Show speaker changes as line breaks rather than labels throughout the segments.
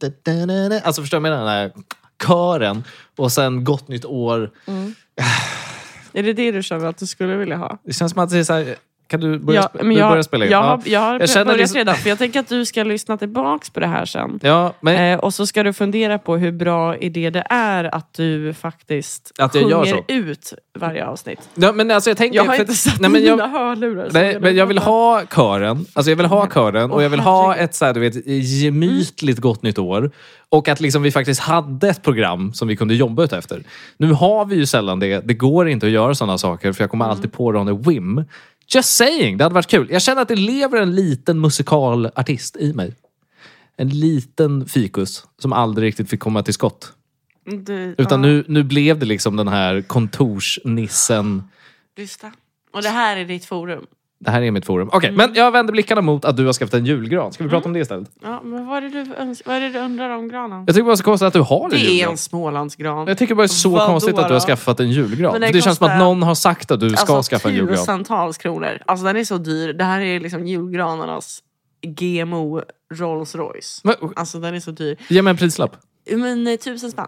da-da-da-da. Alltså förstår du vad jag menar? Den här kören och sen gott nytt år.
Är det det du känner att du skulle vilja ha?
Det känns som att det är så här, kan du börja,
Ja,
sp-
men
du
jag,
börjar spela in?
jag,
Ja.
har, jag har
känner liksom- det
börjat
som-
redan. För jag tänker att du ska lyssna tillbaks på det här sen.
ja, men
Eh, och så ska du fundera på hur bra idé det är att du faktiskt
Att jag
sjunger
gör
ut varje avsnitt.
Ja, men alltså jag tänker...
Jag har
för-
inte satt
nej, men
i
jag,
mina hörlurar. så
nej,
jag
men jag vill
vet
ha kören. Alltså jag vill ha kören och
Åh,
jag vill ha
herregud. Mm.
ett så här, du vet, gemytligt gott nytt år. Och att liksom vi faktiskt hade ett program som vi kunde jobba ut efter. Nu har vi ju sällan det. Det går inte att göra sådana saker för jag
Mm.
kommer alltid på det on a whim. Just saying, det hade varit kul. Jag känner att det lever en liten musikalartist i mig. En liten fikus som aldrig riktigt fick komma till skott.
inte. Du,
Utan
ja,
nu, nu blev det liksom den här kontorsnissen
Lyssna. Och det här är ditt forum.
Det här är mitt forum. Okej, men jag vänder blickarna mot att du har skaffat en julgran. Ska vi prata om det istället?
Ja, men vad är, det du, öns- vad är det du undrar om granen?
Jag tycker bara det är så konstigt att du har en
Det är
julgran.
en smålandsgran.
Jag tycker bara det är så
Vadå
konstigt att du har
då?
skaffat en julgran.
Men
För
den
det känns som att
kostar-
någon har sagt att du ska
Alltså,
skaffa en julgran.
tusentals kronor. Alltså den är så dyr. Det här är liksom julgranarnas GMO Rolls Royce.
Men,
Alltså den är så dyr.
ge mig en prislapp.
Men eh, tusen spänn.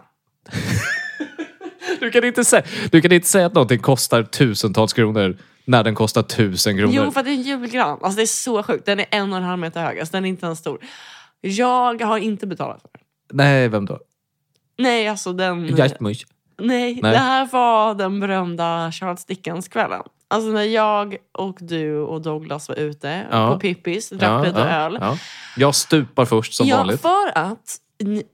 Du kan, inte säga, du kan inte säga att någonting kostar tusentals kronor när den kostar tusen kronor.
Jo, för att det är en julgran. Alltså det är så sjukt. Den är en och en halv meter hög. Alltså den är inte ens stor. Jag har inte betalat för den.
Nej, vem då?
Nej, alltså den...
Geitmusch.
Nej,
Nej.
det här var den berömda Charles Dickens-kvällen. Alltså när jag och du och Douglas var ute
Ja.
på Pippis, drack lite öl.
ja. Jag stupar först som
ja,
vanligt.
för att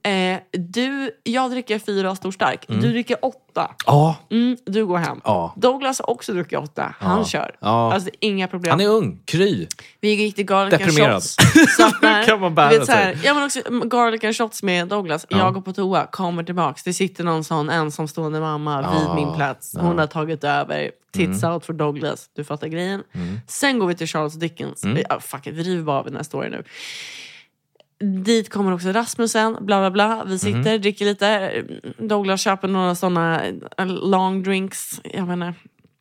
eh, du, jag dricker fyra stor stark,
Mm.
du dricker åtta.
Ja,
Mm, du går hem.
ja.
Douglas har också druckit åtta, han
Ja.
kör.
Ja.
Alltså inga problem.
Han är ung, kry.
Vi gick till garlic and
Deprimerad.
shots. Saknar.
Kan man bära
Du vet, så
sig?
här, ja, men också, mm, garlic and shots med Douglas. Jag går på toa, kommer tillbaks. Det sitter någon sån ensamstående mamma
Ja,
vid min plats. Hon
ja. Mm.
har tagit över. Tits out för Douglas. Du fattar grejen. Sen går vi till Charles Dickens.
Mm.
Ja, fuck it, vi river bara av den här storyn nu. Dit kommer också Rasmussen, bla bla bla.
Mhm.
Vi sitter, dricker lite. Douglas köper några såna eh, long drinks. Jag menar,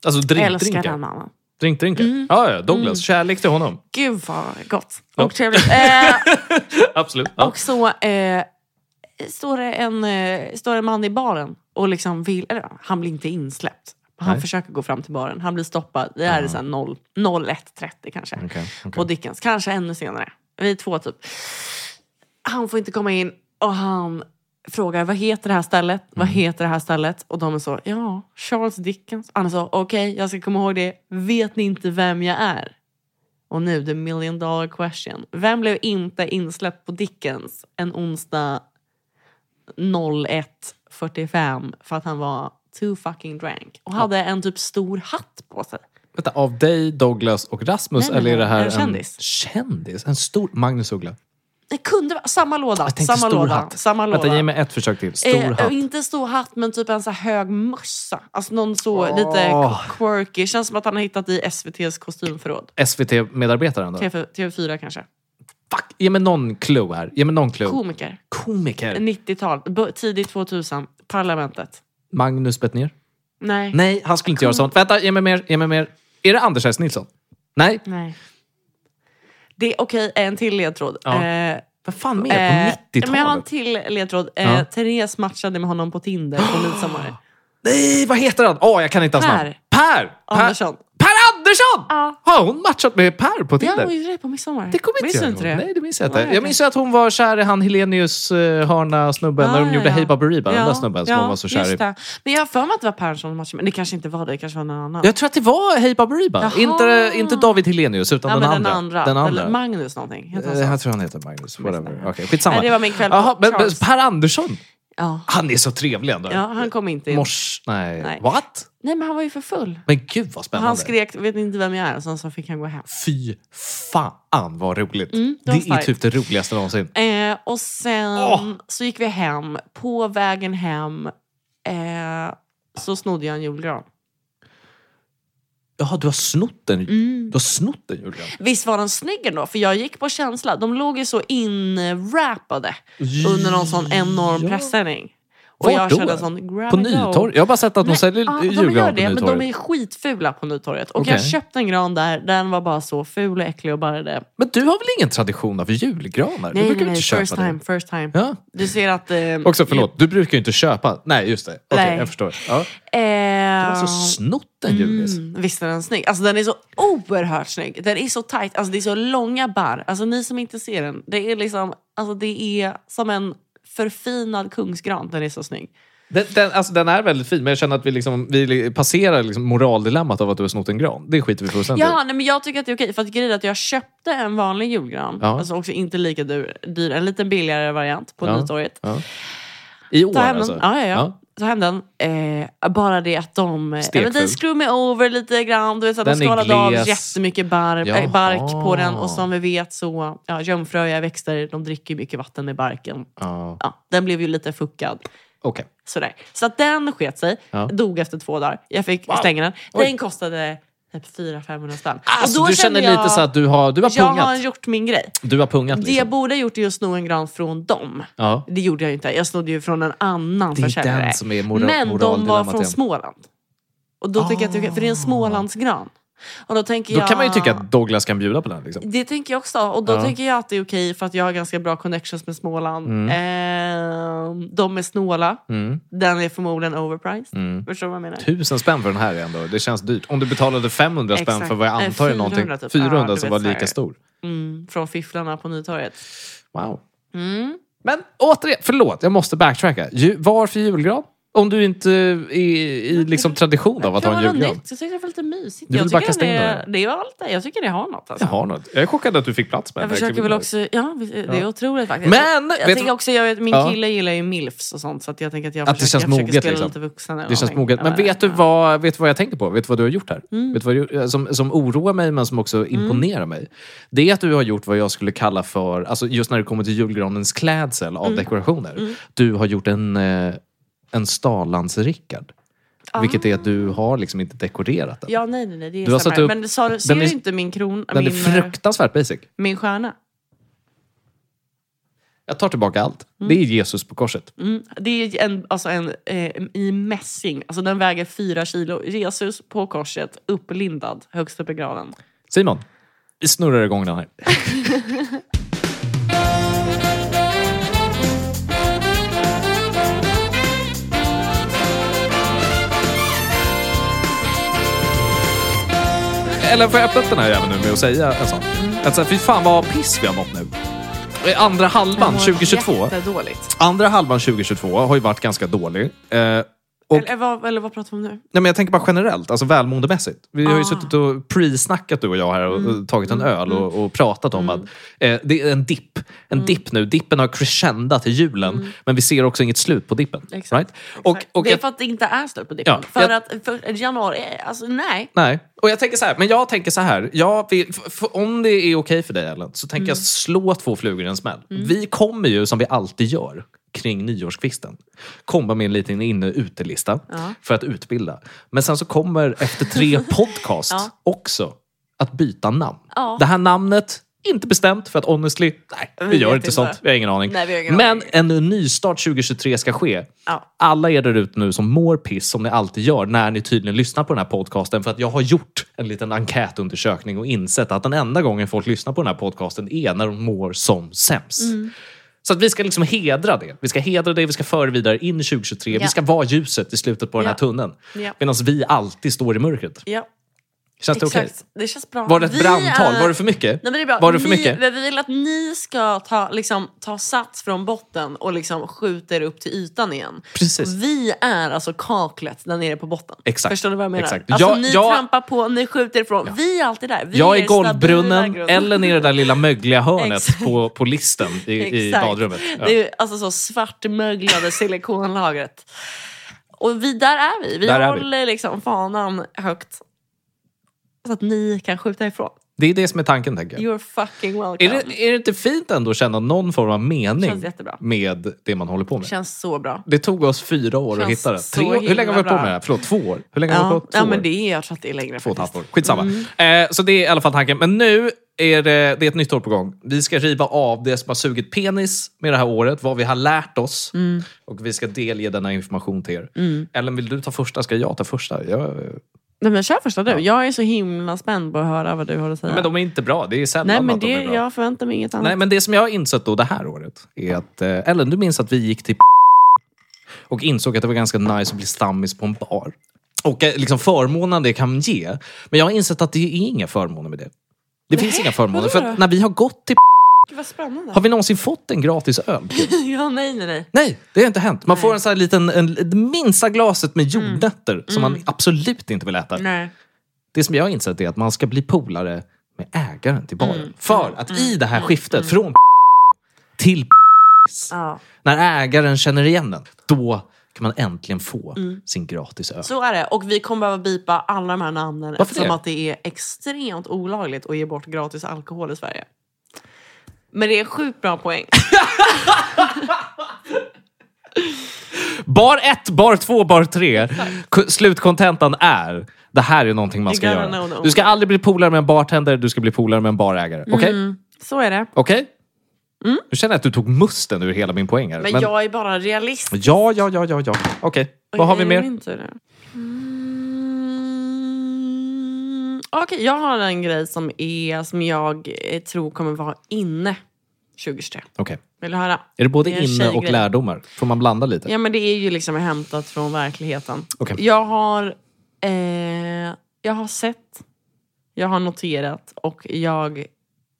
Alltså
älskar Mm. den
drinkdrinkar.
mamman.
Drinkdrinkar. Ja, ja, Douglas. Kärlek till honom.
Gud vad gott
Ja.
och trevligt. Eh,
Absolut. Ja.
Och så eh, står, det en, eh, står en man i baren och liksom vill... Eller, han blir inte insläppt. Han
Nej.
försöker gå fram till baren. Han blir stoppad. Det här är så här noll- 01.30 kanske.
Okej, okej.
På Dickens. Kanske ännu senare. Vi är två typ. Han får inte komma in och han frågar vad heter det här stället?
Mm.
Vad heter det här stället? Och de är så, ja, Charles Dickens. Han är så, okej, jag ska komma ihåg det. Vet ni inte vem jag är? Och nu the million dollar question. Vem blev inte insläppt på Dickens en onsdag 01.45 för att han var too fucking drank och hade en typ stor hatt på sig?
Vänta, av dig, Douglas och Rasmus?
Nej, nej,
eller är det
nej,
här
en kändis.
kändis? En stor Magnus Uggla.
Det kunde vara samma låda.
Jag tänkte
Samma
stor
låda.
hatt.
Samma låda.
Vänta, ge mig ett försök till. Stor
Eh,
hatt.
Inte stor hatt, men typ en så här hög mössa. Alltså någon så
Åh.
lite qu- quirky. Känns som att han har hittat i SVTs kostymförråd.
SVT-medarbetaren då?
TV, TV4 kanske.
Fuck! Ge mig någon clue här. Ge mig någon clue.
Komiker.
Komiker.
90-tal. Bu- Tidigt 2000. Parlamentet.
Magnus Bettner.
Nej.
Nej, han skulle inte göra sånt. Vänta, ge mig mer. Ge mig mer. Är det Anders S. Nilsson? Nej.
Nej. Det är okej, en till ledtråd.
Ja.
Eh,
Vad fan mer
eh,
på 90-talet?
men jag har en till ledtråd. Eh,
Ja.
Therese matchade med honom på Tinder på midsommar.
Nej, vad heter han? Åh, jag kan inte hans
Per.
namn. Per! Per!
Andersson.
Per Andersson!
Ja.
Har hon matchat med Per på
Ja,
Tinder?
hon gjorde det på midsommar.
Det kommer
Minns
inte
du
jag
inte
ihåg.
det?
Nej, det minns jag
Nej,
inte.
okej.
Jag minns ju att hon var kär i han Helenius eh, hörna-snubben när
Ja,
de
ja,
gjorde
Ah, ja.
Hey Baberiba. Den
Ja,
där snubben som
ja,
hon var så kär
just
i.
det. Men jag har för mig att det var Persson och matchen. Men det kanske inte var det, det kanske var någon annan.
Jag tror att det var Hey Baberiba.
Jaha.
Inte, inte David Helenius utan
ja,
den,
men
andra. Den
Eller
andra.
Magnus någonting. Heter han
Eh,
så?
Jag tror han heter Magnus. Whatever. Okej, skitsamma.
Nej, det var min kväll på
Jaha, men, men
Charles.
Per Andersson,
Ja.
han är så trevlig ändå.
ja, han kom inte in.
Mors... Nej.
Nej.
What?
Nej, men han var ju för full.
Men gud vad spännande.
Han skrek, vet ni inte vem jag är? Och sen så fick han gå hem.
Fy fan vad roligt.
Mm,
det
det var
är
starkt.
typ det roligaste någonsin.
Eh, och sen
Åh!
så gick vi hem. På vägen hem eh, så snodde jag en julgran.
Jaha, du har snott den. Du har snott den Julian.
Visst var den snygg ändå? För jag gick på känsla. De låg ju så inwrappade under någon sån enorm
Ja.
pressändning. Och
Vart
jag
då?
kände en sån grab
På
and go.
Nytorget? Jag har bara sett att de
Nej,
säljer
ja,
julgran
De gör
på
det, men
Nytorget.
de är skitfula på Nytorget. Och jag
Okej.
köpte en gran där, den var bara så ful och äcklig och bara det.
Men du har väl ingen tradition av julgranar? du brukar
Nej, nej,
ju
nej,
inte köpa
first
det.
time, first time.
Ja.
Du ser att... Eh,
Också förlåt, du brukar ju inte köpa. Nej, just det. Okej,
Nej.
jag förstår. Ja.
Eh,
Du har alltså snott en julgris.
Mm, visst är den snygg? Alltså den är så oerhört snygg. Den är så tight. Alltså det är så långa barr. Alltså ni som inte ser den. Det är liksom, alltså det är som en förfinad kungsgran. Den är så snygg.
Den, den, alltså, den är väldigt fin, men jag känner att vi, liksom, vi li- passerar liksom moraldilemmat av att du har snott en gran. Det skiter vi fullständigt i.
Ja, nej, men jag tycker att det är okej. För att grejen är att jag köpte en vanlig julgran.
Ja.
Alltså också inte lika dyr, dyr. En lite billigare variant på
Ja.
Nytorget.
Ja. I år
Ta hem
alltså?
den. Ja, ja, ja.
Ja.
Ta hem den. Eh, bara det att de... eh,
Stekfull.
Men de screw me over lite grann. Du vet, så att de
Den är
skalade av
gles.
jättemycket bar,
Jaha.
eh, bark på den. Och som vi vet så, ja, jungfröiga växter, de dricker ju mycket vatten med barken.
Ja,
Ja, den blev ju lite fuckad.
Okej.
Sådär. Så att den sket sig.
Ja.
Dog efter två dagar. Jag fick stänga den.
Oj.
Den kostade typ 400-500 spänn.
Alltså,
Och Ah, då
du
kände
känner lite så att du har, du har
Jag
pungat.
har gjort min grej.
Du har pungat
Det jag
liksom.
borde ha gjort är att sno en gran från dem.
Ja.
Det gjorde jag ju inte. Jag snodde ju från en annan
Det är
försäljare.
den som är moral,
Men de var
moraldilemmat
från
igen.
Småland. Och då tycker jag att det är okej, för det är en Smålandsgran. Och då tänker
Ah. Då
jag...
kan man ju tycka att Douglas kan bjuda på den. Liksom.
Det tänker jag också. Och då
Ja.
tänker jag att det är okej för att jag har ganska bra connections med Småland.
Mm.
Ehm, de är snåla.
Mm,
Den är förmodligen overpriced.
mm.
Förstår du vad jag menar?
Tusen spänn för den här ändå. Det känns dyrt. Om du betalade 500 spänn
Exakt.
för vad jag
Nej,
antar är
400
någonting.
typ. Ja,
400
du
som
vet
var
så här.
lika stor.
Mm, från Fifflarna på Nytorget.
Wow.
Mm.
Men återigen, förlåt, jag måste backtracka. Ju, varför julgran? Om du inte är i liksom, tradition av att
Kan
ha en
vara
julgran.
nytt. Jag tyckte det var lite mysigt.
Du vill
Jag
bara
tycker,
kasta in
det,
den
det är allt, jag tycker det har något. Alltså.
Jag har något. Jag är chockad att du fick plats med
Jag
den.
försöker väl också... Ja, vi- det är
Ja.
otroligt faktiskt.
Men!
Jag
vet
tänker
du-
också, jag vet, min
Ja.
kille gillar ju milfs och sånt så att jag tänker att jag
Att det
försöker,
känns
jag försöker
moget,
spela
liksom.
lite vuxen. liksom. eller
Det känns
någonting.
moget. Men
Ja,
vet du,
ja.
vad, vet du vad jag tänker på? Vet du vad du har gjort här?
Mm.
Vet du vad du, eh, som, som oroar mig, men som också imponerar mig. Det är att du har gjort vad jag skulle kalla för, alltså just när det kommer till julgranens klädsel av
Mm.
dekorationer. Du har gjort en, eh, en Stalans-Rickard. Vilket är att du har liksom inte dekorerat den.
Ah. Ja, nej, nej, nej. Det
Du har
är
satt
samma.
upp-
Men sa, du- ser
den
du
är-
inte min kron...
Den
min, eh,
är fruktansvärt basic.
min stjärna?
Jag tar tillbaka allt. Det är Jesus på korset.
Mm. Det är en, alltså en eh, i mässing. Alltså den väger fyra kilo. Jesus på korset, upplindad högst upp i graven.
Simon, vi snurrar igång den här. Eller får jag öppna upp den här jäveln nu med att säga en sak? Att säga, fy fan vad piss vi har mått nu. Eh, Andra halvan 2022.
Jättedåligt.
Andra halvan 2022 har ju varit ganska dålig. Eh, och
Eller, vad, eller vad pratar vi om nu?
Nej, men jag tänker bara generellt, alltså välmåendemässigt. Vi har ju
Ah. Mm.
suttit och pre-snackat du och jag här och och tagit en öl och, och pratat om att eh, det är en dipp.
Mm.
En dipp nu. Dippen har crescendat till julen, men vi ser också inget slut på dippen.
Exakt.
Right? Och,
Exakt.
och
det är
jag,
för att det inte är slut på dippen.
Ja,
för
jag-
att för januari, är- alltså nej.
Nej, och jag tänker så här, men jag tänker så här. Jag vill, f- f- om det är okej för dig Ellen, så tänker
Mm.
jag slå två flugor i en smäll. Vi kommer ju, som vi alltid gör, kring nyårskvisten komma med en liten inne och utelista
Ja.
för att utbilda. Men sen så kommer efter tre podcast
Ja.
också att byta namn.
Ja.
Det här namnet, inte bestämt för att honestly, nej, vi
Vi
gör
vet
inte
inte.
sånt. Vi har ingen aning.
Nej, vi har ingen
Men
aning.
en nystart 2023 ska ske.
Ja.
Alla er där ute nu som mår piss, som ni alltid gör när ni tydligen lyssnar på den här podcasten. För att jag har gjort en liten enkätundersökning och insett att den enda gången folk lyssnar på den här podcasten är när de mår som sämst.
Mm.
Så att vi ska liksom hedra det. Vi ska hedra det, vi ska föra vidare in i 2023. Vi
Ja.
ska vara ljuset i slutet på den här
Ja.
tunneln.
Ja.
Medan vi alltid står i mörkret.
Ja,
Känns Alltså, det okej?
exakt. Det känns bra.
Var det ett
Vi
brandtal?
är-
Var det för mycket?
Nej, men det är bra.
Var det för
ni,
mycket?
Vi vill att ni ska ta, liksom, ta sats från botten och liksom skjuta er upp till ytan igen.
Precis.
Vi är alltså kaklet där nere på botten.
Exakt.
Förstår ni vad jag menar?
Exakt.
Alltså,
Jag-
ni
jag-
trampar på, ni skjuter ifrån. Vi är alltid där. Vi
Jag är
er
i
stabila
golvbrunnen
grund.
eller i det där lilla mögliga hörnet
Exakt.
på, på listen i, i
Exakt.
badrummet. Ja.
Det är ju alltså så svartmöglade silikonlagret. Och vi, där är vi. Vi
Där är vi.
håller liksom fanan högt. Så att ni kan skjuta ifrån.
Det är det som är tanken, tänker jag.
You're fucking welcome.
Är det, är det inte fint ändå att känna någon form av mening
Känns jättebra.
med det man håller på med?
Känns så bra.
Det tog oss fyra år att
Känns
hitta det.
så
Tre, hur länge
himla
har vi på
bra.
med det här? Förlåt, två år? Hur länge har vi på?
Ja,
Två
ja
år?
men det är, jag tror att det är längre
Två och ett halvt
faktiskt.
år. Skitsamma. Eh, så det är i alla fall tanken. Men nu är det, det är ett nytt år på gång. Vi ska riva av det som har sugit penis med det här året, vad vi har lärt oss.
Mm.
Och vi ska delge denna information till er. Ellen, vill du ta första? Ska jag ta första? Jag,
Nej, men kör första du. Jag är så himla spänd på att höra vad du har att säga.
Men de är inte bra. Det är sällan
Nej, men
att de
det,
är bra.
jag förväntar mig inget annat.
Nej, men det som jag har insett då det här året är att... Eh, Ellen, du minns att vi gick till och insåg att det var ganska nice att bli stammis på en bar. Och eh, liksom förmånen det kan ge. Men jag har insett att det är inga förmåner med det. Det finns inga förmåner.
vadå
För
då?
att när vi har gått till
Gud, vad spännande.
har vi någonsin fått en gratis öl?
ja, nej, nej, nej.
Nej, det har inte hänt. Man
Nej. Mm.
får en sån här liten, en, det minsta glaset med jordnötter som man absolut inte vill äta.
nej.
Det som jag har insett är att man ska bli polare med ägaren till
Mm.
baren. För att i det här skiftet från till
Ja.
när ägaren känner igen den, då kan man äntligen få
Mm.
sin gratis öl.
Så är det. Och vi kommer behöva bipa alla de här namnen
Varför
eftersom
det?
att det är extremt olagligt att ge bort gratis alkohol i Sverige. Men det är en sjukt bra poäng.
Bar 1, bar 2, bar 3. Slutkontentan är, det här är någonting man
You
ska
gotta
göra.
know Mm. the
Du ska aldrig bli polare med en bartender, du ska bli polare med en barägare. Okej?
Så är det.
Okej? Nu känner jag att du tog musten ur hela min poäng här.
Mm. Men,
Men-
jag är bara realist.
Ja, ja, ja, ja, ja. Okej. Vad har vi
Det är
mer?
min tur nu. Mm. Okej, jag har en grej som, är, som jag eh, tror kommer vara inne 2023.
Okej.
Vill du höra?
Är det både
Det är en
inne och
tjejgrej.
lärdomar? Får man blanda lite?
Ja, men det är ju liksom hämtat från verkligheten.
Okej.
Jag har eh, jag har sett, jag har noterat och jag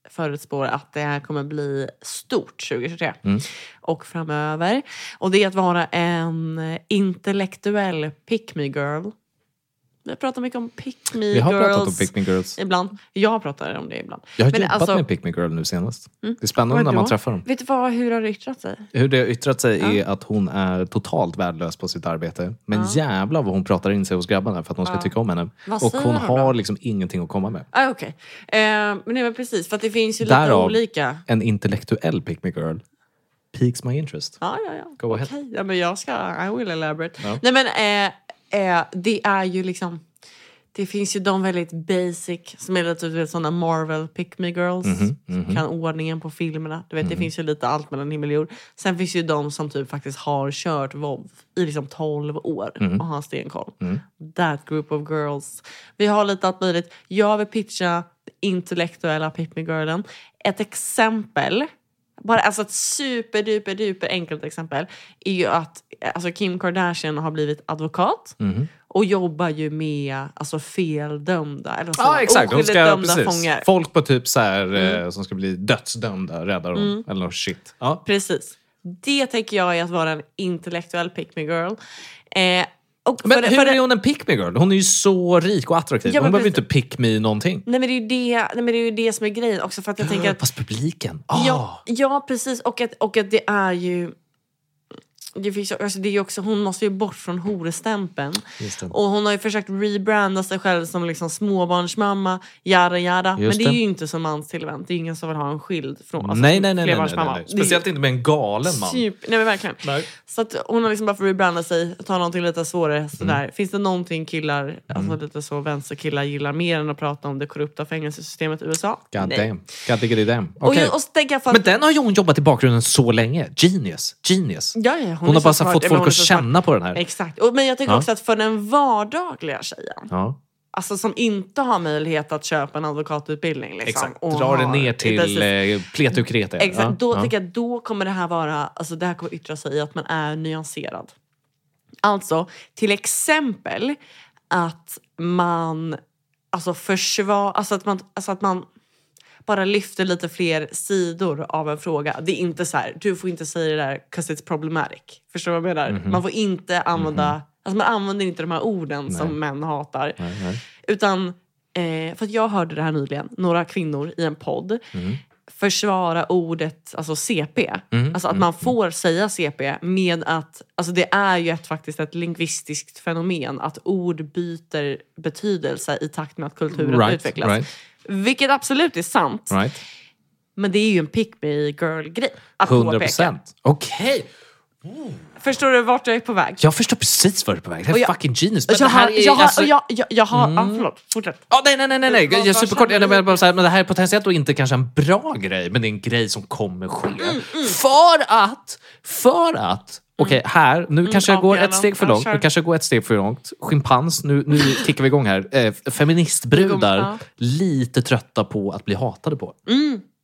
förutspår att det här kommer bli stort 2023
Mm.
och framöver. Och det är att vara en intellektuell pick me girl. Vi pratar mycket om pick me
Vi har
girls
pratat om Pick Me Girls.
ibland. Jag pratar om det ibland.
Jag har
Men
jobbat
alltså-
med en Pick Me Girl nu senast.
Mm.
Det är spännande när
Vadå?
man träffar dem.
Vet du vad, hur har det yttrat sig?
Hur det har yttrat sig är att hon är totalt värdelös på sitt arbete. Men
Ja.
jävlar vad hon pratar in sig hos grabbarna för att de ska
Ja.
tycka om henne.
Vad
Och
säger
hon
de då?
har liksom ingenting att komma med.
Ah, Okej, eh, men det var precis för att det finns ju lite
Därav-
olika.
En intellektuell Pick Me Girl piques my interest.
Ja, ja, ja.
Go ahead.
Okej, ja, men jag ska... I will elaborate.
Ja.
Nej, men eh, eh, det är ju liksom... Det finns ju de väldigt basic som är lite du vet, såna Marvel pick me girls.
Mhm, mhm.
Som kan ordningen på filmerna. Du vet, Det finns ju lite allt mellan himmel och jord. Sen finns ju de som typ faktiskt har kört WoW i liksom 12 år
Mhm.
och har stenkoll. That group of girls. Vi har lite allt möjligt. Jag vill pitcha intellektuella pick me girlen. Ett exempel bara alltså ett super duper duper enkelt exempel är ju att alltså Kim Kardashian har blivit advokat
Mhm.
och jobbar ju med alltså feldömda eller
Ja,
såna
exakt. Hon
oskyldigt
ska,
dömda
precis.
fångar. Mm.
Folk på typ så här, eh, som ska bli dödsdömda räddar hon. Eller något shit. Ja.
Precis. Det tänker jag är att vara en intellektuell pick me girl. Eh, och
Men
för, det-
hur
för det-
är hon en pick me girl? Hon är ju så rik och attraktiv.
Ja, men
hon behöver ju inte
precis.
pick me någonting.
Nej men det är ju det, nej, men det, är ju det som är grejen också för att jag tänker att
Fast publiken. Ah.
Ja, ja precis. Och att, och att det är ju... Det finns, ju- alltså det är ju också, hon måste ju bort från horestämpeln.
Just det.
Och hon har ju försökt rebranda sig själv som liksom småbarnsmamma, yada yada. Men
Just
det är
det.
ju inte som manstillvänt. Det är ingen som vill ha en skild från alltså,
nej, nej, nej, nej, nej, nej,
flerbarnsmamma.
nej.
Det är ju
Speciellt inte med en galen man.
Super, nej men verkligen.
Nej.
Så att hon har liksom bara för att rebranda sig, ta någonting lite
Mm.
svårare. Sådär. Finns det någonting killar, alltså lite så vänsterkillar gillar mer än att prata om det korrupta fängelsesystemet i USA?
God
nej.
damn. God diggity damn.
Och,
Okej.
jag, och så tänker jag för
Men den har ju hon jobbat i bakgrunden så länge. Genius. Genius.
Ja, ja, hon
Hon har
är så
bara så
smart.
fått
Ja, men
folk
hon är
att
så smart.
känna på den här.
Exakt. Och, men jag tycker
Ja.
också att för den vardagliga tjejen,
Ja.
alltså som inte har möjlighet att köpa en advokatutbildning. Liksom,
Exakt.
och
Drar det
har-
ner till
Precis.
eh, pleti och kreti.
Exakt,
Ja,
då
ja.
tänker jag då kommer det här vara, alltså det här kommer yttra sig i att man är nyanserad. Alltså till exempel att man alltså försvar, alltså att man, alltså att man bara lyfter lite fler sidor av en fråga. Det är inte så här, du får inte säga det där 'cause it's problematic. Förstår du vad jag menar?
Mhm.
Man får inte använda, alltså man använder inte de här orden som män hatar.
Nej, nej.
Utan, eh, för att jag hörde det här nyligen, några kvinnor i en podd
Mm.
försvara ordet alltså CP. alltså att
mm,
man får säga CP med att, alltså det är ju ett, faktiskt ett lingvistiskt fenomen att ord byter betydelse i takt med att kulturen
Right,
utvecklas.
right.
Vilket absolut är sant,
Right.
men det är ju en pick me girl-grej att
100
påpeka.
procent. Okej.
Förstår du vart jag är på väg?
Jag förstår precis vart du är på väg. Det här
Och
är
jag-
fucking genius. Men
jag,
det här
har,
är,
jag, har,
alltså-
jag, jag, jag har... Ah, förlåt, fortsätt.
Ja, nej, nej, nej, nej, nej.
Vad-
Jag är
vad
superkort.
känner
Jag
du?
menar bara så här, men det här är potentiellt och inte kanske en bra grej, men det är en grej som kommer ske.
Mm,
För att, för att, okej, här, nu kanske jag
Mm, ja,
går
gärna.
ett steg för
Ja,
långt.
kör.
Nu kanske jag går ett steg för långt. Schimpans, nu, nu tickar vi igång här. Eh, feministbrudar,
Ja. Mm.
lite trötta på att bli hatade på.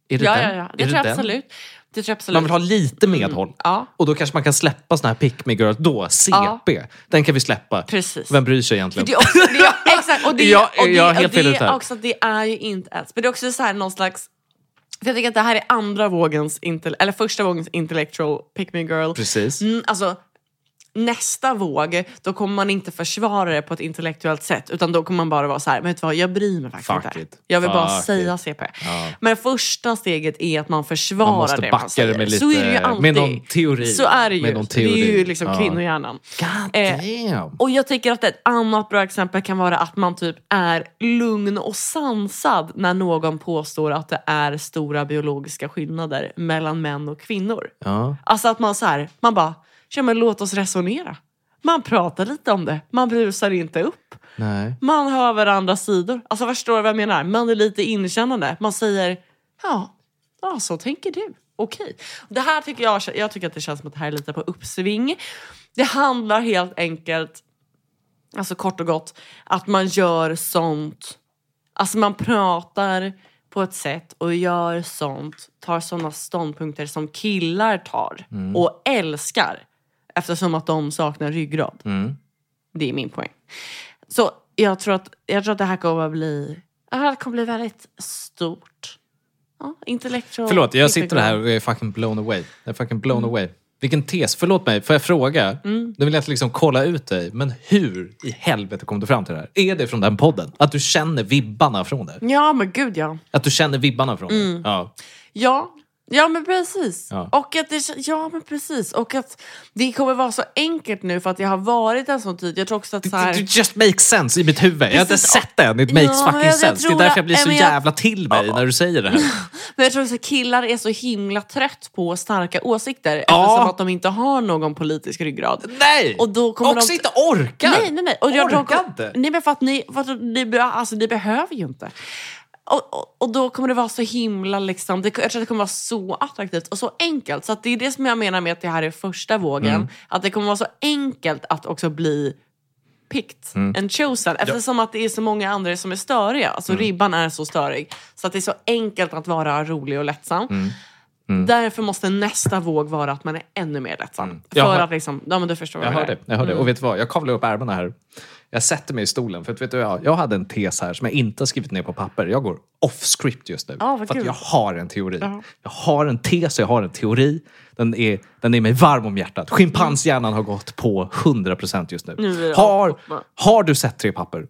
Är det
Ja,
den?
ja, ja. Det
är
tror jag
den?
absolut. Mm. Det tror jag absolut.
Man vill ha lite medhåll.
Ja,
Och då kanske man kan släppa såna här pick me girls då, CP. Den kan vi släppa.
precis.
Vem bryr sig egentligen?
Det är också, det är, exakt, och det,
Jag-
och det,
jag är
och
helt
det,
fel ute här.
också, det är ju inte ens... Men det är också så här någon slags... För jag tycker att det här är andra vågens, intell- eller första vågens intellectual pick me girl.
Precis.
Mm, alltså, nästa våg, då kommer man inte försvara det på ett intellektuellt sätt. Utan då kommer man bara vara så här, men vet du vad, jag bryr mig faktiskt
Fuck
inte.
it.
Jag vill bara
Fuck
säga CP.
Ja.
Men första steget är att man försvarar
Man måste
det
backa
man
det
säger.
med
så
lite-
är det ju alltid.
med någon teori.
Så är det ju.
Med någon
Det är
teori.
ju liksom
Ja.
kvinnohjärnan.
God
Eh,
damn!
Och jag tycker att ett annat bra exempel kan vara att man typ är lugn och sansad när någon påstår att det är stora biologiska skillnader mellan män och kvinnor.
Ja.
Alltså att man så här, man bara, ja men låt oss resonera. Man pratar lite om det, man brusar inte upp.
Nej.
Man hör varandras sidor. Alltså förstår du vad jag menar? Man är lite inkännande. Man säger, ja, ja så tänker du. Okej. Det här tycker jag, jag tycker att det känns som att det här är lite på uppsving. Det handlar helt enkelt, alltså kort och gott, att man gör sånt, alltså man pratar på ett sätt och gör sånt, tar sådana ståndpunkter som killar tar
Mm.
och älskar eftersom att de saknar ryggrad.
Mm.
Det är min poäng. Så jag tror att, jag tror att det här kommer att bli, det här kommer bli väldigt stort. Ja, intellektuellt.
Förlåt, jag sitter här och är fucking blown away. Jag är fucking
Mm.
blown away. Vilken tes. Förlåt mig, får jag fråga? Nu vill jag inte liksom kolla ut dig, men hur i helvete kom du fram till det här? Är det från den podden? Att du känner vibbarna från det?
Ja, men gud ja.
Att du känner vibbarna från
Mm.
det? Ja.
Ja, ja men precis.
Ja.
Och att det, ja, men precis. Och att det kommer vara så enkelt nu för att jag har varit en sån tid. Jag tror också att så här...
It just makes sense i mitt huvud. Jag har inte
Precis.
sett det än. It
Ja,
makes
men
fucking
jag- jag
sense. Det är
tror
därför
att-
jag blir så
nej, men jag-
jävla till mig när du säger det här.
Men jag tror också att killar är så himla trött på starka åsikter
Ja.
eftersom att de inte har någon politisk ryggrad.
Nej!
Och då kommer
Också
de-
inte orkar!
Nej, nej, nej. Och jag tror-
Orkar inte.
Nej, men för att ni, för att ni, be- alltså, ni behöver ju inte. Och, och, och då kommer det vara så himla liksom, det, jag tror att det kommer vara så attraktivt och så enkelt. Så att det är det som jag menar med att det här är första vågen.
Mm.
Att det kommer vara så enkelt att också bli picked
Mm.
and chosen. Eftersom att det är så många andra som är störiga. Alltså
Mm.
ribban är så störig. Så att det är så enkelt att vara rolig och lättsam.
Mm.
Därför måste nästa våg vara att man är ännu mer lättsam. För
Mm. Jag hör-
att liksom, ja men du förstår vad
Jag
jag
hör
menar.
det. Jag hör det.
Mm.
Och vet du vad? Jag kavlar upp ärmarna här. Jag sätter mig i stolen. För att, vet du, jag, jag hade en tes här som jag inte har skrivit ner på papper. Jag går off script just nu.
Ja, vad
för att
kul.
jag har en teori.
Ja.
Jag har en tes och jag har en teori. Den är, den är mig varm om hjärtat. Schimpanshjärnan har gått på 100% just nu.
Nu är det
har,
avkopplat.
har du sett Tre papper?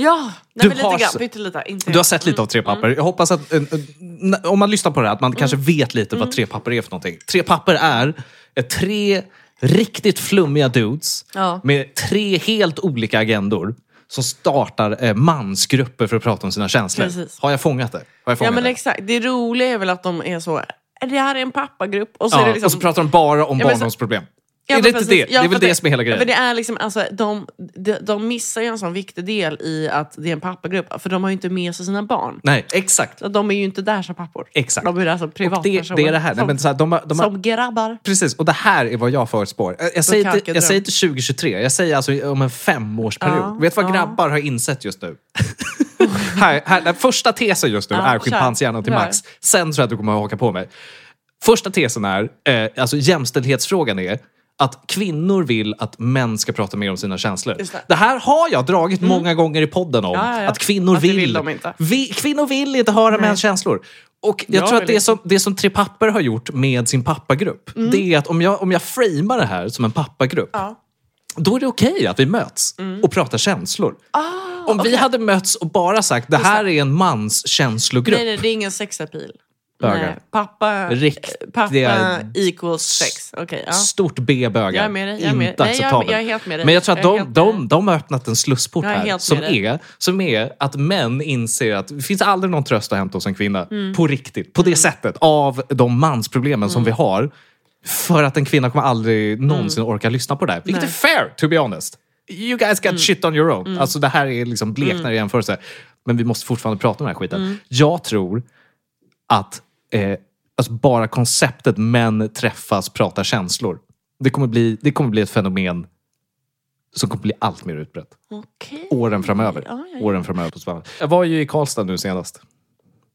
Ja, nej,
Du
men lite
har
grann.
så-
Pyttelite. Inte
Du har sett lite av Tre papper. Jag hoppas att, eh, eh, n- om man lyssnar på det här, att man
Mm.
kanske vet lite vad Tre papper är för någonting. Tre papper är eh, tre riktigt flummiga dudes
Ja.
med tre helt olika agendor som startar eh, mansgrupper för att prata om sina känslor.
Precis.
Har jag fångat det? Har jag fångat
Ja men
det?
exakt. Det roliga är väl att de är så, det här är en pappagrupp. Och så
Ja,
är det liksom,
Och så pratar de bara om
Ja, men så-
barndomsproblem.
Ja,
är
men
det inte
precis.
det?
Ja,
det är väl
för
det som är hela grejen?
För det är liksom, alltså, de, de, de missar ju en sån viktig del i att det är en pappagrupp. För de har ju inte med sig sina barn.
Nej, exakt.
Så De är ju inte där som pappor.
Exakt.
De är där som
Och det,
privatpersoner.
det är det här. Nej,
Som,
men så här de, har- de har,
som grabbar.
Precis, och det här är vad jag förutspår. Jag, jag, säger, inte, jag
kalkedröm.
säger inte 2023, jag säger alltså om en femårsperiod.
Ja,
Vet du vad
ja.
grabbar har insett just nu? här, här, den första tesen just nu
Ja,
är
kör.
schimpanshjärnan till
Kör.
max. Sen tror jag att du kommer att haka på mig. Första tesen är, eh, alltså jämställdhetsfrågan är att kvinnor vill att män ska prata mer om sina känslor.
Just det. Mm.
Det här har jag dragit många gånger i podden om.
Ja, ja, ja.
Att kvinnor
Att det
vill...
vill de inte.
Vi, kvinnor vill inte höra mäns känslor. Och jag,
Jag
tror att
vill
det
inte. Mm.
som, det som Tre Papper har gjort med sin pappagrupp, det är att om jag, om jag framar det här som en pappagrupp,
Ja. Mm.
då är det okej att vi möts och pratar känslor.
Ah,
om vi hade mötts och bara sagt det här är en manskänslogrupp.
Nej, nej, det är ingen sexapil.
Bögar.
Nej, pappa,
Riktiga-
pappa equals sex. Okej, ja.
Stort B bögar.
Jag är med dig, jag är med dig.
Inte
Nej, jag-
acceptabelt.
jag är helt med dig.
Men jag tror att
Jag
de,
är helt med
de, de har öppnat en slussport
Jag är
här
helt
som
med dig.
är, som är att män inser att det finns aldrig
Mm.
någon tröst att hämta hos en kvinna. På riktigt. På det sättet. Av de mansproblemen som vi har. För att en kvinna kommer aldrig någonsin orka lyssna på det här. Vilket
Mm. Nej. Mm.
är fair, to be honest. You guys got shit on your own. Alltså det här är liksom bleknar i jämförelse. Men vi måste fortfarande prata om den här skiten.
Mm.
Jag tror att eh, alltså bara konceptet män träffas, pratar känslor. Det kommer, bli, det kommer bli ett fenomen som kommer bli allt mer utbrett.
Okej.
Åren framöver.
Ja, ja, ja.
Åren framöver på Spanien. Jag var ju i Karlstad nu senast.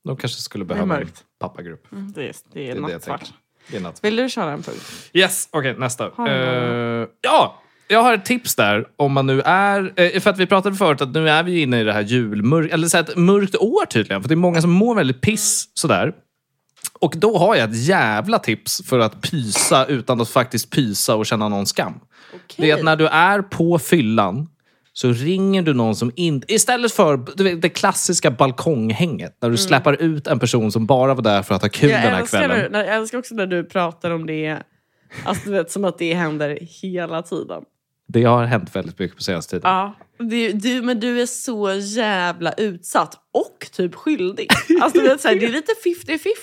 De kanske skulle behöva en
mörkt.
pappagrupp.
Mm, Det är, det är,
Det är det jag
nattsvart.
tänker. Det är nattsvart.
Vill du köra en punkt?
Yes, okej nästa.
Har du
Eh, ja, jag har ett tips där. Om man nu är... eh, för att vi pratade förut att nu är vi ju inne i det här julmörk... Eller så här, ett mörkt år tydligen. För det är många som mår väldigt piss sådär. Och då har jag ett jävla tips för att pysa utan att faktiskt pysa och känna någon skam. Det är att när du är på fyllan så ringer du någon som inte... Istället för du vet, det klassiska balkonghänget. När du släpar ut en person som bara var där för att ha kul
Mm. jag
den här
älskar
kvällen.
när- Jag älskar också när du pratar om det. Alltså, du vet, som att det händer hela tiden.
Det har hänt väldigt mycket på senaste tiden.
Ja. Du, du, men du är så jävla utsatt och typ skyldig. Alltså, du vet, så här, det är lite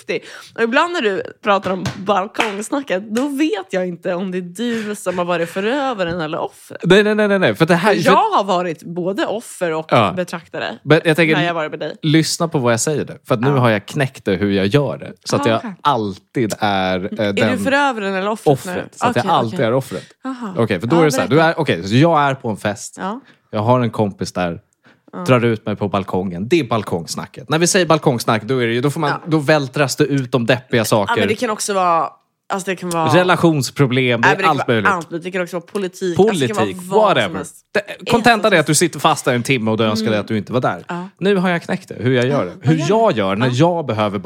50-50. Och ibland när du pratar om balkongsnacket då vet jag inte om det är du som har varit förövaren eller offret.
Nej, nej, nej, nej, nej. För det här, för,
Jag har varit både offer och
Ja.
betraktare
men jag tänker,
när jag varit med dig.
lyssna på vad jag säger nu. För att nu har jag knäckt det hur jag gör det. Så att
Ah,
jag
okej.
alltid är eh,
Är
den
du förövaren eller offret? nu?
offret. Så att jag
Okej,
alltid
okej.
är offret.
Aha.
Okej, för då
Ja,
är det så här. Du
berätta.
är, okej, så jag är på en fest.
Ja.
Jag har en kompis där. Drar ut mig på balkongen. Det är balkongsnacket. När vi säger balkongsnack, då, är det ju, då, får man,
Ja.
då vältras det ut de deppiga
Ja,
saker.
men det kan också vara... Alltså det kan vara...
Relationsproblem, det är
Nej, Äh, men det kan
allt
vara
möjligt.
allt möjligt. Det kan också vara politik.
Politik,
alltså, det kan vara vad som
whatever.
helst.
Det- Kontentan
som
är att du sitter fast där en timme och du önskar dig att du inte var där.
Ja.
Nu har jag knäckt det, hur jag gör det. Hur jag gör när jag behöver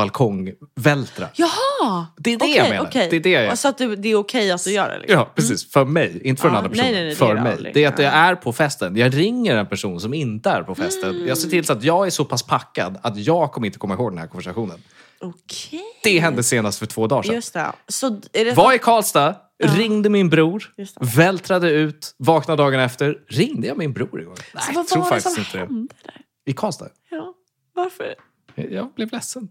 balkongvältra.
Jaha!
Det är det
Okej,
jag menar.
okej.
Det är det jag
Och Så att du, det är okej att du gör det? Liksom.
Ja, precis. För mig, inte för den
Ja,
andra
nej,
personen.
nej, nej, det
för
gör jag
mig.
aldrig.
Det är att jag
Ja.
är på festen. Jag ringer en person som inte är på festen. Jag
Mm.
ser till så att jag är så pass packad att jag kommer inte komma ihåg den här konversationen.
Okej.
Det hände senast för två dagar sedan.
Just det. Så är det
Var i Karlstad, ringde min bror,
Just det.
vältrade ut, vaknade dagen efter. Ringde jag min bror igår? Nej,
så
jag
Alltså, vad
tror
var det
faktiskt
som
inte det.
hände där?
I Karlstad.
Ja. Varför?
Jag blev ledsen.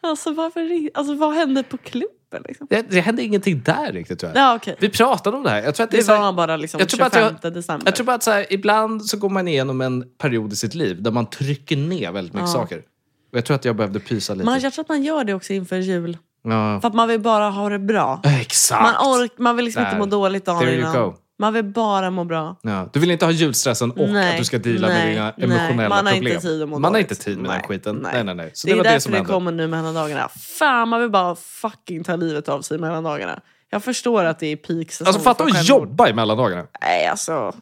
Alltså, varför? ring- Alltså, vad hände på klubben? Liksom?
Det, det hände ingenting där riktigt tror jag.
Ja, okej.
Vi pratade om det här. Jag tror att det, är
Det
så här,
var bara liksom
jag tror bara att
25
jag-
december.
jag tror bara att så här, ibland så går man igenom en period i sitt liv där man trycker ner väldigt mycket
Ja.
saker. Och jag tror att jag behövde pysa lite.
man, jag tror att man gör det också inför jul.
ja.
För att man vill bara ha det bra.
Exakt!
Man, ork, man vill liksom
Där.
inte må dåligt dagen
There you
innan.
go.
Man vill bara må bra.
Ja. Du vill inte ha julstressen och
Nej,
att du ska deala med
nej,
dina
nej.
emotionella problem.
Man har inte tid att må
Man har
dåligt.
inte tid med den
Nej,
skiten. Nej,
nej.
nej, nej. Så
det
det,
är
var det
därför
som
det,
hände.
kommer nu mellan dagarna. Fan, man vill bara fucking ta livet av sig mellan dagarna. Jag förstår att det är peak
Alltså fatta att jobba i mellandagarna.
Nej, alltså.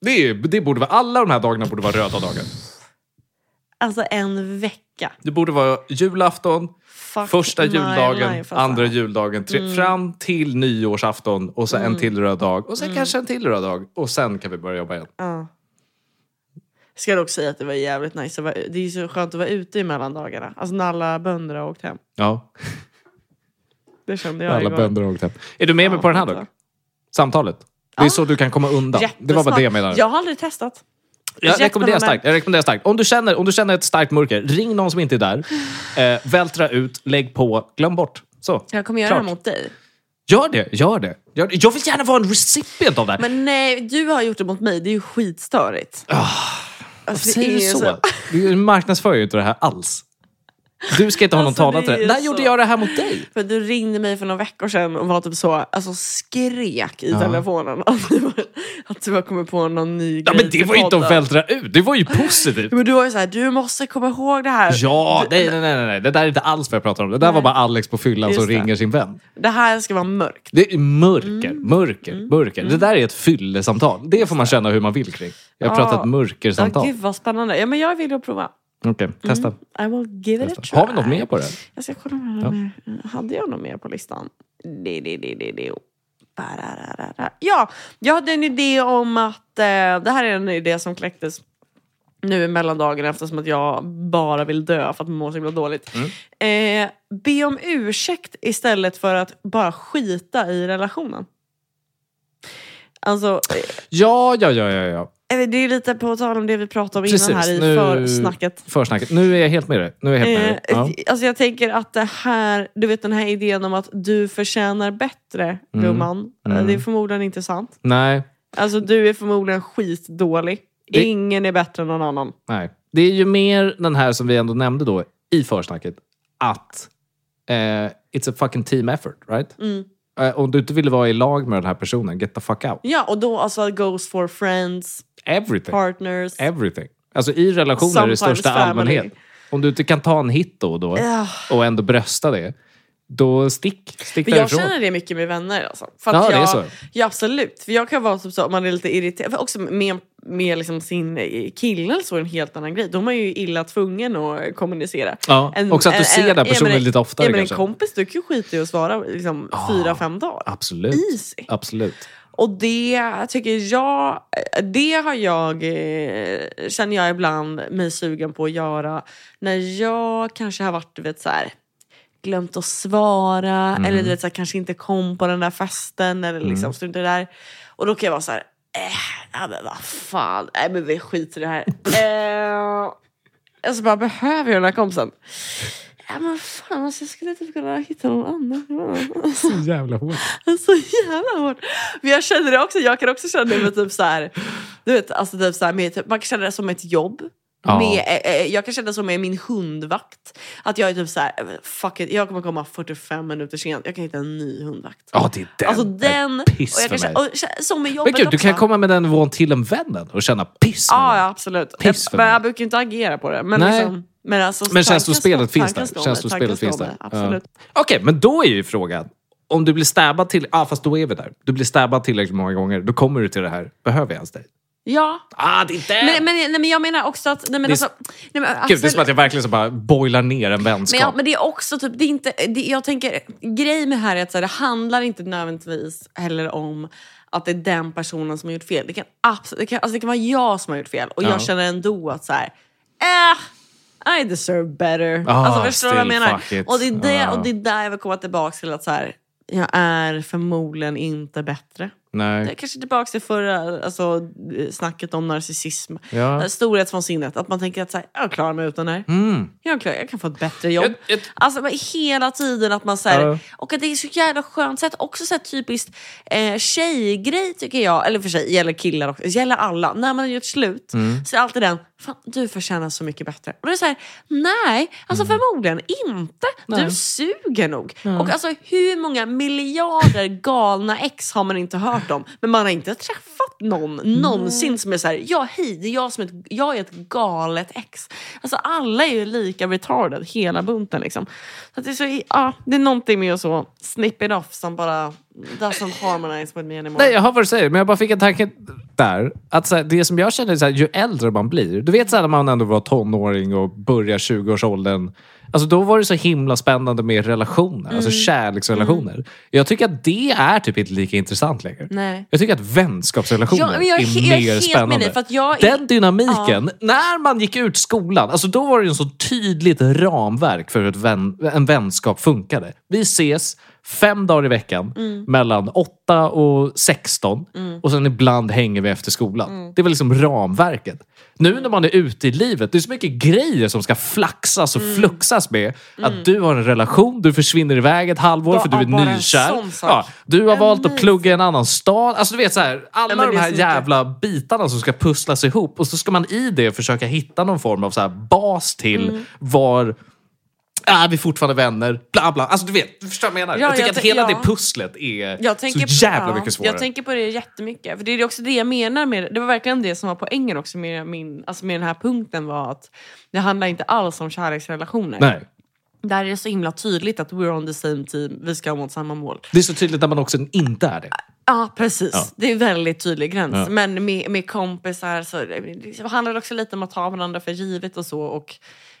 Det, är, ju- det borde vara, alla de här dagarna borde vara röda dagar.
Alltså en vecka.
Det borde vara julafton,
Fuck
Första
my
juldagen,
life, alltså. Mm.
andra juldagen, tre, fram till nyårsafton och sen en till röd dag och sen
Mm.
kanske en till röd dag och sen kan vi börja jobba igen.
Ja. Jag ska dock säga att det var jävligt nice. att vara- Det är ju så skönt att vara ute i mellan dagarna. Alltså när alla bönder har åkt hem.
Ja,
Det kände jag
alla
igår.
bönder har åkt hem. Är du med mig
Ja,
på den här
fattar.
dock? Samtalet? Det är så du kan komma undan. Det var bara det jag menade.
Jag har aldrig testat.
Jag rekommenderar
jättespännande.
starkt. Jag rekommenderar starkt. Om, du känner, om du känner ett starkt mörker, ring någon som inte är där. Eh, vältra ut, lägg på, glöm bort. Så.
Jag kommer göra
Klart.
det mot dig.
Gör det, gör det. Gör det. Jag vill gärna vara en recipient av det här.
Men nej, du har gjort det mot mig. Det är ju skitstörigt.
Varför
Alltså, det
säger
är
du
ju
Ah, så? Du marknadsför ju inte det här alls. Du ska inte ha någon
Alltså,
talan
det
till det.
är
När
så.
gjorde jag det här mot dig?
För du ringde mig för några veckor sedan och var typ så, alltså skrek i
Ja.
telefonen att du, var- att du har kommit på någon ny
Ja,
grej
men det
till
var ju inte att
podden.
vältra ut. Det var ju positivt.
Ja, Men du var ju såhär, du måste komma ihåg det här.
Ja,
du,
nej, nej, nej, nej. Det där är inte alls vad jag pratar om. Det där var bara Alex på fyllan
Just
som
det.
ringer sin vän.
det här ska vara mörkt.
Det är mörker,
Mm.
mörker, mörker. Det där är ett fyllesamtal. Det får man känna hur man vill kring. Jag har
Ja.
pratat
Ja,
mörkersamtal.
gud vad spännande. Ja, men jag vill ju prova.
Okej, testa.
I will give it a
testa.
try.
Har vi något mer på det?
Jag ska kolla med ja. mer. Hade jag något mer på listan? Det, det, det, det, det. Barararara. Ja, jag hade en idé om att... Eh, det här är en idé som kläcktes nu i mellandagen eftersom att jag bara vill dö för att man mår så himla dåligt.
Mm.
Eh, be om ursäkt istället för att bara skita i relationen. Alltså, eh,
Ja, ja, ja, ja. ja.
Eh, Det är lite på tal om det vi pratade om
Precis,
innan här i
nu-
försnacket.
Försnacket. Nu är jag helt med dig. Nu är jag helt med
Eh,
dig. Ja.
Alltså jag tänker att det här, du vet den här idén om att du förtjänar bättre
Mm.
gumman. Eh,
Mm.
Det är förmodligen inte sant.
Nej,
Alltså du är förmodligen skitdålig.
Det-
Ingen är bättre än någon annan.
nej. Det är ju mer den här som vi ändå nämnde då i försnacket. Att eh, it's a fucking team effort, right?
Mm.
Eh, om du inte vill vara i lag med den här personen, get the fuck out.
Ja, och då alltså goes for friends,
Everything.
partners.
Everything. Alltså i relationer i
Sometimes
största
family.
allmänhet. Om du inte kan ta en hit då och då
Ja.
och ändå brösta det, då stick. Stick
Men jag
därifrån.
känner det mycket med vänner. Alltså. För
Ja,
att
det är
jag,
så.
Ja, absolut. För jag kan vara typ så, om man är lite irriterad. För också med, med liksom sin eh, kille eller så är det en helt annan grej. De är ju illa tvungen att kommunicera.
Ja.
En-
Också att du
en-
ser
en-
den här
ja,
personen
men en-
lite oftare
ja, men en
kanske.
kompis, du kan ju skita i att svara liksom,
Ah.
fyra, fem dagar.
Absolut.
Easy.
Absolut.
Och det tycker jag, det har jag, eh, känner jag ibland mig sugen på att göra när jag kanske har varit du vet, så här, glömt att svara eller du vet, så här, kanske inte kom på den där festen eller liksom struntar i det där. Och då kan jag vara så här, eh, ja, men vad fan, nej men vi skiter i det här. eh, alltså bara, behöver jag den här kompisen? Ja men fan, alltså, jag skulle typ kunna hitta någon annan.
Jävla hårt.
Så jävla hårt. Men jag känner det också. Jag kan också känna det med typ så här, du vet, alltså typ så här med, typ, man kan känna det som ett jobb.
Ja.
Med, eh, eh, jag kan känna det som med min hundvakt. Att jag är typ så här, eh, fuck it, jag kommer komma 45 minuter sent. Jag kan hitta en ny hundvakt.
Ja, det är den.
alltså den... Och
piss
jag kan
för
känna, och, kä- som med
Men
jobbet
gud, du
också.
kan komma med den nivån till en vännen och känna piss med
Ja,
den.
ja absolut.
Piss för
jag, men
mig.
jag brukar ju inte agera på det. Men,
Nej.
liksom, men, alltså,
Men känns
tanken
du spelet
slår-
finns där?
tanken slår
Känns
mig,
du
tanken
spelet finns
slår
där?
mig, Absolut.
Okej, men då är ju frågan. Om du blir stabbad till... Ja, ah, fast då är vi där. Du blir stabbad tillräckligt många gånger. Då kommer du till det här. Behöver jag ens dig?
Ja.
Ah, det är den!
Men, men, nej, men jag menar också att... Nej, men
Det är-
alltså, nej, men, alltså-
Gud, det är
Axel-
som att jag verkligen så bara boilar ner en vänskap.
Men, ja, men det är också typ, det är inte, det, jag tänker, grejen med det här är att så här, det handlar inte nödvändigtvis heller om att det är den personen som har gjort fel. Det kan, absolut, det kan, alltså det kan vara jag som har gjort fel och
Ja.
jag känner ändå att så här, eh, I deserve better.
Ah,
alltså förstår du vad jag
still
menar?
fuck it. Ah.
Och det, är det,
Ja.
och det är där jag vill komma tillbaka till att så här, jag är förmodligen inte bättre.
Nej.
Jag är kanske tillbaka till förra alltså, snacket om narcissism. Eh,
Ja.
Storhetsvansinnet. Att man tänker att så här, jag klarar mig utan det här.
Mm.
Jag, klarar, jag kan få ett bättre jobb.
Ett- ett-
Alltså men hela tiden att man såhär,
Ja.
och att det är så jävla skönt sätt. Också så här typiskt eh, tjejgrej tycker jag, eller för sig gäller killar också, gäller alla. När man har gjort slut så är alltid den, fan du förtjänar så mycket bättre. Och då är det såhär, nej, alltså förmodligen inte.
Nej.
Du suger nog. Och alltså hur många miljarder galna ex har man inte hört om? Men man har inte träffat någon
Mm.
någonsin som är såhär, ja hej, det är jag som är ett, jag är ett galet ex. Alltså alla är ju lika retarded, hela bunten liksom. Så att det, är så, ja, det är någonting med att så snip it off som bara doesn't harmonize with me anymore.
Nej, jag hör vad du säger, men jag bara fick en tanke där. Att så här, det som jag känner är så här, ju äldre man blir. Du vet så här, när man ändå var tonåring och börjar 20-årsåldern. Alltså, då var det så himla spännande med relationer, alltså kärleksrelationer. Jag tycker att det är typ inte lika intressant längre.
Nej.
Jag tycker att vänskapsrelationer
Ja, men jag är
är,
he- jag är
mer
helt med
spännande.
dig, för att jag är-
Den dynamiken, när man gick ut skolan, alltså då var det en så tydligt ramverk för hur ett vän, en vänskap funkade. Vi ses fem dagar i veckan
Mm.
mellan 8 och 16 och sen ibland hänger vi efter skolan.
Mm.
Det var liksom ramverket. Nu när man är ute i livet, det är så mycket grejer som ska flaxas
Mm.
och fluxas med. Att du har en relation, du försvinner iväg ett halvår
Ba-
för du
ja, Mm. bara
är
en
nykär.
sån sak.
Ja, du har valt att
Amazing.
plugga i en annan stad. Alltså du vet så här, alla
Nej, men
de
det är
här
så mycket.
jävla bitarna som ska pusslas ihop och så ska man i det försöka hitta någon form av så här bas till
Mm.
var är vi fortfarande vänner? Bla bla. Alltså du vet, du förstår vad jag menar.
Ja,
jag tycker
jag
att
tän-
hela
ja.
det pusslet är
Jag tänker
så jävla
på, ja,
mycket svårare.
Jag tänker på det jättemycket. För det är också det jag menar med det. Det var verkligen det som var poängen också med, min, alltså med den här punkten var att det handlar inte alls om kärleksrelationer.
Nej.
Där är det så himla tydligt att we're on the same team, vi ska mot samma mål.
Det är så tydligt när man också inte är det.
Ja, precis.
Ja.
Det är en väldigt tydlig gräns.
Ja.
Men med, med kompisar så det liksom handlar det också lite om att ta varandra för givet och så. Och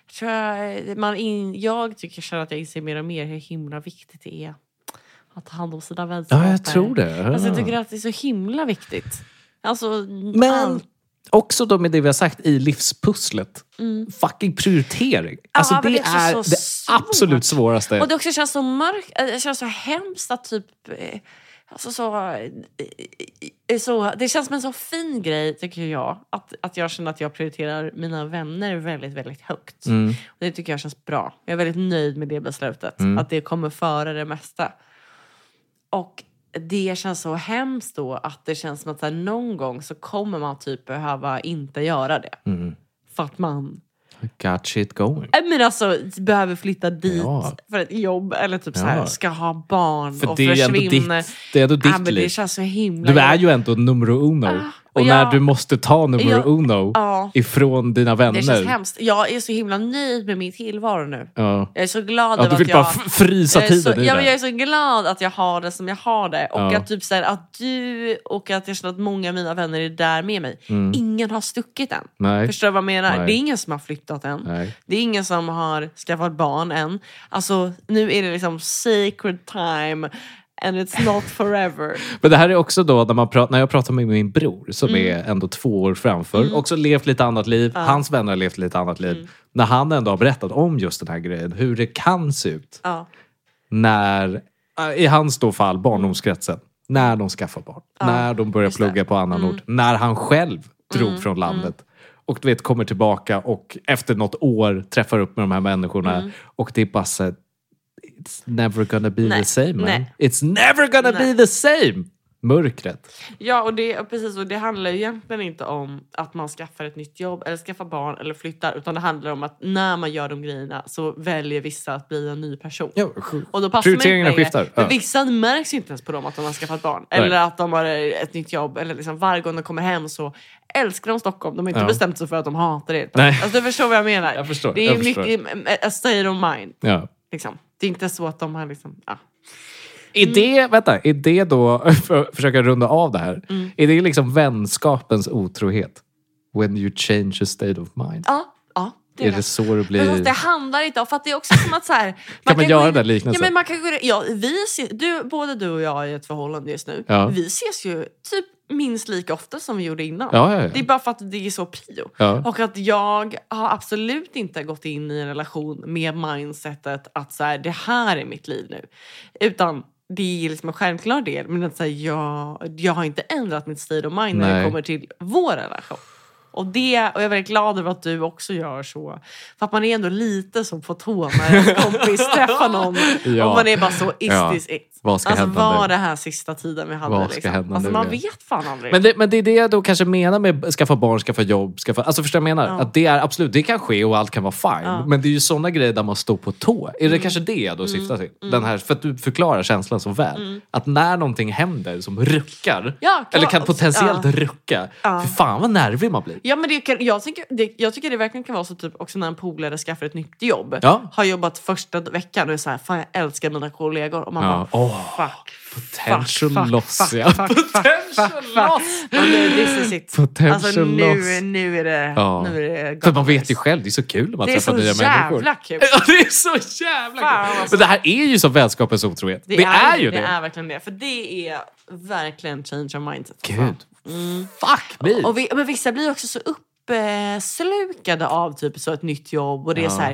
jag, tror jag- man in, jag tycker själv att jag inser mer och mer hur himla viktigt det är att ta hand om sina vänskaper.
Ja, jag tror det. Ja.
Alltså, jag tycker att det är så himla viktigt. Alltså,
Men
allt.
Också då med det vi har sagt i livspusslet. Fucking prioritering. alltså
Mm. men
det,
det är också
är,
så
det
svårt.
absolut svåraste.
Och det också känns så mörkt, eh, det känns så hemskt att typ... eh, Alltså så, eh, eh, så, det känns som en så fin grej, tycker jag. Att, att jag känner att jag prioriterar mina vänner väldigt, väldigt högt.
Mm.
Och det tycker jag känns bra. Jag är väldigt nöjd med det beslutet. Att det kommer före det mesta. Och det känns så hemskt då att det känns som att så här, någon gång så kommer man typ behöva inte göra det.
Mm.
För att man
Got shit going.
Nej, men alltså, behöver flytta dit
Ja.
för ett jobb eller typ så
Ja.
här, ska ha barn
För
och
det är ju ändå
försvinner.
ditt, det är ändå ditt
ja, men
liv.
det känns så himla...
Du är ju ändå numero uno. och
och
när
jag-
du måste ta numero
jag-
uno
Ja,
ifrån dina vänner.
det känns hemskt. Jag är så himla nöjd med min tillvaro nu.
Ja.
Jag är så glad
Ja,
över
du
att
vill
jag...
bara f- frysa
jag är så,
tiden i
ja, men
det.
jag är så glad att jag har det som jag har det. Och
Ja.
att, typ så här, att du och att jag känner att många av mina vänner är där med mig. Ingen har stuckit än.
Mm. Nej.
Förstår du vad jag menar?
Nej.
Det är ingen som har flyttat än.
Nej.
Det är ingen som har skaffat barn än. Alltså, nu är det liksom sacred time and it's not forever.
Men det här är också då när, man pra- när jag pratar med min bror som
Mm.
är ändå två år framför. Också levt lite annat liv. Hans vänner har levt lite annat liv.
Mm.
När han ändå har berättat om just den här grejen. Hur det kan se ut
ja.
när, äh, i hans då fall, barndomskretsen.
Mm.
När de skaffar barn. när de börjar plugga på annan ort. När han själv drog
Mm,
från landet. Och du vet, kommer tillbaka och efter något år träffar upp med de här människorna.
Mm.
Och det är bara så här, It's never gonna be the
Nej.
same man.
Nej.
It's never gonna
Nej.
be the same! Mörkret.
ja, och det, och precis. Och det handlar ju egentligen inte om att man skaffar ett nytt jobb eller skaffar barn eller flyttar. Utan det handlar om att när man gör de grejerna så väljer vissa att bli en ny person.
Ja, sj-
Och då passar man inte
Prioriteringarna
längre.
skiftar.
För
Ja.
vissa märks ju inte ens på dem att de har skaffat barn.
Nej.
Eller att de har ett nytt jobb. Eller liksom varje gång de kommer hem så älskar de Stockholm. De har inte
Ja.
bestämt sig för att de hatar det.
Nej.
Alltså, du förstår vad jag menar.
Jag förstår,
Det är
jag
ju
förstår.
mycket a state of mind.
Ja.
Liksom. Det är inte så att de har liksom... Ja.
Är
Mm.
det, vänta, är det då, för att försöka runda av det här,
Mm.
är det liksom vänskapens otrohet? When you change a state of mind?
Ja, ja det
är
är
det
det.
så det
Men fast det
blir?
handlar inte om... För att det är också som att så här,
man
gå
göra
in-
den liknelsen?
Ja, men man kan gå in, ja, vi ser, du, både du och jag är i ett förhållande just nu.
Ja.
Vi ses ju typ minst lika ofta som vi gjorde innan.
Ja, ja,
Det är
ja.
bara för att det är så prio.
ja.
Och att jag har absolut inte gått in i en relation med mindsetet att så här, det här är mitt liv nu. Utan det är liksom en självklar del. Men att så här, jag, jag har inte ändrat mitt stil och mind när
Nej.
det kommer till vår relation. Och, det, och jag är väldigt glad över att du också gör så. För att man är ändå lite så på tå när ens kompis träffar någon.
Ja.
Och man är bara så, is
Ja.
this it?
Vad ska
alltså
hända
var
nu?
det här sista tiden vi hade?
Vad ska
liksom?
hända
alltså,
nu,
man
ja.
vet fan aldrig.
Men det, men det är det jag då kanske menar med att skaffa barn, skaffa jobb. Skaffa, alltså förstår du vad jag menar?
Ja.
Att det är absolut, det kan ske och allt kan vara fine.
Ja. Mm.
Men det är ju sådana grejer där man står på tå. Är det kanske det jag då syftar till? Den här, för att du förklarar känslan så väl. Att när någonting händer som ruckar,
Mm. Ja,
eller kan
klart.
potentiellt
Ja.
rucka.
Ja.
Fy fan vad nervig man blir.
Ja, men det kan, jag, tycker, det, jag tycker det verkligen kan vara så typ också när en polare skaffar ett nytt jobb.
Ja.
Har jobbat första veckan och är så här, fan jag älskar mina kollegor. Och man
Ja.
bara,
Åh,
fuck.
potential
fuck,
loss,
fuck,
ja.
fuck, fuck, fuck, fuck. Och nu, this is it.
Potential
alltså,
loss.
nu, nu är det...
Ja.
Nu är det
För man vet ju själv, det är så kul när man
Det är
träffar
så
nya människor.
jävla kul.
Ja, det är så jävla
Fan,
kul!
alltså.
Men det här är ju som vänskapens otrohet. Det, är, ju det.
Det är verkligen det. För det är verkligen change of mindset.
Gud. Fuck me!
Och vi, men vissa blir också så uppslukade av typ så ett nytt jobb och det
Ja.
är så här,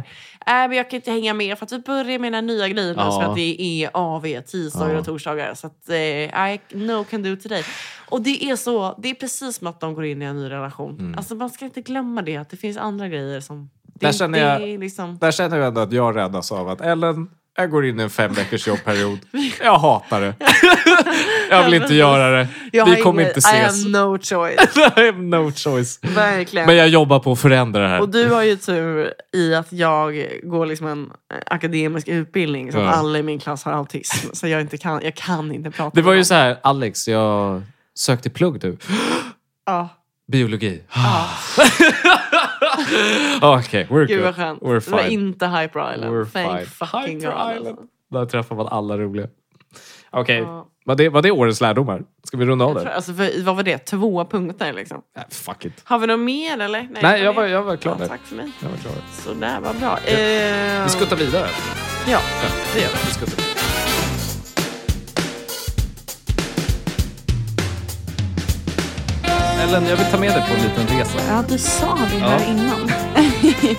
äh, men jag kan inte hänga med för att vi börjar med den här nya grejen
Ja.
ja. så att det är AV tisdagar
Ja.
och torsdagar. Så att eh, I no can do today. Och det är så, det är precis som att de går in i en ny relation.
Mm.
Alltså man ska inte glömma det, att det finns andra grejer som... Det,
Där känner
det
jag-
är liksom,
Där känner jag ändå att jag räddas av att Ellen, jag går in i en fem veckors jobbperiod. Jag hatar det. jag vill inte göra det.
jag
Vi
har
kommer
ingen-
inte ses.
I have no choice.
I have no choice.
Verkligen.
Men jag jobbar på att förändra det här.
Och du har ju tur i att jag går liksom en eh, akademisk utbildning så att
Ja.
alla i min klass har autism. Så jag, inte kan, jag kan inte prata
Det var
med
ju
dem.
så här, Alex, jag sökte plugg du.
Ja,
Biologi.
ja.
Okej, we're
Gud
good.
vad skönt.
We're
Det var
fine.
inte Hyper Island.
We're
Thank
fine.
fucking
Hyper
God. alltså.
Island. Där träffar man alla roliga. Okej,
Ja.
var, det, var det årets lärdomar? Ska vi runda av det?
Alltså, för, vad var det? Två punkter liksom.
Nej,
Äh,
fuck it.
Har vi något mer eller? Nej,
Nej,
det
jag var,
det.
jag var klar
ja,
där.
Tack för mig.
Jag var klar.
Sådär, vad bra. Eh,
Vi skuttar vidare.
ja,
Ja,
det gör vi.
vi skuttar vidare.
Ellen, jag vill ta med dig på en liten resa.
Ja, du sa det
Ja.
här innan.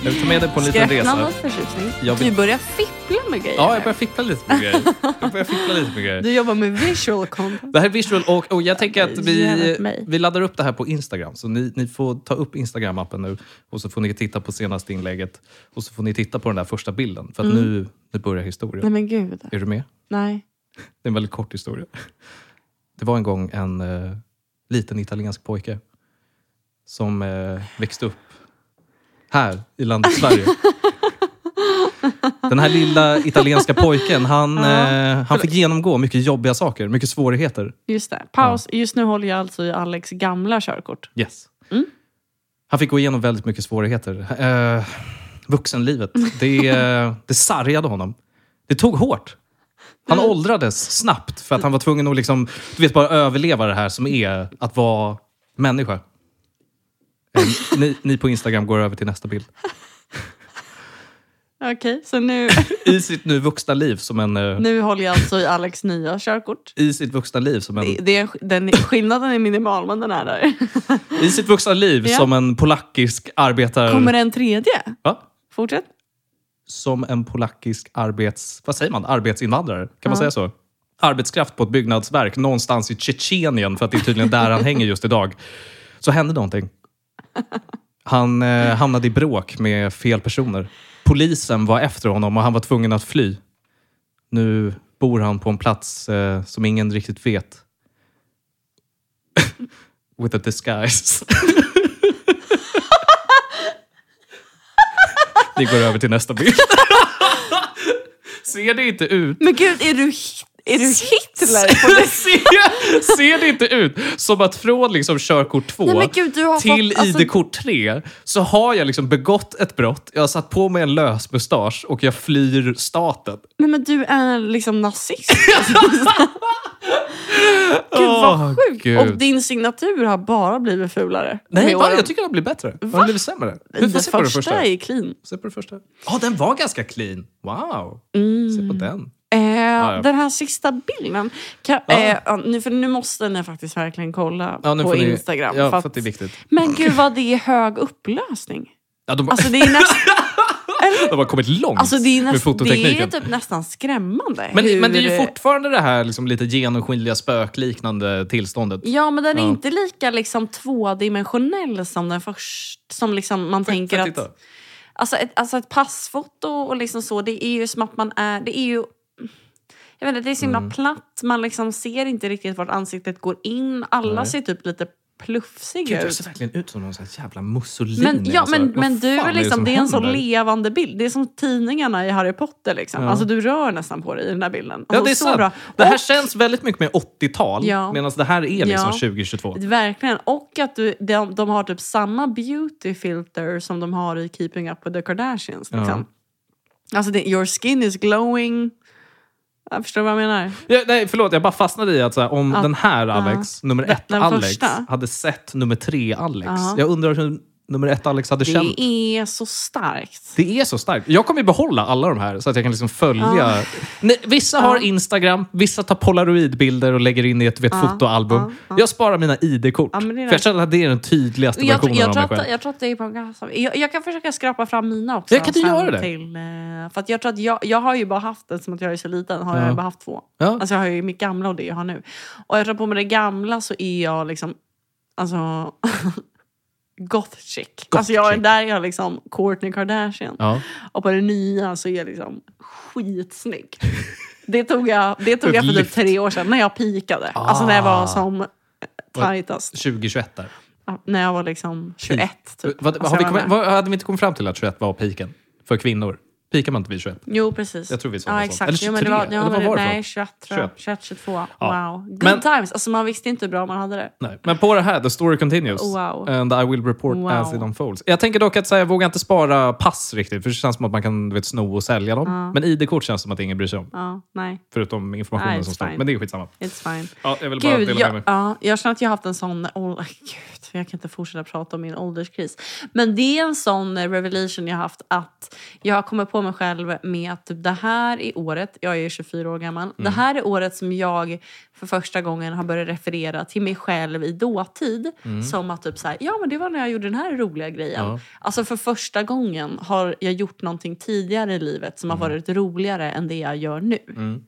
Jag vill ta med dig på en
Ska
liten
jag öppna
resa.
något förtjusning?
Jag vill-
Du börjar fippla med grejer.
Ja, jag börjar fippla lite med grejer. Jag börjar fippla lite med grejer.
Du jobbar med visual content.
Det här är visual och, och jag tänker att
Jävlar
vi,
för mig.
vi laddar upp det här på Instagram. Så ni, ni får ta upp Instagram-appen nu och så får ni titta på senaste inlägget och så får ni titta på den där första bilden. För att
Mm.
nu, nu börjar historien.
Nej men gud.
Är du med?
Nej.
Det är en väldigt kort historia. Det var en gång en eh, liten italiensk pojke som eh, växte upp här i landet Sverige. Den här lilla italienska pojken, han, eh, han fick genomgå mycket jobbiga saker, mycket svårigheter.
Just det. Paus. Just nu håller jag alltså i Alex gamla körkort.
Yes.
Mm.
Han fick gå igenom väldigt mycket svårigheter. Eh, vuxenlivet, det, eh, det sargade honom. Det tog hårt. Han
Mm.
åldrades snabbt för att han var tvungen att liksom, du vet, bara överleva det här som är att vara människa. Eh, ni, ni på Instagram går över till nästa bild.
Okej, så nu,
I sitt nu vuxna liv som en... eh,
nu håller jag alltså i Alex nya körkort.
I sitt vuxna liv som en...
Det- Det är, den, skillnaden är minimal, men den är där.
I sitt vuxna liv
Ja.
som en polackisk arbetare...
Kommer det en tredje?
Va?
Fortsätt.
som en polackisk arbets... Vad säger man? Arbetsinvandrare? Kan man säga så? Arbetskraft på ett byggnadsverk någonstans i Tjetjenien, för att det är tydligen där han hänger just idag. Så hände någonting. Han eh, hamnade i bråk med fel personer. Polisen var efter honom och han var tvungen att fly. Nu bor han på en plats eh, som ingen riktigt vet. With a disguise. Vi går över till nästa bild. Ser det inte ut
Men gud, är du, Hit- är du Hitler? På det?
ser, ser det inte ut som att från liksom körkort 2
Nej, men gud, du har
till
fått- alltså-
ID-kort 3 så har jag liksom begått ett brott, jag har satt på mig en lös mustasch och jag flyr staten.
Nej, men du är liksom nazist. Gud,
Åh,
vad sjukt.
Gud.
Och din signatur har bara blivit fulare.
Nej,
med
va?
åren.
jag tycker det har blivit bättre. Det har blivit sämre. Vi får
den
se på det
första,
första.
är clean.
Se på det första. Ja, den var ganska clean. Wow! Se på den.
Eh,
ja.
Den här sista bilden. Kan,
Ja.
eh, ja, nu, för nu måste ni faktiskt verkligen kolla
Ja, nu
på
får ni-
Instagram.
Ja,
för att-
för att det är viktigt.
men gud vad det är hög upplösning.
Ja, de,
Alltså det är, näst,
de har kommit långt
alltså, det är,
med
näst, det är
fototekniken.
typ nästan skrämmande.
men, men det är ju
hur-
fortfarande det här liksom, lite genomskinliga spökliknande tillståndet.
Ja, men den är
Ja.
inte lika liksom tvådimensionell som den först. Som liksom man tänker
Får jag titta?
att... Alltså ett, alltså ett passfoto och liksom så, det är ju som att man är... Det är ju... Jag vet inte, det är så himla
Mm.
platt. Man liksom ser inte riktigt vart ansiktet går in. Alla
Nej.
ser typ lite plufsiga
Gud, du
ut.
ser verkligen ut som någon sån här jävla Mussolini.
Men, ja,
alltså.
men,
Vad
men du
fan
är liksom,
som
det är en så
händer?
levande bild. Det är som tidningarna i Harry Potter. Liksom.
Ja.
Alltså, du rör nästan på dig i den där bilden. Alltså,
Ja, det är
så
sant.
bra.
Det här
Och-
känns väldigt mycket mer 80-tal,
Ja.
medan det här är liksom
Ja.
2022.
Verkligen. Och att du, de, de har typ samma beauty filter som de har i Keeping Up With The Kardashians. Liksom. Alltså, det, your skin is glowing. Jag förstår vad jag menar.
Ja, nej, förlåt, jag bara fastnade i att så här, om den här Alex, nummer ett
Den
Alex,
första.
hade sett nummer tre Alex.
Ja.
Jag undrar hur nummer ett Alex hade känt.
Det är så starkt.
Det är så starkt. Jag kommer behålla alla de här så att jag kan liksom följa.
Ja.
Nej, vissa har Instagram, vissa tar polaroidbilder och lägger in i ett, vet, fotoalbum.
ja,
Jag sparar mina ID-kort.
men det är
för jag känner att det är den tydligaste
Jag, jag,
versionen av mig
tror
själv.
att, jag tror att det är många som... Jag, jag kan försöka skrapa fram mina också.
Ja, kan du
sen
göra det?
Till, eh, för att jag tror att jag, jag har ju bara haft, det som att jag är så liten, har
Ja.
jag bara haft två.
Ja.
Alltså jag har ju mitt gamla och det jag har nu. Och jag tror på med det gamla så är jag liksom... Alltså... goth chic. alltså jag är
chic.
där jag är liksom Kourtney Kardashian.
Ja.
Och på det nya så är jag liksom skitsnygg. Det tog jag, det tog
Ett
jag för typ
lyft.
tre år sedan när jag pikade. Alltså när jag var
Ah.
som tajtast.
2021 där.
Ja, När jag var liksom 21 typ.
Vad,
Alltså,
har vi
jag
kommit,
var med.
vad, hade vi inte kommit fram till att 21 var piken för kvinnor? Pikar man inte vid 21?
Jo precis.
Jag tror vi sa något
ja,
sånt.
exakt.
Eller
Jo, men det
23,
var,
eller
ja,
vad
men det-
var det för
Nej,
något?
21 tror
21.
jag. 21, 22.
Ja.
Wow. Good
Men-
times. Alltså man visste inte hur bra man hade det.
Nej. Men på det här, the story continues.
Wow.
And I will report
Wow.
as it unfolds. Jag tänker dock att så här, jag vågar inte spara pass riktigt, för det känns som att man kan du vet, sno och sälja dem. Men ID-kort känns som att ingen bryr sig om,
Ja, nej.
förutom informationen
Nej,
som
it's
står.
fine.
Men det är skitsamma.
It's fine.
Ja, jag vill bara
Gud,
dela med
jag,
mig.
ja, jag känner att jag har haft en sån... ål- gud, jag kan inte fortsätta prata om min ålderskris. Men det är en sån eh, revelation jag har haft att jag har kommit på på mig själv med att typ, det här är året, jag är 24 år gammal,
Mm.
det här är året som jag för första gången har börjat referera till mig själv i dåtid. Som att typ så här, ja men det var när jag gjorde den här roliga grejen.
Mm. Ja.
Alltså för första gången har jag gjort någonting tidigare i livet som har varit roligare än det jag gör nu.
Mm.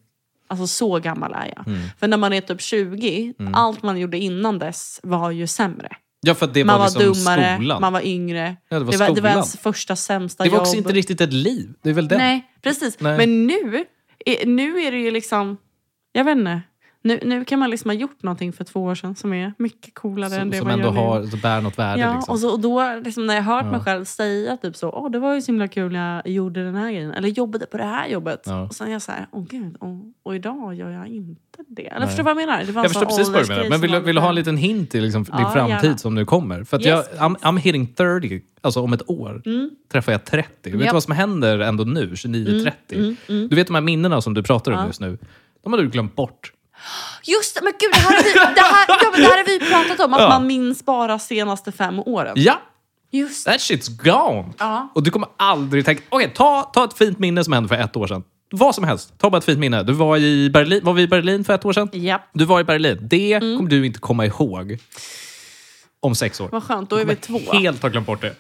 Alltså så gammal är jag. För när man är typ 20, allt man gjorde innan dess var ju sämre.
Ja, för att Mm. det
Man
var
var,
liksom
dummare,
skolan.
man var yngre.
Ja, det var
det var
skolan.
ens första sämsta
det var
jobb.
också inte riktigt ett liv. Det är väl det.
Nej, precis.
Nej.
Men nu, är- nu är det ju liksom... Jag vet inte. Nu, nu kan man liksom ha gjort någonting för två år sedan som är mycket coolare än
Som,
det
som
man
ändå
gör nu.
har, som bär något värde.
Ja,
liksom.
och, så, och då liksom, när jag hört mig
Ja.
själv säga typ så, åh det var ju så himla kul när jag gjorde den här grejen, eller jobbade på det här jobbet.
Ja.
Och sen är jag så här, åh gud, och, och idag gör jag inte det. Eller
Nej.
förstår du vad jag menar? Det var en
jag förstår
sån
precis vad du menar.
åldersgrej
Men
som
vill,
var
du- vill du ha en
lite-
liten hint till liksom, din
Ja,
framtid
gärna.
som nu kommer? För att
Yes, Mm.
jag, I'm, I'm hitting 30. Alltså om ett år träffar jag 30. Vet du
Japp. Mm,
vad som händer ändå nu, 29-30? Du vet de här minnena som du pratar om just nu? De har du glömt bort.
Just det, men gud, det här har vi, det här, ja, men det här har vi pratat om, att
Ja.
man minns bara senaste fem åren.
Ja!
Just det.
That shit's gone!
Ja.
Och du kommer aldrig tänka... Okej, ta, ta ett fint minne som hände för ett år sedan. Vad som helst. Ta bara ett fint minne. Du var, i Berlin, var vi i Berlin för ett år sedan?
Japp.
Du var i Berlin. Det
Mm.
kommer du inte komma ihåg om sex år.
Vad skönt, då är vi två.
Helt har glömt bort det.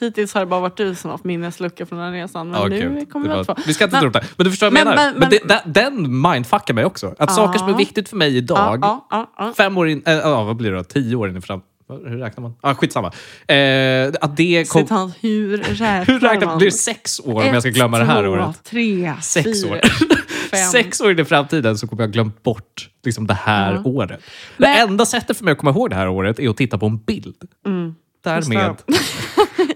Hittills har det bara varit du som haft minneslucka från den här resan. Men
Ja,
nu
gud.
kommer
Det
vi
var-
att få.
Vi ska inte
Men-
dra upp det här. Men du förstår vad
Men-
jag menar.
men-
Men,
men-
det, det, den mindfuckar mig också. Att saker som är
Ja.
viktigt för mig idag,
Ja, ja, ja, ja.
fem år in, äh, ja, vad blir det då? Tio år in i fram... Hur räknar man? Ah, skitsamma. Eh, att det kom,
Citat, hur räknar
hur räknar man?
man?
Blir det sex år om jag ska
Ett,
glömma det här
två,
året?
Tre,
Sex
fyra,
år.
fem.
Sex år in i framtiden så kommer jag ha glömt bort liksom, det här
Ja.
året. det
Men-
enda sättet för mig att komma ihåg det här året är att titta på en bild.
Mm.
Därmed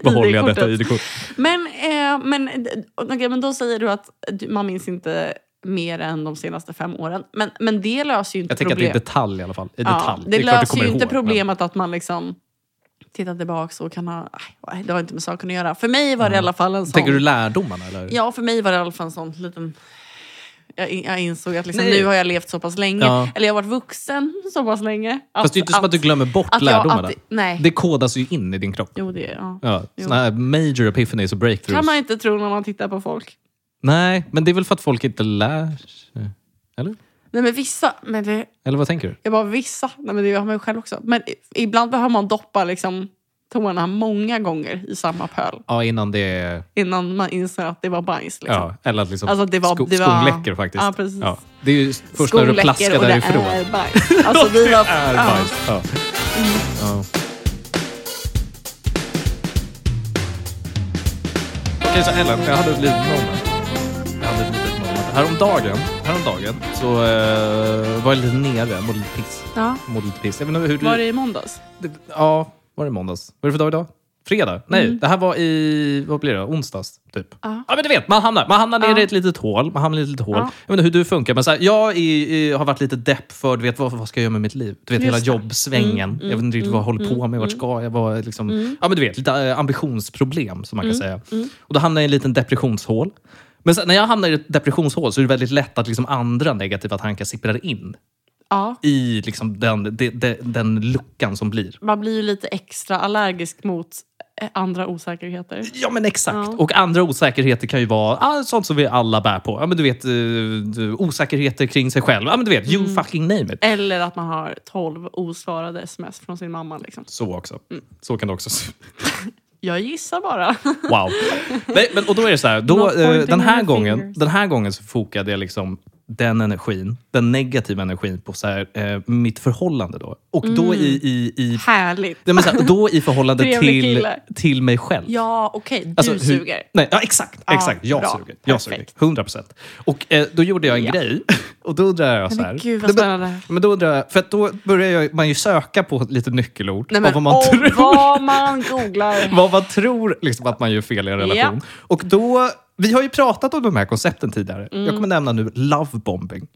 behåller jag detta
ID-kortet.
ID-kort.
Men, eh, men, d- okej, men då säger du att du- man minns inte mer än de senaste fem åren. Men, men det löser ju inte
Jag tänker att det
problem.
är detalj i alla fall. I
Ja,
detalj.
det,
är klart du
löser
kommer
ju inte
ihåg, men-
problemet att man liksom tittar tillbaka och kan ha... Aj, det har inte med saken att göra. För mig var det i alla fall en sån...
Tänker du lärdomarna? Eller?
Ja, för mig var det i alla fall en sån liten... Jag, in- jag insåg att liksom,
Nej.
nu har jag levt så pass länge.
Ja.
Eller jag har varit vuxen så pass länge.
Fast det är ju inte som att du glömmer bort
att jag-
lärdomarna.
att- nej.
Det kodas ju in i din kropp.
Jo, det är... Ja.
Ja,
Jo.
såna här major epiphanies och breakthroughs.
kan man inte tro när man tittar på folk.
Nej, men det är väl för att folk inte lär sig? Eller?
Nej, men vissa... Men det,
Eller vad tänker du?
jag bara, vissa? Nej, men det har man ju själv också. Men i- ibland behöver man doppa liksom, tårna många gånger i samma pöl
Ja, innan det...
innan man inser att det var bajs. Liksom.
Ja, eller att liksom
Alltså, det var-
sko-
det var-
skonläcker faktiskt.
Ja, precis.
Det är ju först när du
Skoläcker
plaskar
och det
därifrån.
är bajs. Alltså, vi var,
är
ja.
bajs. Ja. Ja. Okej, så Ellen, jag hade ett litet moment. Jag hade ett litet moment. Häromdagen, häromdagen så eh, var jag lite nere, mådde lite piss.
Ja.
Mådde lite piss. Jag vet inte hur du...
Var det i måndags?
det- Ja, var det måndags? Vad är det för dag idag? Fredag? Nej, det här var i... Vad blir det? Onsdags, typ.
Mm. Ja.
Ja, men du vet, man hamnar, man hamnar ner
Ja.
i ett litet hål. Man hamnar i ett litet hål.
Ja.
Jag vet inte hur du funkar, men så här, jag är, är, har varit lite depp för du vet, vad, vad ska jag göra med mitt liv? Du vet,
Just
hela
det.
jobbsvängen.
Mm,
jag vet inte riktigt vad jag håller på med. Vart ska jag? Vad, liksom, Ja, men du vet, lite eh, ambitionsproblem, som man
Mm,
kan säga. Och då hamnar jag i en liten depressionshål. Men sen, när jag hamnar i ett depressionshål så är det väldigt lätt att liksom andra negativa tankar sipprar in
Ja.
i liksom den, de, de, den luckan som blir.
Man blir ju lite extra allergisk mot eh, andra osäkerheter.
Ja, men exakt.
Ja.
Och andra osäkerheter kan ju vara ah, sånt som vi alla bär på. Ja, men du vet, eh, du- osäkerheter kring sig själv. Ja, men du vet,
Mm.
you fucking name it.
Eller att man har 12 osvarade sms från sin mamma. Liksom.
Så också. Så kan det också se
Jag gissar bara.
Wow. Nej, men, och då är det så här,
Not
då,
pointing
eh, den, här
any
gången,
fingers.
den här gången så fokade jag liksom den energin, den negativa energin på så här, eh, mitt förhållande. Då. Och
Mm.
då, i, i, i,
Härligt.
nej, men så här, då i förhållande
Trevlig
till,
kille.
till mig själv.
Ja, okej. Du
Alltså, hur-
suger.
Nej, ja, exakt.
Ja,
exakt. Jag
bra.
suger. Jag suger.
Perfekt.
100 procent. Och eh, då gjorde jag en
Ja.
grej. Och då undrar jag så här.
Men gud vad spännande.
men då undrar jag, för att då börjar jag, man ju söka på lite nyckelord.
Nej,
Nej,
men,
vad man
och
tror,
vad man googlar.
vad man tror liksom, att man gör fel i en relation.
Ja.
Och då, vi har ju pratat om de här koncepten tidigare.
Mm.
Jag kommer nämna nu lovebombing.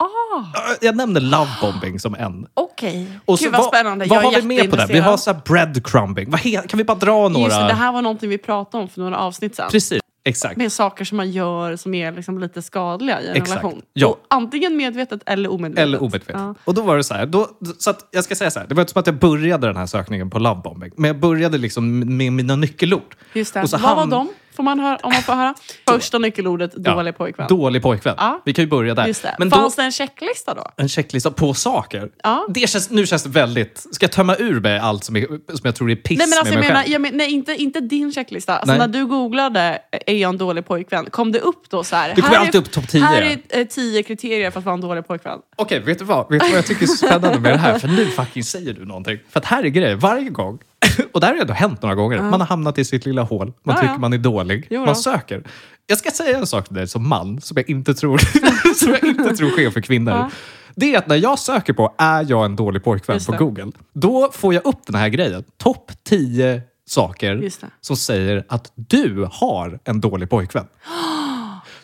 Ah,
Äh, Jag nämner lovebombing som en.
okej.
Och så
Gud vad
vad-
spännande.
Vad
jag är
har vi med på det? Vi
jätteintresserad.
har så här breadcrumbing. Vad he- kan vi bara dra några?
Just det, det här var någonting vi pratade om för några avsnitt sedan.
Precis, exakt.
Med saker som man gör som är liksom lite skadliga i en
Exakt.
relation.
Ja.
Och antingen medvetet eller omedvetet.
Eller omedvetet.
Ja.
Och då var det så här. Då, så att jag ska säga så här. Det var inte som att jag började den här sökningen på lovebombing. Men jag började liksom med mina nyckelord.
Just det.
Och så
Vad var
hamn-
de? får man höra, om man får höra. Första nyckelordet, dålig pojkvän.
Dålig pojkvän.
Ja.
Vi kan ju börja där.
Just det.
Men då,
Fanns det en checklista då?
en checklista på saker.
Ja.
Det känns, nu känns det väldigt... Ska jag tömma ur mig allt som, är, som jag tror är piss
Nej, men alltså,
med
jag
mig
menar,
själv?
jag men, nej inte, inte din checklista. Alltså,
Nej.
när du googlade “Är jag en dålig pojkvän?” kom det upp då så här.
Det kommer
här
alltid
är,
upp topp 10.
Här är eh, tio kriterier för att vara en dålig pojkvän.
Okej, vet du vad? Vet du vad jag tycker är spännande med det här? För nu fucking säger du någonting. För att här är grejer. Varje gång, och det här har ju ändå hänt några gånger, man har hamnat i sitt lilla hål, man
Ja,
tycker
ja.
man är dålig,
Jo
man
då.
söker. Jag ska säga en sak till dig som man, som jag inte tror, som jag inte tror sker för kvinnor.
Ja.
Det är att när jag söker på “Är jag en dålig pojkvän?”
Just
på
det.
Google, då får jag upp den här grejen. Topp 10 saker
Just det.
som säger att du har en dålig pojkvän.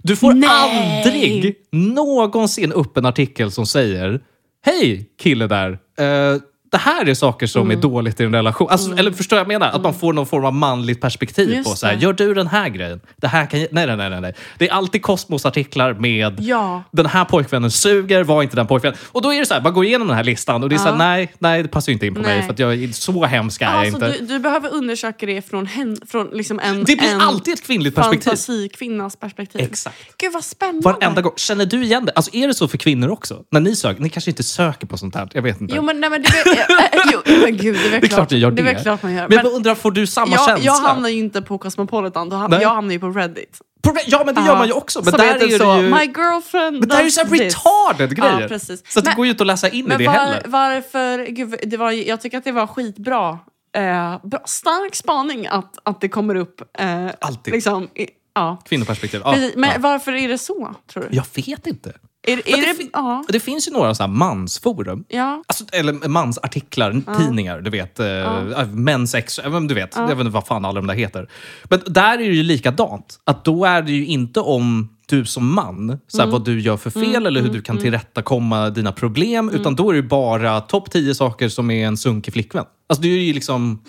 Du får
Nej!
aldrig någonsin upp en artikel som säger Hej kille där, eh, det här är saker som
Mm.
är dåligt i en relation. Alltså, Eller förstår jag vad jag menar? Att man får någon form av manligt perspektiv
Just
på så här,
det.
gör du den här grejen? Det här kan... Nej, nej, nej, nej, nej. Det är alltid Kosmos-artiklar med
Ja.
den här pojkvännen suger, var inte den pojkvännen. Och då är det så här, man går igenom den här listan och det är så här,
Ja.
nej, nej, det passar ju inte in på mig
Nej.
för att jag är så hemsk är jag
Alltså,
inte.
du, du behöver undersöka det från, hen, från liksom en,
det blir
en
alltid ett kvinnligt perspektiv.
fantasikvinnas perspektiv.
Exakt.
Gud vad spännande.
Varenda gång. Känner du igen det? Alltså är det så för kvinnor också? När ni söker? Ni kanske inte söker på sånt här? Jag vet inte.
Jo men, nej, men det, är- eh, eh, jo, men gud, det är väl
det är klart ni gör det.
är väl klart man gör.
Men,
Men
jag undrar, får du samma
jag,
känsla?
jag hamnar ju inte på Cosmopolitan, då ham-
Nej.
jag hamnar ju på Reddit. Ah.
Problem- Ja, men det gör man ju också. Men där är,
så,
det ju...
My girlfriend
Men där är det ju så
does
här
this."
retarded grejer.
Ja, precis.
Så att det
Men-
går ju inte att läsa in i
Men
det
var,
heller.
varför... Gud, det var, ju- jag tycker att det var skitbra. Eh, bra, stark spaning att, att det kommer upp. Eh,
Alltid.
Liksom, i, ja.
Kvinnoperspektiv. Ja,
Precis. Men
ja.
varför är det så, tror du?
Jag vet inte.
Är, är
det
det,
fin-
ja,
Det finns ju några så här mansforum.
ja.
Alltså, eller mansartiklar, tidningar, du vet. Eh, ja. Män, sex, ja, men du vet. Jag vet inte vad fan alla de där heter. Men där är det ju likadant. Att då är det ju inte om du som man, så här, vad du gör för fel eller hur du kan tillrättakomma dina problem. Utan då är det ju bara topp 10 saker som är en sunkig flickvän. Alltså det är ju liksom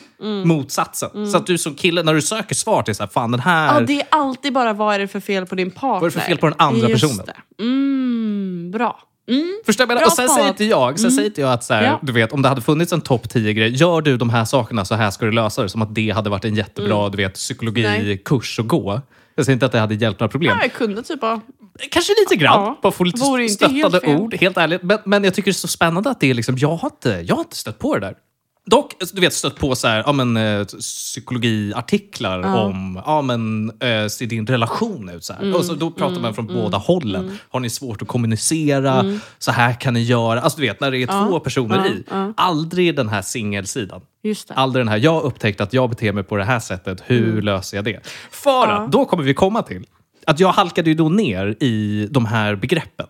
motsatsen. Så att du som kille, när du söker svar till så här, fan den här...
ja, det är alltid bara vad är det för fel på din partner.
Vad är det för fel på den andra
Just
personen?
Det. Mm, bra. Mm,
Förstår du vad jag menar?
Bra
Och sen säger
spanat.
inte jag, sen säger inte jag att så här,
Mm. Ja.
du vet, om det hade funnits en topp 10-grej, gör du de här sakerna så här ska du lösa det. Som att det hade varit en jättebra du vet,
Mm. Nej.
psykologikurs att gå. Jag säger inte att det hade hjälpt några problem.
jag kunde typ ha...
Kanske lite grann,
Ja.
bara få lite
Vore inte
stöttande
helt fel.
ord. Helt ärligt. Men, men jag tycker det är så spännande att det är liksom, jag har inte, jag har inte stött på det där. Dock, alltså, du vet, stött på så här, ja, men, eh, psykologiartiklar om, ja men, eh, ser din relation ut så här?
Mm.
Och så, då pratar man från båda hållen. Har ni svårt att kommunicera? Så här kan ni göra. Alltså du vet, när det är två personer
Mm. ja,
i. Aldrig den här singelsidan.
Just det.
Aldrig den här, jag har upptäckt att jag beter mig på det här sättet, hur
Mm.
löser jag det? För att, då kommer vi komma till att jag halkade ju då ner i de här begreppen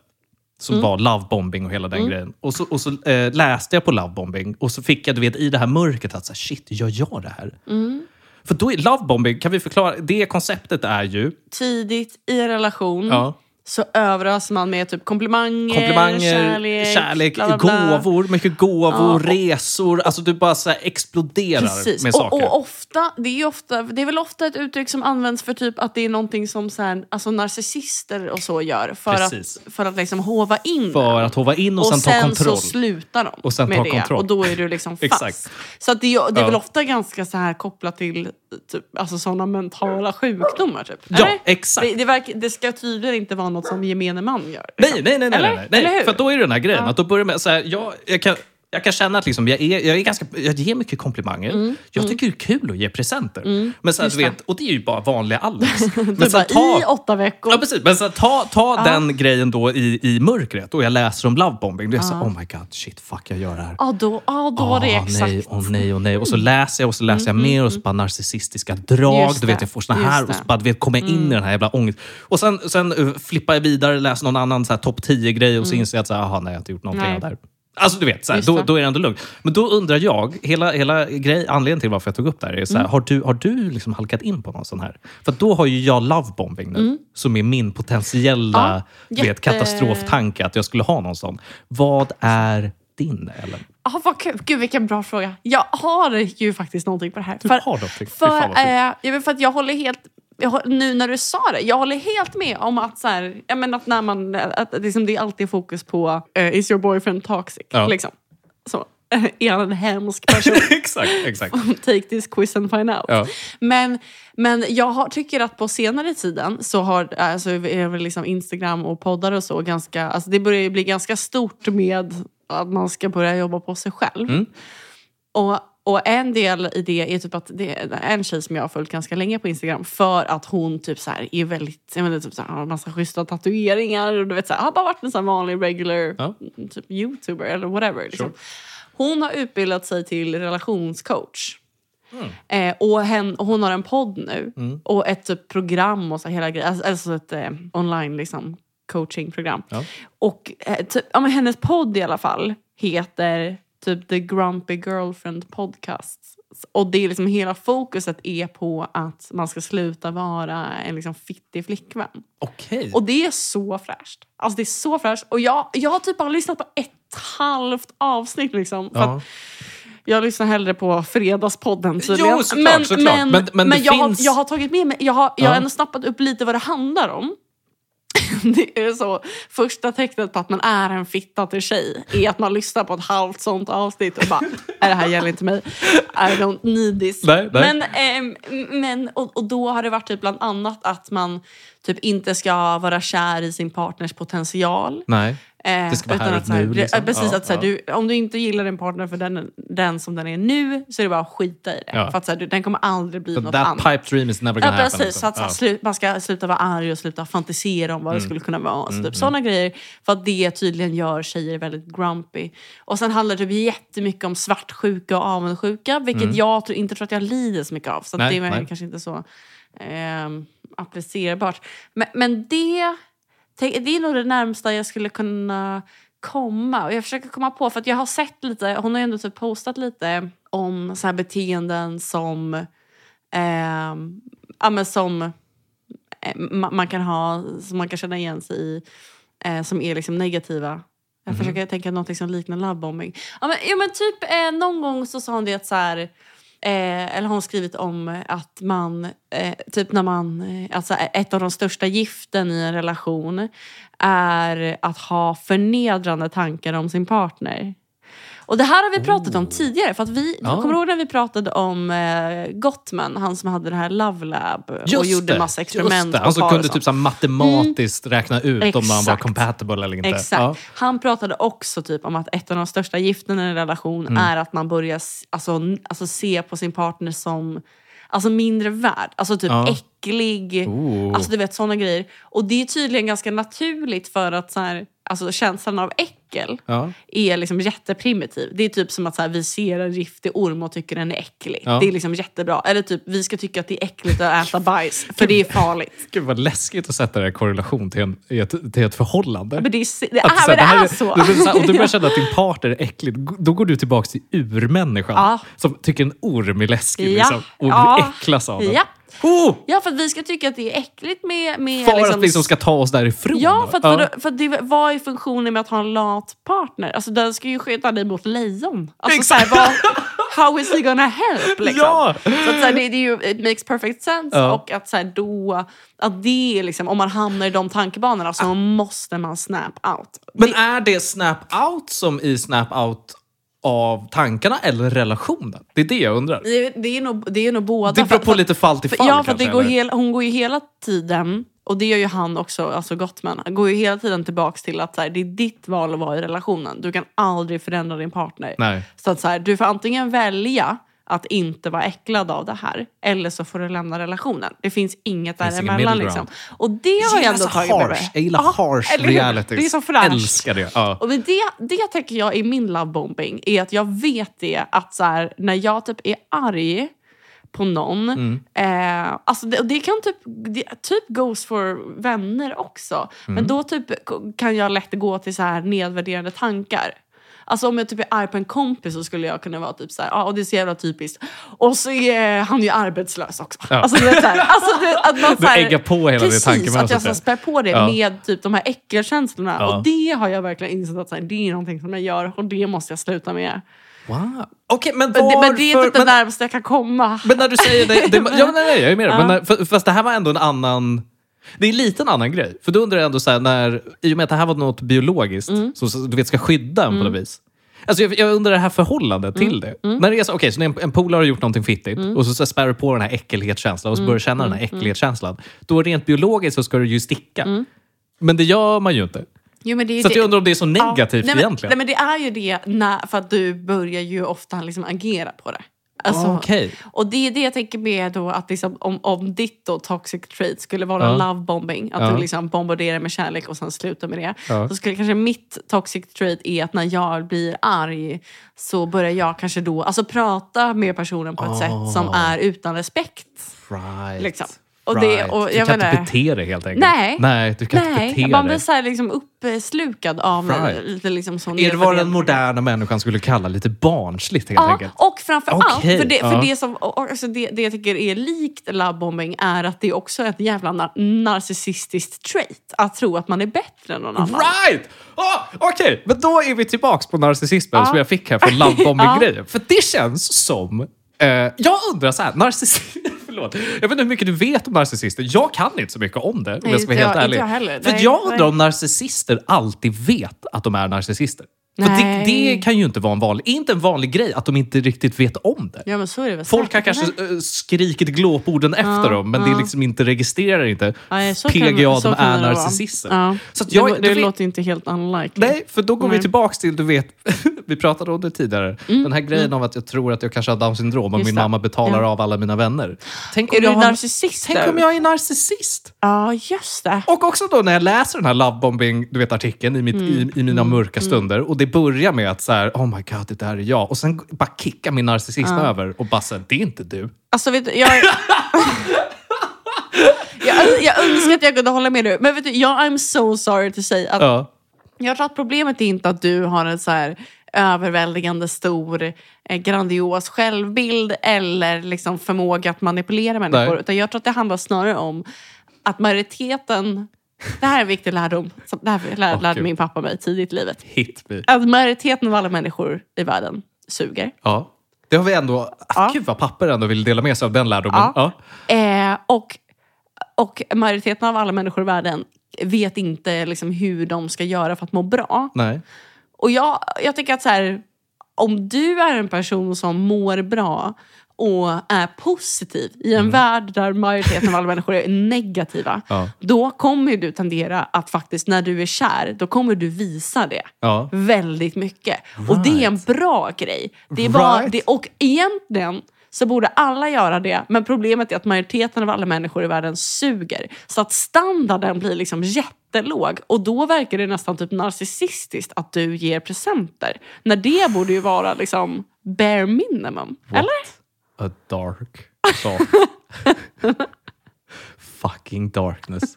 som
Mm.
var lovebombing och hela den grejen. Och så, och så eh, läste jag på lovebombing och så fick jag du vet, i det här mörkret att så här, shit, gör jag det här?
Mm.
För då är lovebombing, kan vi förklara, det konceptet är ju...
Tidigt i en relation
Ja,
så överöser man med typ komplimanger,
komplimanger, kärlek,
kärlek, bla, bla, bla.
gåvor, mycket gåvor, resor. Alltså du bara så här exploderar
Precis.
med
och,
saker.
och ofta, det är ju ofta, det är väl ofta ett uttryck som används för typ att det är någonting som så här, alltså narcissister och så gör för
Precis.
att, för att liksom hova in
För
den.
att hova in och, sen ta
så
kontroll.
slutar de
Och sen
med
ta
det
kontroll.
och då är du liksom fast.
Exakt.
Så att det, är- det är
Ja.
väl ofta ganska så här kopplat till typ, alltså sådana mentala sjukdomar. Typ.
Ja,
Eller?
exakt.
Det, det, verkar, det ska tydligen inte vara något som gemene man gör. liksom.
Nej, nej, nej. nej,
Eller?
nej, nej.
Eller hur?
för att då är det den här grejen.
Ja.
Att då börjar med, så här, jag, jag, kan, jag kan känna att liksom, jag, är, jag, är ganska, jag ger mycket komplimanger.
Mm.
Jag tycker det är kul att ge presenter. Men så här, du
det.
vet, och det är ju bara vanliga Alex. Men
Du
så
bara,
här, ta-
I åtta veckor.
Ja, precis. Men så här, ta, ta den grejen då i, i mörkret och jag läser om lovebombing. Då är jag så här, oh my god, shit, fuck, jag gör det här.
Ja, då, ja, då var det
Ah,
exakt. Mm,
Nej, åh nej, åh nej. Och så läser jag och så läser jag mer och så bara narcissistiska drag.
Just
Du vet,
det,
jag får såna här
just
och så
det. Mm.
bara, du vet, kommer jag in i den här jävla ångest. Och sen, sen eh, flippar jag vidare, läser någon annan så här topp 10-grej och så inser jag att så här, aha, nej, jag har inte gjort någonting
Mm. Nej.
av det här. Alltså du vet, så här,
Just
då,
det.
då är det ändå lugnt. Men då undrar jag, hela, hela grej, anledningen till varför jag tog upp det här är så här,
Mm.
har du, har du liksom halkat in på någon sån här? För då har ju jag lovebombing nu, som är min potentiella
Mm. Ja,
du vet,
jätte-
katastroftanke att jag skulle ha någon sån. Vad är din, Ellen?
Ah, vad kul. Gud, vilken bra fråga. Jag har ju faktiskt någonting på det här.
Du har någonting. Fy
För,
fan vad kul.
eh, jag vet, för att jag håller helt... Jag, hå- nu när du sa det, jag håller helt med om att, så här, jag menar, att när man... Att, att liksom, det är alltid fokus på eh, is your boyfriend toxic?
Ja.
Liksom. Så. är han en hemsk person?
exakt, exakt.
Take this quiz and find out.
Ja.
Men, men jag har, tycker att på senare tiden så har alltså, är väl liksom Instagram och poddar och så ganska... Alltså det börjar ju bli ganska stort med att man ska börja jobba på sig själv.
Mm.
Och, och en del i det är typ att det är en tjej som jag har följt ganska länge på Instagram för att hon typ så här är väldigt, jag menar, typ så här, har en massa schyssta tatueringar och du vet så här, har bara varit en sån här vanlig regular
Ja.
typ youtuber eller whatever. Liksom. Hon har utbildat sig till relationscoach. Eh, och hen, och hon har en podd nu och ett typ, program och så här, hela grejen. Alltså, alltså ett eh, online liksom, coachingprogram.
Ja.
Och eh, typ, ja, men hennes podd i alla fall heter typ The Grumpy Girlfriend Podcast. Och det är liksom hela fokuset är på att man ska sluta vara en liksom fittig flickvän.
Okej.
Och det är så fräscht. Alltså det är så fräscht. Och jag, jag har typ bara lyssnat på ett halvt avsnitt liksom. För
Ja.
att jag lyssnar hellre på Fredagspodden
Jo, såklart, såklart.
Men,
Men-
men,
men det
jag,
finns-
har, jag har tagit med mig, jag har, jag har
Ja.
ändå snappat upp lite vad det handlar om. Det är så, första tecknet på att man är en fitta till tjej är att man lyssnar på ett halvt sånt avsnitt och bara, "Nej, det här gäller inte mig. I don't need this.
Nej, nej.
Men, ehm, men, och, och då har det varit typ bland annat att man typ inte ska vara kär i sin partners potential.
Nej.
Eh,
Det ska vara
utan
här och
att, så här,
nu,
det-
liksom.
ja, Precis,
Ja,
att, så här,
ja.
du, om du inte gillar din partner för den, den som den är nu så är det bara att skita i det.
Ja.
För att, så här, du, den kommer aldrig bli något
That
annat.
pipe dream is never
Ja,
gonna happen.
precis.
liksom.
Så att, så här,
Ja. Mm.
slu, man ska sluta vara arg och sluta fantisera om vad det skulle kunna vara. Så, typ, Sådana grejer. För att det tydligen gör tjejer väldigt grumpy. Och sen handlar det typ jättemycket om svartsjuka och avundsjuka. Vilket jag tror, inte tror att jag lider så mycket av. Så att
Mm. Nej,
det är
nej.
kanske inte så ehm, applicerbart. Men, men det, tänk- det är nog det närmsta jag skulle kunna komma. Och jag försöker komma på, för att jag har sett lite, hon har ju ändå typ postat lite om så här beteenden som Ehm, ja, men som eh, ma- man kan ha, som man kan känna igen sig i, eh, som är liksom negativa. Jag försöker tänka något som liknar lovebombing. Ja, men, ja, men typ eh, någon gång så sa hon det att så här, eh, eller har hon skrivit om att man, eh, typ när man, eh, alltså eh, ett av de största giften i en relation är att ha förnedrande tankar om sin partner. Och det här har vi pratat om tidigare. För att vi,
Ja.
Kommer du ihåg när vi pratade om eh, Gottman? Han som hade det här Love Lab och gjorde
det,
massa
just
experiment.
det.
på
Han som
par
kunde
och sånt.
typ så här matematiskt räkna ut om man var
Exakt.
compatible eller inte.
Exakt.
Ja.
Han pratade också typ om att ett av de största giften i en relation
Mm.
är att man börjar s- alltså, n- alltså, se på sin partner som alltså, mindre värd. Alltså typ
Ja.
äcklig.
Oh.
Alltså du vet sådana grejer. Och det är tydligen ganska naturligt för att så här, alltså, känslan av äckel
Ja.
är liksom jätteprimitiv. Det är typ som att så här, vi ser en giftig orm och tycker den är äcklig.
Ja.
Det är liksom jättebra. Eller typ, vi ska tycka att det är äckligt att äta bajs, för det är farligt.
Gud vad läskigt att sätta det i korrelation till, en, i ett, till ett förhållande.
Men det är, det,
Att
är,
så här,
men det
här
är
är-
så.
Du, blir så här, om du börjar känna att din partner är äcklig, då går du tillbaka till urmänniskan
Ja.
som tycker en orm är läskig
Ja.
liksom, och
Ja.
äcklas av den.
Ja.
Oh!
Ja, för att vi ska tycka att det är äckligt med... med
För att vi liksom ska ta oss därifrån.
Ja, för, att,
Ja.
för, att- för att det, vad är funktionen med att ha en lat partner? Alltså den ska ju skydda dig mot lejon. Alltså, så här, vad, how is he gonna help? Liksom?
Ja.
Så att, så här, det, det är ju, it makes perfect sense.
Ja.
Och att, så här, då, att det är liksom, om man hamnar i de tankebanorna så måste man snap out.
Men är det snap out som i snap out av tankarna eller relationen? Det är det jag undrar.
Det, det, är, nog, det är nog båda.
Det beror
För-
på
för-
lite fall till
För,
fall
ja, för att
kanske,
det går
eller?
hela, hon går ju hela tiden, och det gör ju han också, alltså Gottman, han går ju hela tiden tillbaks till att så här, det är ditt val att vara i relationen. Du kan aldrig förändra din partner.
Nej.
Så att så här, du får antingen välja att inte vara äcklad av det här eller så får du lämna relationen. Det finns inget
finns ingen
däremellan.
middle
Liksom.
ground.
Och det har jag ändå tagit med mig.
Jag gillar
Ja,
harsh
eller hur?
realities.
Det är så fräscht.
Älskar det. Ja.
Och men det, det tänker jag är min lovebombing. Är att jag vet det att så här, när jag typ är arg på någon.
Mm.
Eh, alltså det, och det kan typ, det, typ goes for vänner också.
Mm.
Men då typ kan jag lätt gå till så här nedvärderande tankar. Alltså om jag typ är arg på en kompis så skulle jag kunna vara typ så här, ah, och det är så jävla typiskt. Och så är han ju arbetslös också.
Ja.
Alltså, du vet, så här, alltså du, vet, att man
Du
så här,
äggar på hela det
Precis, att
tankemönstret,
jag
ja.
så spär på det
Ja.
med typ de här äckelkänslorna.
Ja.
Och det har jag verkligen insett att så här, det är någonting som jag gör och det måste jag sluta med.
Wow. Okej, men
Men det,
varför...
men det är typ det
men-
närmaste jag kan komma.
Men när du säger det... det ja, nej, nej, jag är med dig. Men när, f- fast det här var ändå en annan... Det är lite en annan grej. Mm. För då undrar jag ändå så här, när, i och med att det här var något biologiskt som så- du vet, ska skydda en på något vis. Alltså jag, jag undrar det här förhållandet till det. När det är så, okej, så när en, en polare har gjort någonting fittigt och så, så spär du på den här äckelhetskänslan och så börjar du känna den här äckelhetskänslan. Då rent biologiskt så ska du ju sticka. Men det gör man ju inte.
Jo, men det är ju
Så att
det-
jag undrar om det är så
Ja,
negativt
nej, men,
egentligen.
Nej, men det är ju det när, för att du börjar ju ofta liksom agera på det. Alltså,
Ah, Okej.
Och det är det jag tänker med då att liksom, om, om ditt då toxic trait skulle vara
Ja.
love bombing, att
Ja.
du liksom bombarderar med kärlek och sen slutar med det.
Ja.
Så skulle kanske mitt toxic trait är att när jag blir arg så börjar jag kanske då alltså, prata med personen på ett
Ah.
sätt som är utan respekt.
Right.
Liksom. Och det-
Right.
och
du
jag
kan inte
menar-
bete dig helt enkelt.
Nej.
Nej, du kan inte
Nej,
bete
man
dig.
blir så här liksom uppslukad av
Right.
lite liksom sån
Är det vad den
nedvärdering.
moderna människan skulle kalla lite barnsligt helt
Ja,
enkelt?
och framför allt,
Okej,
för, det, för
ja.
det, som, och- och- alltså det, det jag tycker är likt lovebombing är att det är också ett jävla nar- narcissistiskt trait. Att tro att man är bättre än någon annan.
Right! Oh, Okej, men då är vi tillbaka på narcissismen
Ah, Ja.
som jag fick här från lovebombing-grejen. För det känns som... Eh, jag undrar så här, narcissi- Förlåt. Jag vet inte hur mycket du vet om narcissister. Jag kan inte så mycket om det, om
Nej,
jag ska vara
inte jag-
helt ärlig.
inte jag heller.
För
Nej,
jag undrar
nej.
om narcissister alltid vet att de är narcissister. För det,
Nej.
det kan ju inte vara en vanlig, är inte en vanlig grej att de inte riktigt vet om det.
Ja, men så är det väl
Folk har
säkert,
kanske
eller?
eh, skrikit glåporden efter dem, men det liksom inte registrerar inte
Nej, så kan-
PGA,
så
de
kan
är
det vara.
narcissister.
Ja.
Så att
jag,
jag,
det det
du vet-
låter inte helt unlikely.
Nej, för då går vi
Nej. Mm.
tillbaks till, du vet, vi pratade om det tidigare, den här grejen om att jag tror att jag kanske har down syndrom och
Just
min
det.
mamma betalar
Ja.
av alla mina vänner. Tänk om,
Är
jag,
du
har,
narcissist?
tänk
då?
om jag är narcissist?
Ja, just det.
Och också då när jag läser den här lovebombing du vet, artikeln i, mitt, i, i mina mörka stunder och det börjar med att så här, oh my god, det där är jag. Och sen bara kickar min narcissism över och bara så här, det är inte du.
Alltså, vet du, jag... jag, jag önskar att jag kunde hålla med dig. Men vet du, jag I'm so sorry to say att
Ja.
Jag tror att problemet är inte att du har en så här överväldigande stor eh, grandios självbild eller liksom förmåga att manipulera människor.
Nej.
Utan jag tror att det handlar snarare om att majoriteten... Det här är en viktig lärdom. som- Det här lär,
Åh,
lärde
Gud.
min pappa mig tidigt i livet.
Hit me.
Att majoriteten av alla människor i världen suger.
Ja. Det har vi ändå... ah,
Ja.
Gud vad papper ändå vill dela med sig av den lärdomen.
Ja.
Ja.
Eh, och, och majoriteten av alla människor i världen vet inte liksom hur de ska göra för att må bra.
Nej.
Och jag, jag tycker att så här, om du är en person som mår bra och är positiv i en värld där majoriteten av alla människor är negativa.
Mm. Ja.
Då kommer ju du tendera att faktiskt när du är kär, då kommer du visa det
Ja.
väldigt mycket. Och det är en bra grej. Det är bara,
Right.
det, och egentligen så borde alla göra det. Men problemet är att majoriteten av alla människor i världen suger. Så att standarden blir liksom jättelåg. Och då verkar det nästan typ narcissistiskt att du ger presenter. När det borde ju vara liksom bare minimum. Eller?
A dark thought. Fucking darkness.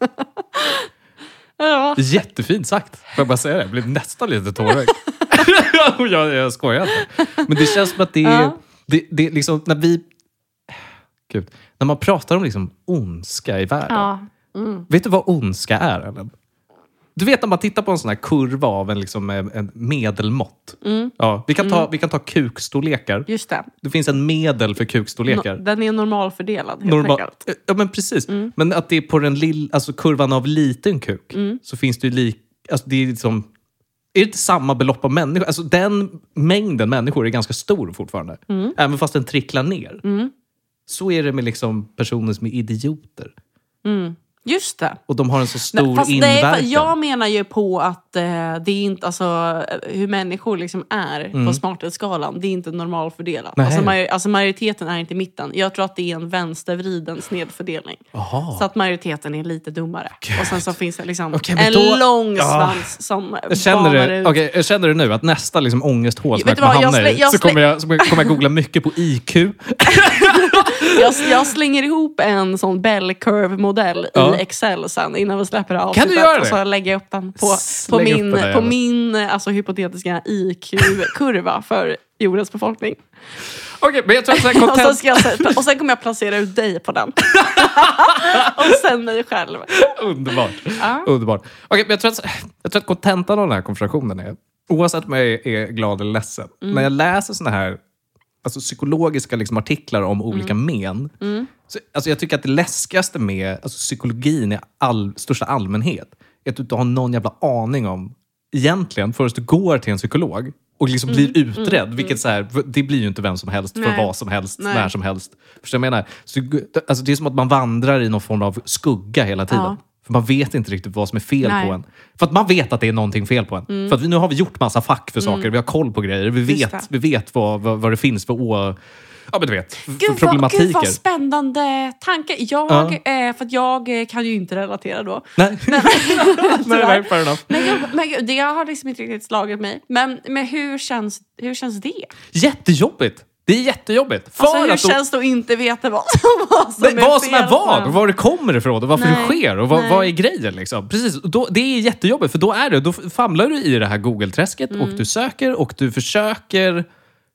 Ja.
Jättefint sagt. Får jag bara säga det? Jag blev nästan lite tårögd. jag, jag skojar inte. Men det känns som att det är...
Ja.
Det, det är liksom när vi... Gud. När man pratar om liksom ondska i världen.
ja. Mm.
Vet du vad ondska är, Ellen? Du vet när man tittar på en sån här kurva av en, liksom, en en medelmått.
Mm.
Ja, vi, kan ta, vi kan ta kukstorlekar.
Just det.
Det finns en medel för
No,
kukstorlekar.
den är normalfördelad helt
Normal- Eh,
enkelt. Mm.
ja, men precis. Men att det är på den lill, alltså kurvan av liten kuk
Mm.
så finns det ju lik... Alltså det är liksom... Är det inte samma belopp av människor? Alltså den mängden människor är ganska stor fortfarande.
Mm.
Även fast den tricklar ner. Så är det med liksom personer som är idioter.
Just det.
Och de har en så stor
fast nej,
inverkan.
fast jag menar ju på att eh, det är inte, alltså, eh, hur människor liksom är på smarthetsskalan, det är inte normalfördelat.
Mm. Nej.
Alltså, major, alltså majoriteten är inte i mitten. Jag tror att det är en vänstervriden snedfördelning.
Jaha.
Så att majoriteten är lite dummare. Och sen så finns det liksom
Okej, men
en
då-
lång
Ja.
svans som
Jag känner,
banar
det,
ut.
okay, jag känner det nu, att nästa liksom ångesthål som
Vet
jag
du
kommer
vad, jag
hamna
slä-
i,
jag
så
slä-
kommer jag, så kommer jag googla mycket på IQ.
Jag, jag slänger ihop en sån bell curve-modell
Ja.
i Excel sen innan vi släpper det här
Kan du
avsnittet.
göra det?
Och så lägger jag upp den på, på
Lägg upp
min,
den där
på
jäveln.
min eh, alltså, hypotetiska IQ-kurva för jordens befolkning.
Okej, men jag tror att så här
Och sen,
content...
ska jag, se- och sen kommer jag placera ut dig på den. och sen mig själv.
Underbart. Underbart. Okej, men jag, tror att, jag tror att kontentan av den här konversationen är, oavsett om jag är, är glad eller ledsen,
Mm.
när jag läser såna här alltså, psykologiska liksom, artiklar om
Mm.
olika men, så, alltså, jag tycker att det läskigaste med alltså, psykologin i all, största allmänhet är att du inte har någon jävla aning om, egentligen, förrän du går till en psykolog, och liksom blir utredd. vilket så här, det blir ju inte vem som helst för
Mm. Nej.
vad som helst,
Nej.
när som helst. Förstår du vad jag menar? Så, alltså, det är som att man vandrar i någon form av skugga hela tiden.
Ja.
För man vet inte riktigt vad som är fel
Nej. Mm.
på en. För att man vet att det är någonting fel på en. För att vi, nu har vi gjort massa fack för saker, vi har koll på grejer, vi
Just
vet, vi
det.
vet vad, vad, vad det finns för, å, ja, men du vet, för
Gud vad,
problematiker.
gud vad spännande tanke. Jag, eh, för att jag eh, kan ju inte relatera då.
Nej, nej, nej, fair enough.
Men, jag, men gud, det har liksom inte riktigt slagit mig. Men, men hur, känns, hur känns det?
Jättejobbigt! Det är jättejobbigt. För
Alltså, hur
att då-
känns det att inte veta vad som, vad som
Nej,
är
vad som är
fel?
vad, och var det kommer ifrån och varför
Nej,
det sker och vad,
nej.
vad är grejen. Liksom. Precis, och då, det är jättejobbigt för då, är det, då famlar du i det här Google-träsket
Mm.
och du söker och du försöker.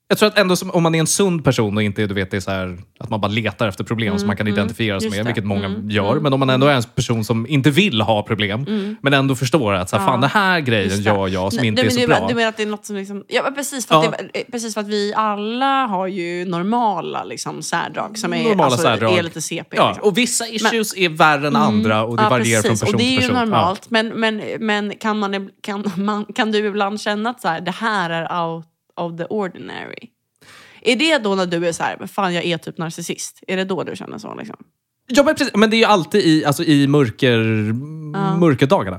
Jag tror att ändå som, om man är en sund person och inte du vet, det är så här, att man bara letar efter problem som man kan identifiera sig
Mm, just
med,
det. Mm,
vilket många gör. Men om man ändå är en person som inte vill ha problem men ändå förstår att så här, fan, den här grejen
Mm. Just det.
gör jag som
Nej,
inte
du,
är
men
så
du,
bra.
Du menar att det är något som liksom... Ja, men precis, för att
Ja.
Det, eh, precis för att vi alla har ju normala liksom, särdrag som är,
Normala
alltså,
särdrag.
är lite CP.
ja,
liksom.
och vissa issues är värre än andra och det
Mm. Ja,
varierar från person
och det är
till
ju
person. Ja.
normalt. Men, men, men kan, man, ib- kan, man, kan du ibland känna att så här, det här är out of the ordinary? Är det då när du är så här, "Men fan jag är typ narcissist? Är det då du känner så? Liksom?
Ja, men, precis. men det är ju alltid i, alltså, i mörker, mörkerdagarna.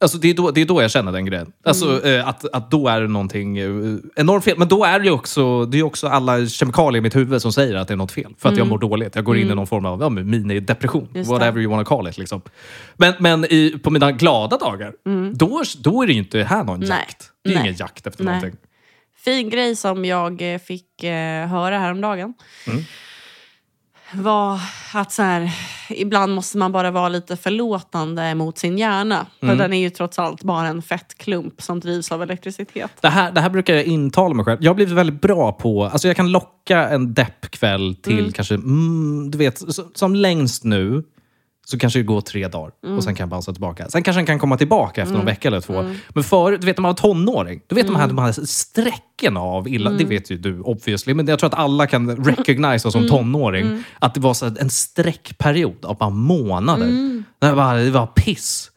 Alltså, det, är då, det är då jag känner den grejen. Alltså, eh, att, att då är det någonting eh, enormt fel. Men då är det ju också, det är ju också alla kemikalier i mitt huvud som säger att det är något fel. För att jag mår dåligt. Jag går in i någon form av ja, men minidepression.
Just det.
Whatever you wanna call it. Liksom. Men, men i, på mina glada dagar, då, då är det ju inte här någon jakt. Det är
Mm. Nej.
ingen jakt efter
Nej.
någonting.
Fin grej som jag eh, fick eh, höra häromdagen
Mm.
var att så här, ibland måste man bara vara lite förlåtande mot sin hjärna.
Mm.
För den är ju trots allt bara en fettklump som drivs av elektricitet.
Det här, det här brukar jag intala mig själv. Jag har blivit väldigt bra på... Alltså jag kan locka en deppkväll till kanske... Mm, du vet, så- som längst nu så kanske det går tre dagar och sen kan jag bounca tillbaka. Sen kanske den kan komma tillbaka efter någon vecka eller två. Men förut, du vet när man var tonåring, du vet de här, de här strecken av illa, det vet ju du obviously, men jag tror att alla kan recognize oss som tonåring, att det var så här en streckperiod av bara månader. När det, bara, det var piss.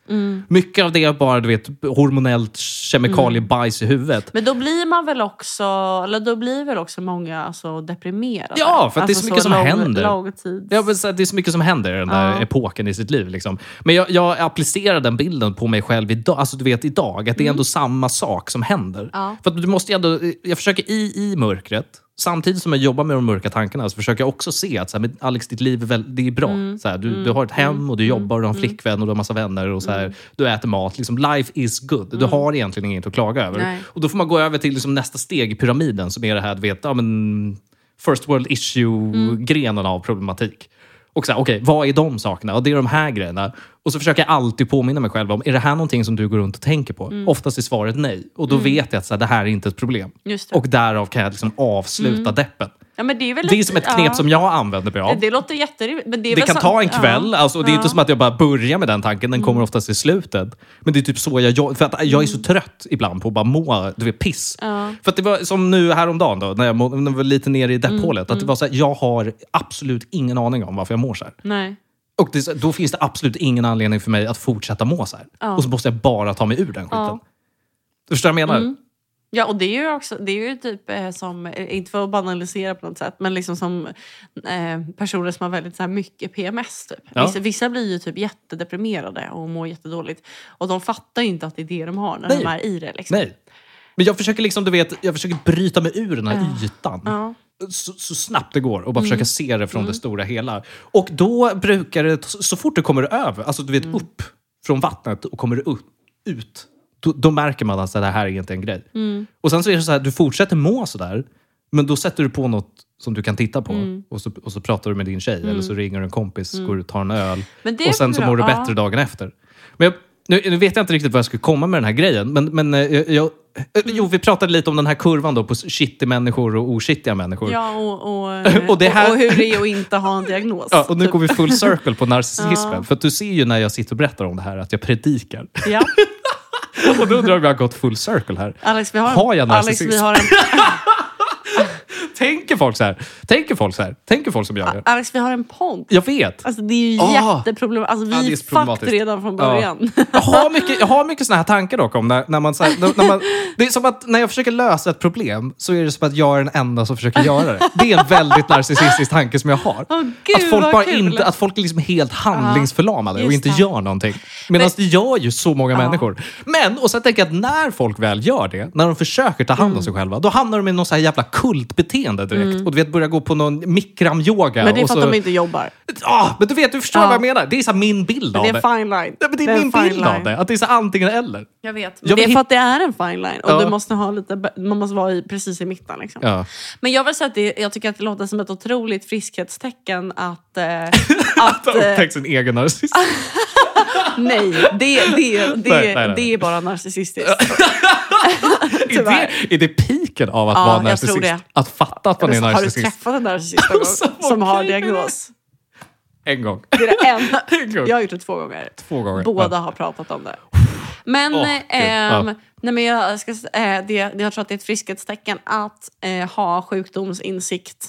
Mycket av det är bara du vet, hormonellt kemikaliebajs i huvudet.
Men då blir man väl också, eller då blir väl också många alltså, deprimerade? Alltså,
Ja, för att det är så mycket som händer.
Lång tid.
Ja, men så här, det är så mycket som händer i den där epoken i sitt liv. Liksom. Men jag, jag applicerar den bilden på mig själv idag, alltså, du vet, idag. Att det är ändå samma sak som händer.
Ja.
För att du måste ju ändå, eh, jag försöker i, i mörkret, samtidigt som jag jobbar med de mörka tankarna, så försöker jag också se att så här, men Alex, ditt liv är, väl, det är bra. Så här, du, du har ett hem och du jobbar och du har en flickvän och du har massa vänner och så här, du äter mat. Liksom, life is good. Du har egentligen inget att klaga över.
Nej.
Och då får man gå över till liksom nästa steg i pyramiden som är det här, du vet, ja, men first world issue-grenen av problematik. Och så här, okej, vad är de sakerna? Ja, det är de här grejerna. Och så försöker jag alltid påminna mig själv om, är det här någonting som du går runt och tänker på? Oftast är svaret nej. Och då vet jag att så här, det här är inte ett problem.
Just det.
Och därav kan jag liksom avsluta deppen.
ja, men det, är väl
Det är
lite-
som ett knep
ja.
som jag använder mig av.
Det låter jätterimligt. Men det är
Det
väl
kan
så-
ta en
ja. Mm.
kväll. Alltså, det är inte som att jag bara börjar med den tanken. Den kommer oftast i slutet. Men det är typ så jag gör. För att jag är så trött ibland på att bara må du vet, piss. För att det var som nu häromdagen, då, när jag, må, när jag var lite nere i
Mm,
depphålet. Att det var så här, jag har absolut ingen aning om varför jag mår så här.
Nej.
Och det, är så- då finns det absolut ingen anledning för mig att fortsätta må så här. Och så måste jag bara ta mig ur den skiten.
Ja. Mm.
Förstår du vad jag menar?
Ja, och det är ju också, det är ju typ eh, som, eh, inte för att banalisera på något sätt, men liksom som eh, personer som har väldigt så här, mycket PMS. Typ.
Ja.
Vissa, vissa blir ju typ jättedeprimerade och mår jättedåligt. Och de fattar ju inte att det är det de har när
Nej.
de är i det. Liksom.
Nej. Men jag försöker liksom, du vet, jag försöker bryta mig ur den här ytan.
Ja.
så, så snabbt det går och bara försöka se det från det stora hela. Och då brukar det, så så fort du kommer över, alltså du vet upp från vattnet och kommer ut, ut då, då märker man att alltså, det här är inte en grej. Och sen så är det så här, du fortsätter må sådär, men då sätter du på något som du kan titta på och, så, och så pratar du med din tjej eller så ringer en kompis, går och tar en öl
Men det är
och sen så
bra,
mår du
ja.
bättre dagen efter. Men jag, nu, nu vet jag inte riktigt vad jag skulle komma med den här grejen, men, men eh, jag, jag, eh, jo, vi pratade lite om den här kurvan då på shitty människor och oshittiga människor.
Ja, och, och,
Och
och,
det här-
och, hur det är att inte ha en diagnos.
Ja, och nu
typ.
går vi full circle på narcissismen.
Ja.
För att du ser ju när jag sitter och berättar om det här att jag predikar.
ja.
Och då undrar jag om jag har gått full circle här.
Alex, vi har,
Har jag
Alex,
narcissism?
vi har en...
tänker folk så här? Tänker folk så här? Tänker folk som jag gör?
Alex, vi har en podd.
Jag vet.
Alltså det är ju
Ah.
jätteproblematiskt. Alltså
Ja, det
vi
är
är fucked
problematiskt.
redan från början.
Jag har mycket, jag har mycket såna här tankar dock om när, när man, så här, när, när man... Det är som att när jag försöker lösa ett problem så är det som att jag är den enda som försöker göra det. Det är en väldigt narcissistisk tanke som jag har.
Åh, gud,
att folk
vad
bara
kul.
inte, att folk är liksom helt handlingsförlamade och
just
inte
det.
gör någonting. Medan det gör ju så många
Ja.
människor. Men, och sen tänker jag att när folk väl gör det, när de försöker ta
Mm.
hand om sig själva, då hamnar de i någon så här jävla kultbeteende direkt. Och du vet, börjar gå på någon mikramyoga.
Men det är
och
för
så,
att de inte jobbar.
ah, men du vet, du förstår
Ja.
vad jag menar. Det är så här min bild av
Det är en
det.
fine line.
Ja, men det är
en
min
fine
bild av
line.
det. Att det är så antingen eller.
Jag vet.
Jag
Men det är
vill
för att det är en fine line. Och
Ja.
du måste ha lite, man måste vara i, precis i mitten. Liksom.
Ja.
Men jag vill säga att det, jag tycker att det låter som ett otroligt friskhetstecken att... Eh, att
Ta
eh,
upptäckt sin egen narcissism.
nej, det, det, det,
Nej, nej, nej.
det är bara narcissistiskt.
är, det, är det piken av att
Ja,
vara
jag
narcissist?
tror det.
Att fatta att man är
har du
narcissist?
träffat en narcissist någon gång
Så vad
som har
kul det är.
diagnos?
En gång.
Det är det enda.
En gång.
Jag har gjort det två gånger.
Två gånger.
Båda har pratat om det. Men,
Åh, gud.
ehm,
Ja.
nej, men jag, ska, s- eh, det, jag tror att det är ett friskhetstecken att eh, ha sjukdomsinsikt.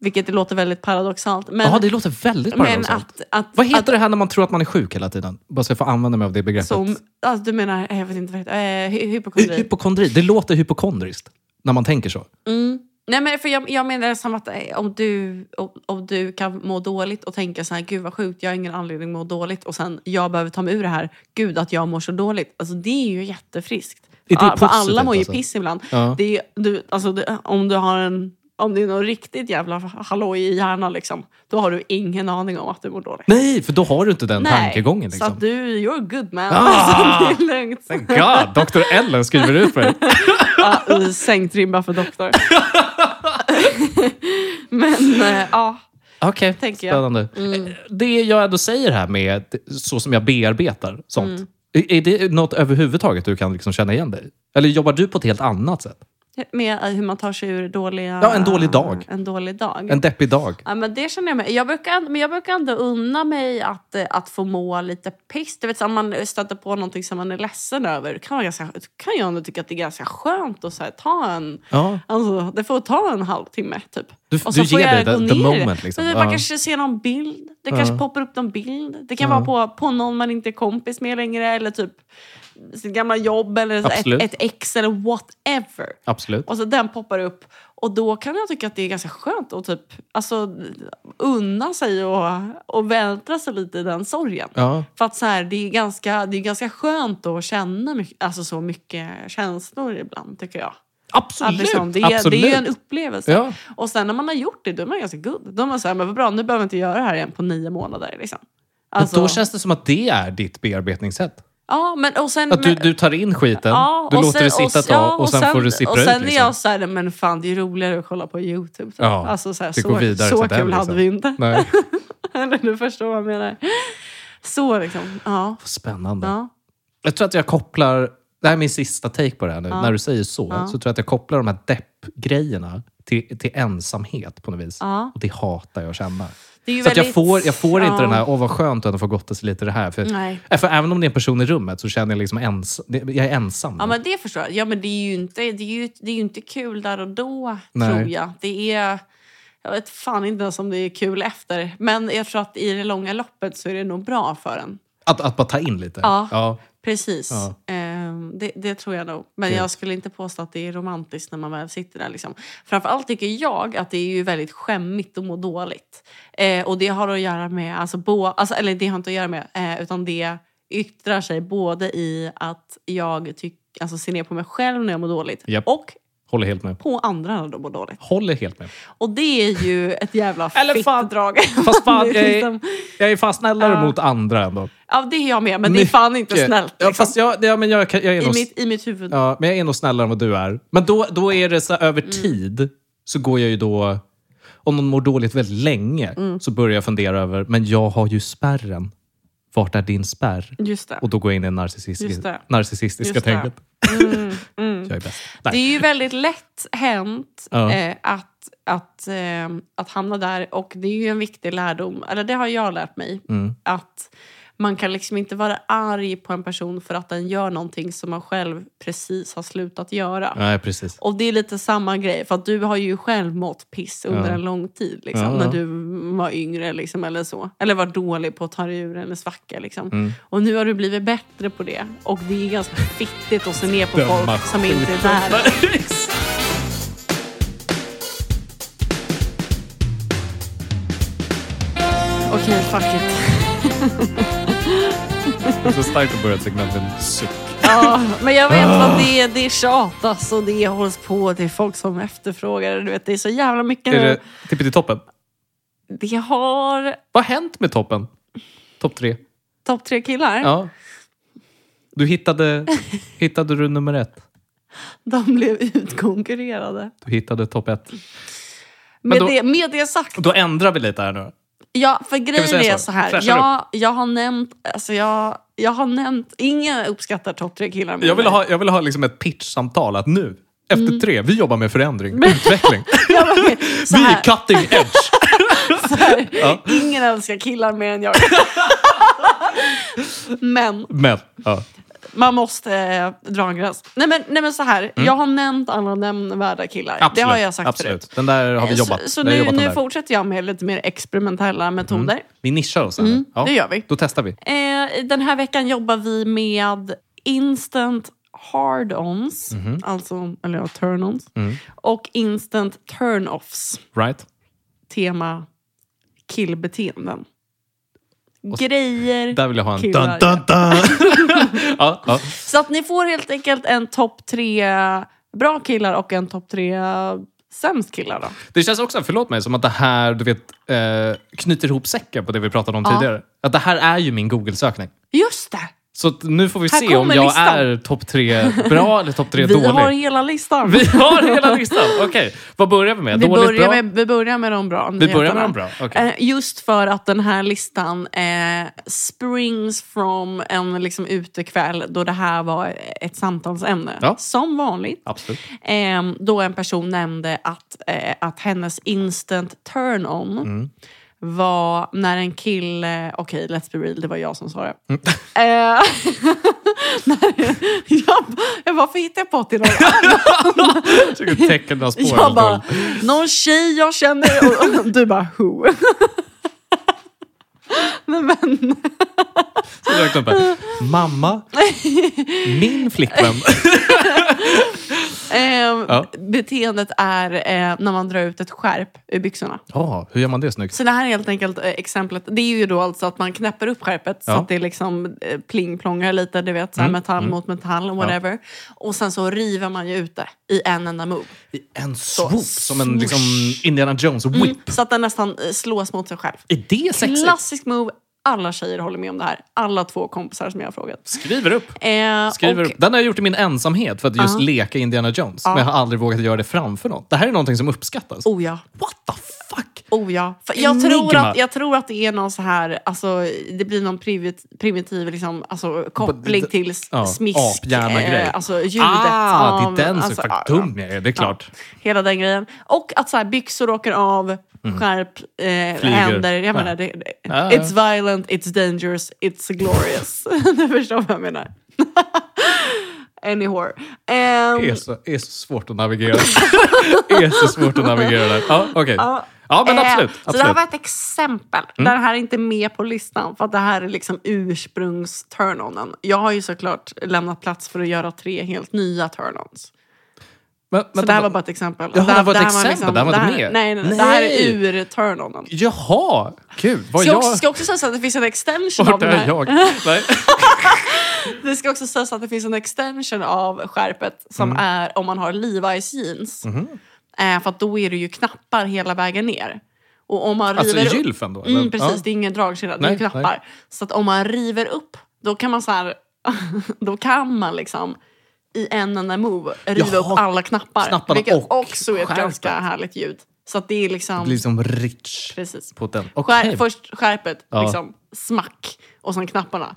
Vilket det låter väldigt paradoxalt. Men,
Ja, det låter väldigt
men
paradoxalt.
att, att,
Vad heter
att,
det här när man tror att man är sjuk hela tiden? Bara så jag får använda mig av det begreppet.
Som, alltså, du menar, eh, jag vet inte vad det heter, eh, hy-
Hy-
hypokondri.
hypokondri. Det låter hypokondriskt när man tänker så.
Mm. Nej, men för jag, jag menar som att eh, om du, om, om du kan må dåligt och tänka så här, gud vad sjukt, jag har ingen anledning att må dåligt och sen jag behöver ta mig ur det här, gud att jag mår så dåligt. Alltså det är ju jättefriskt.
Det är
Ja, för
positivt,
alla mår ju
alltså.
piss ibland.
Ja.
Det är, du, alltså, det, om du har en om det är någon riktigt jävla halloj i hjärnan, liksom, då har du ingen aning om att du mår dåligt.
Nej, för då har du inte den tankegången.
så att
Liksom.
du, you're a good man.
Ah!
Alltså, det är lugnt.
Thank God, Dr. Ellen skriver ut mig.
Ja, i sänkt ribba för doktor. Men eh, ja,
Okej,
Tänker jag.
spännande.
Mm.
Det jag ändå säger här med så som jag bearbetar sånt.
Mm.
Är är det något överhuvudtaget du kan liksom känna igen dig i? Eller jobbar du på ett helt annat sätt?
med eh, hur man tar sig ur dåliga...
Ja, en dålig dag.
En dålig dag.
En deppig dag?
Ja, men det känner jag mig. Jag brukar, men jag brukar ändå unna mig att, eh, att få må lite piss. Du vet, så om man stöter på någonting som man är ledsen över kan, man ganska, kan jag ändå tycka att det är ganska skönt att så här, ta en...
Ja.
Alltså, det får ta en halvtimme typ.
Du-
och så
du
får
ger
jag
dig
gå
the- the
ner.
moment, liksom.
Men Man
Ja.
kanske ser någon bild. Det kanske
Ja.
poppar upp någon bild. Det kan
Ja.
vara på, på någon man inte är kompis med längre eller typ sitt gamla jobb eller så
Absolut.
ett, ett ex eller whatever.
Absolut.
Och så den poppar upp. Och då kan jag tycka att det är ganska skönt att typ, alltså, unna sig och, och vältra sig lite i den sorgen.
Ja.
För att så här, det, är ganska, det är ganska skönt att känna mycket, alltså så mycket känslor ibland tycker jag.
Absolut.
Att liksom, det, är, det
Absolut.
är ju en upplevelse.
Ja.
Och sen när man har gjort det, då är man ganska good. Då är man såhär, men vad bra, nu behöver jag inte göra det här igen på nio månader. Liksom. Alltså,
Och Då känns det som att det är ditt bearbetningssätt.
ja, men, och sen,
Att du,
men-
du tar in skiten,
ja,
du
och
låter
sen-
det sitta ett
och- ja,
tag och sen, får du sippra
Och sen
ut.
är
Liksom.
jag såhär, men fan det är roligare att kolla på YouTube. typ.
Ja,
alltså, så här,
det
så,
går vidare
så
till den,
kul hade
liksom.
vi inte.
Nej.
Eller du förstår vad jag menar. Så liksom, ja.
Spännande.
ja.
Jag tror att jag kopplar, det här är min sista take på det här nu, när du säger så,
Ja.
så tror jag att jag kopplar de här deppgrejerna till, till ensamhet på något vis.
Ja.
Och det hatar jag att känna.
Det är ju
Så att jag
väldigt-
får, jag får inte
ja.
den här, åh vad skönt att få gotta sig lite i det här. För,
Nej.
Äh, för även om det är en person i rummet så känner jag liksom ens, det- jag är ensam.
Ja, men det förstår jag. Ja, men det är ju inte, det är ju, det är ju inte kul där och då,
Nej.
tror jag. Det är... Jag vet fan inte ens om det är kul efter. Men jag tror att i det långa loppet så är det nog bra för en.
Att, att bara ta in lite.
Ja.
Ja.
Precis.
Ja.
Ehm, det, det tror jag nog. Men
Kul.
jag skulle inte påstå att det är romantiskt när man väl sitter där. Liksom. Framförallt tycker jag att det är ju väldigt skämmigt att må dåligt. Eh, och det har att göra med, alltså, bo, alltså, eller det har inte att göra med, eh, utan det yttrar sig både i att jag tyck, alltså, ser ner på mig själv när jag mår dåligt
Japp.
och
Håller helt med.
på andra när de mår dåligt.
Håller helt med.
Och det är ju ett jävla
Eller
fitt
fan.
drag.
Fast fan,
Det är
jag är,
liksom-
jag är fan snällare
Ja.
mot andra ändå.
Ja, det är jag med, men det är fan inte
Mycket.
snällt.
Ja,
Liksom.
fast jag, ja, men jag, kan- jag är
I,
nog
mitt, I mitt huvud.
Ja, men jag är nog snällare än vad du är. Men då, då är det så här,
Mm.
över tid så går jag ju då... Om någon mår dåligt väldigt länge
Mm.
så börjar jag fundera över, men jag har ju spärren. Vart är din spärr?
Just det.
Och då går jag in i det narcissistiska,
Just det.
narcissistiska
Just det.
tänket.
Mm, mm.
Jag är bäst.
Det
Nej.
är ju väldigt lätt hänt
Ja.
eh, att, att, eh, att hamna där. Och det är ju en viktig lärdom, eller det har jag lärt mig. Att Man kan liksom inte vara arg på en person för att den gör någonting som man själv precis har slutat göra.
Nej, precis.
Och det är lite samma grej, för att du har ju själv mått piss under
Ja.
en lång tid. Liksom,
Ja, ja.
När du var yngre liksom, eller så. Eller var dålig på att ta dig ur en svacka. Liksom.
Mm.
Och nu har du blivit bättre på det. Och det är ganska fittigt att se ner på
Döma
folk som inte är där. Okej, fuck it.
Det är så starkt att börja ett segment med en suck.
Ja, men jag vet vad det är. Det tjatas och det hålls på. Det är folk som efterfrågar det. Du vet, det är så jävla mycket
Är
nu.
det tippet i toppen?
Det har
Vad har hänt med toppen? Topp tre?
topp tre killar.
Ja. Du hittade, hittade du nummer ett.
De blev utkonkurrerade.
Du hittade topp ett.
Med,
då-
det, med det sagt.
Då ändrar vi lite här nu.
Ja, för grejen
säga
är
så?
så här.
Fräschar
Jag, jag har nämnt... Alltså jag, jag har nämnt... Ingen uppskattar topp tre killar mer
Jag vill
än mig. Mm.
ha, jag vill ha liksom ett pitch-samtal att nu, efter tre, vi jobbar med förändring, utveckling.
Jag vill- så
vi
här,
är cutting edge.
så här,
Ja.
Ingen älskar killar mer än jag. men
Men, ja.
man måste eh, dra en gräns. Nej men, nej men så här. Jag har nämnt alla nämnvärda killar.
Mm. absolut.
det har jag sagt
absolut.
förut.
Den där har vi jobbat.
Så, så
Den har
nu,
jobbat den
nu
där.
fortsätter jag med lite mer experimentella metoder.
Vi nischar oss. här nu.
Mm, det gör vi.
Då testar vi.
Eh, den här veckan jobbar vi med instant hard-ons, alltså, eller ja, turn-ons,
Mhm. Mm.
och instant turn-offs,
Right?
tema killbeteenden. Grejer,
Där vill jag ha en...
killar.
dun. ja, ja.
Så att ni får helt enkelt en topp tre bra killar och en topp tre sämst killar. Då.
Det känns också, förlåt mig, som att det här du vet, eh, knyter ihop säcken på det vi pratade om
Ja.
tidigare. Att det här är ju min Google-sökning.
Just det!
Så att nu får vi
Här
se om
kommer
jag
listan.
är topp tre bra eller topp tre
Vi
dålig.
har hela listan.
Vi har hela listan! Okej, vad börjar vi med?
Vi
Dåligt
börjar,
bra?
med, vi börjar med de bra.
Vi börjar
nyheterna.
med de bra. Okej.
Eh, Just för att den här listan eh, springs from en liksom, utekväll då det här var ett samtalsämne.
Ja.
Som vanligt.
Absolut.
Eh, då en person nämnde att, eh, att hennes instant turn-on
Mm.
var när en kille... Okej, let's be real, det var jag som sa det.
Mm.
Eh, när- jag, jag, varför hittar jag på till någon
Jag tycker tecknen har spår.
jag bara, någon tjej jag känner. Och, och du bara, who? Nej, men,
Så rökte de bara, Mamma, min flickvän.
eh,
Ja.
Beteendet är eh, när man drar ut ett skärp ur byxorna.
Ja, hur gör man det snyggt?
Så det här är helt enkelt eh, exemplet. Det är ju då alltså att man knäpper upp skärpet så
Ja. Mm,
att det liksom eh, plingplongar lite, du vet, så här metall mot metall, whatever. Och sen så river man ju ut det i en enda move.
I en swoop, som en liksom, Indiana Jones whip.
Så att den nästan eh, slås mot sig själv.
Är det sexigt?
Klassisk move. Alla tjejer håller med om det här. Alla två kompisar som jag har frågat.
Skriver upp.
Eh,
Skriver
och,
upp. Den har jag gjort i min ensamhet för att just leka Indiana Jones. Men jag har aldrig vågat göra det framför någon. Det här är någonting som uppskattas.
Oh ja.
What the fuck?
Oh ja. För jag,
Enigma.
tror att, jag tror att det är någon så här, alltså, det blir någon primitiv, primitiv liksom, alltså, koppling till s-
Ja,
smisk.
aphjärna-grej.
eh, alltså ljudet.
Ah,
av-
det är den som
alltså,
fuck
ja,
dum jag är. Det är klart.
Hela den grejen. Och att så här, byxor åker av, skärp, eh, händer. Jag menar, det, det,
Mm. Ja, ja.
it's violent, it's dangerous, it's glorious. du förstår vad jag menar. Any whore. Ehm,
Det är så, är så svårt att navigera. det är så svårt att navigera där. Ja, okej. Ja, men
Eh,
absolut.
Så det här
absolut. Mm.
var ett exempel. Den här är inte med på listan för att det här är liksom ursprungs turn-onen. Jag har ju såklart lämnat plats för att göra tre helt nya turn-ons.
Men,
Så
vänta,
det här var
vad-
bara ett exempel.
Jaha, det här var ett exempel. Det här var inte
här-
med.
Nej, nej, nej. liksom- Det här är
Nej.
ur turn-onen.
Jaha! Kul. Vad
Ska
jag...
också, ska också sägas att det finns en extension av
Vart
den
är
här.
jag? Nej.
Det ska också sägas att det finns en extension av skärpet som
Mm.
är om man har Levi's jeans.
Mhm.
Eh, för att då är det ju knappar hela vägen ner. Och om man
Alltså
river upp-
gylfen då? eller?
Mm, precis,
Ja.
det är ingen dragkedja, det är
Nej,
knappar.
nej.
Så att om man river upp, då kan man så här, då kan man liksom i en enda move riva
Jaha.
upp alla knappar.
Knapparna
vilket
och
också är ett
skärpet.
ganska härligt ljud. Så att det är liksom,
Det blir som rich
precis.
på den.
Skär,
Okej.
Först skärpet,
Ja.
liksom, smack, och sen knapparna.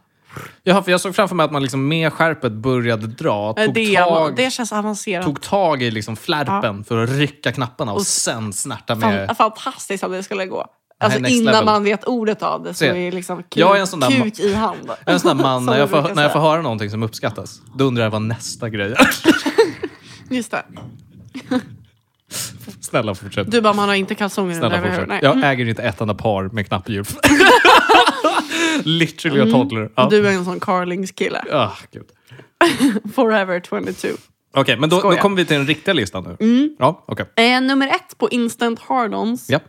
Jaha, för jag såg framför mig att man liksom med skärpet började dra,
Eh,
tog,
Det,
tag,
det känns avancerat.
tog tag i liksom flärpen för att rycka knapparna och sen snärta med...
alltså, Fan, fantastiskt om det skulle gå. Alltså
next
innan
level.
man vet ordet av det så
Se.
är det liksom kuk,
Jag är en sån där ma-
kuk i hand.
Jag är en sån där man,
Som
när
vi
jag, får,
brukar
när jag får
säga.
höra någonting som uppskattas, då undrar jag vad nästa grej är.
Just det.
Snälla fortsätt.
Du bara, man har inte kalsonger
Snälla
under.
fortsätt.
Nej.
Jag äger inte ett enda par med knappdjur. Literally
Mm.
a toddler. Ja.
Du är en sån Carlings-kille.
Ah, gud.
Forever 22.
Okej, men då, då
Skoja.
kommer vi till den riktiga listan nu. Ja, okej.
Eh, nummer ett på instant hard-ons
Ja.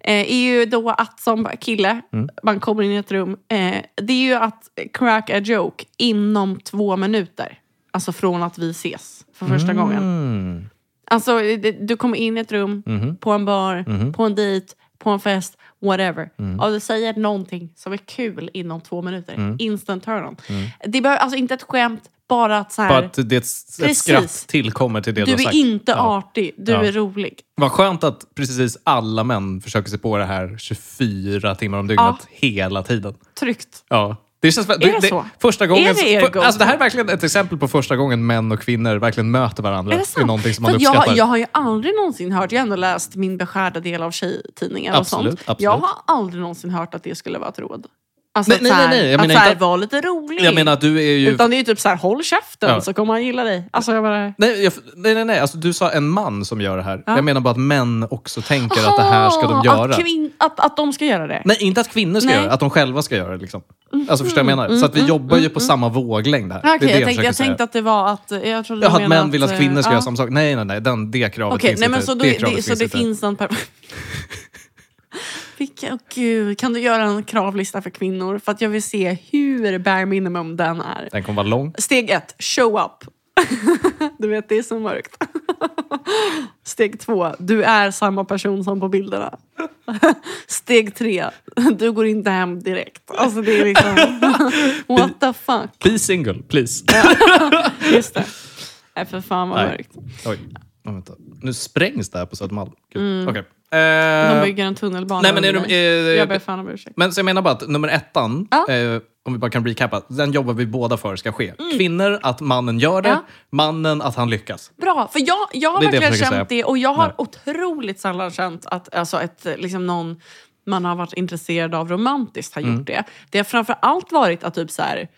eh, är ju då att som kille,
Mm.
man kommer in i ett rum, eh, det är ju att crack a joke inom två minuter. Alltså från att vi ses för första gången.
Mm.
Alltså, det- du kommer in i ett rum,
Mhm.
på en bar, på en dejt, på en fest, whatever.
Mm.
Och du säger någonting som är kul inom två minuter. Instant turn-on. Det behöver alltså inte ett skämt, bara att så här,
Mm. Bara att det är ett, ett
Precis.
skratt tillkommer till det du,
du
har sagt.
är inte
Ja.
artig, du
Ja.
är rolig.
Vad skönt att precis alla män försöker sig på det här 24 timmar om dygnet hela tiden.
Tryggt.
Ja. Det känns, är
det så?
Första gången,
Är det er
för, alltså, det här är
go-to?
verkligen ett exempel på första gången män och kvinnor verkligen möter varandra.
Är det
är
sant?
någonting som man
För jag,
uppskattar.
har- jag har ju aldrig någonsin hört, jag har ändå läst min beskärda del av tjejtidningar
Absolut,
och sånt.
absolut.
Jag har aldrig någonsin hört att det skulle vara ett råd. Alltså
Nej,
att
nej,
så här,
nej, nej.
att
Jag menar
så här,
inte att-
var lite rolig.
Jag menar att du är ju...
Utan det är ju typ så här, håll käften
Ja.
så kommer han gilla dig. Alltså jag bara...
Nej, jag, nej, nej, nej. Alltså, du sa en man som gör det här.
Ja.
Jag menar bara att män också tänker att det här ska de
Aha,
göra.
Att, kvin- att, att de ska göra det?
Nej, inte att kvinnor ska
Nej. Mm,
göra det, att de själva ska göra det. Liksom. Alltså, förstår du vad jag menar? Så att vi jobbar ju på samma våglängd här.
Ah, mm, Okej,
det är det
jag, tänkte,
försöker
jag
säga.
tänkte att det var att... Jag trodde
Jaha,
du menade
att män vill att
eh,
kvinnor ska
ja.
göra samma sak. Nej, nej, nej. Den, det kravet
Okej,
finns
nej, men
inte.
så, då,
det
är-
kravet
det, så
finns
det
inte.
finns någon... Per- Vilka, åh gud, kan du göra en kravlista för kvinnor? För att jag vill se hur bare minimum den är.
Den kommer vara lång.
Steg ett, show up. du vet, det är så mörkt. Steg två, du är samma person som på bilderna. Steg tre, du går inte hem direkt. Alltså det är liksom... What the fuck?
Be single, please.
Just det. Nej, för fan vad
Nej.
mörkt.
Oj, ja, vänta. Nu sprängs det här på Södermalm. Gud. Okej.
Mm. De
Eh,
bygger en tunnelbana
nej, men är
under
de-
mig.
eh,
Jag ber fan om ursäkt.
Men så jag menar bara att nummer ettan,
Ja.
eh, om vi bara kan recappa, den jobbar vi båda för ska ske. Kvinnor, att mannen gör det.
Mm. Ja.
Mannen, att han lyckas.
Bra, för jag, jag har
Det är det jag
verkligen
försöker
känt
säga.
det och jag har
Nej.
otroligt sällan känt att alltså, ett, eh, liksom någon man har varit intresserad av romantiskt har
Mm.
gjort det. Det har framför allt varit att typ så här,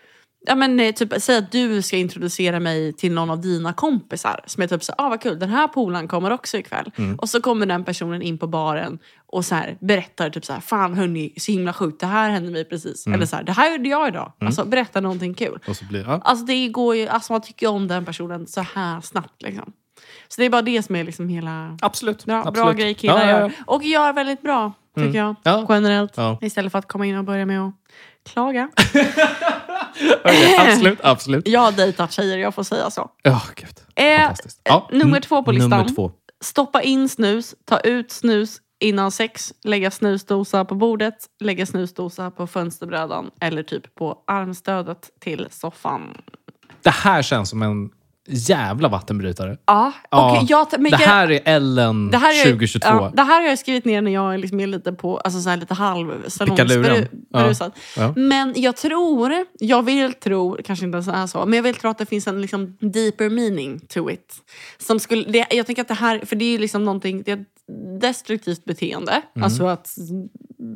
ja, men, eh, typ, säg att du ska introducera mig till någon av dina kompisar som är typ så här, ah, vad kul, den här polaren kommer också ikväll.
Mm.
Och så kommer den personen in på baren och så här, berättar typ så här, fan hörni, så himla sjukt, det här hände mig precis.
Mm.
Eller så här, det här gjorde jag idag. Alltså berätta någonting kul.
Och så blir, ja.
Alltså det går ju, alltså man tycker om den personen så här snabbt. Liksom. Så det är bara det som är liksom hela...
Absolut.
Bra, bra
Absolut.
grej killar
Ja, ja, ja.
gör. Och gör väldigt bra, tycker jag.
Ja.
Generellt.
Ja.
Istället för att komma in och börja med att klaga.
Okej, absolut, absolut.
Jag har dejtat tjejer, jag får säga så.
Ja, gud.
Eh,
Fantastiskt. Ja.
nummer
mm,
två på listan.
Nummer två.
Stoppa in snus, ta ut snus innan sex, lägga snusdosa på bordet, lägga snusdosa på fönsterbrädan eller typ på armstödet till soffan.
Det här känns som en jävla vattenbrytare.
Ja,
Ja.
okej, jag, men
det
jag,
här är Ellen
Det här, är,
2022.
ja, det här har jag skrivit ner när jag liksom är lite på alltså så här lite halv
Pickaluren. Ja.
salongsberusad.
Ja.
Men jag tror, jag vill tro, kanske inte ens är så, men jag vill tro att det finns en liksom deeper meaning to it. Som skulle, det, jag tänker att det här, för det är ju liksom någonting, det är ett destruktivt beteende. Alltså att,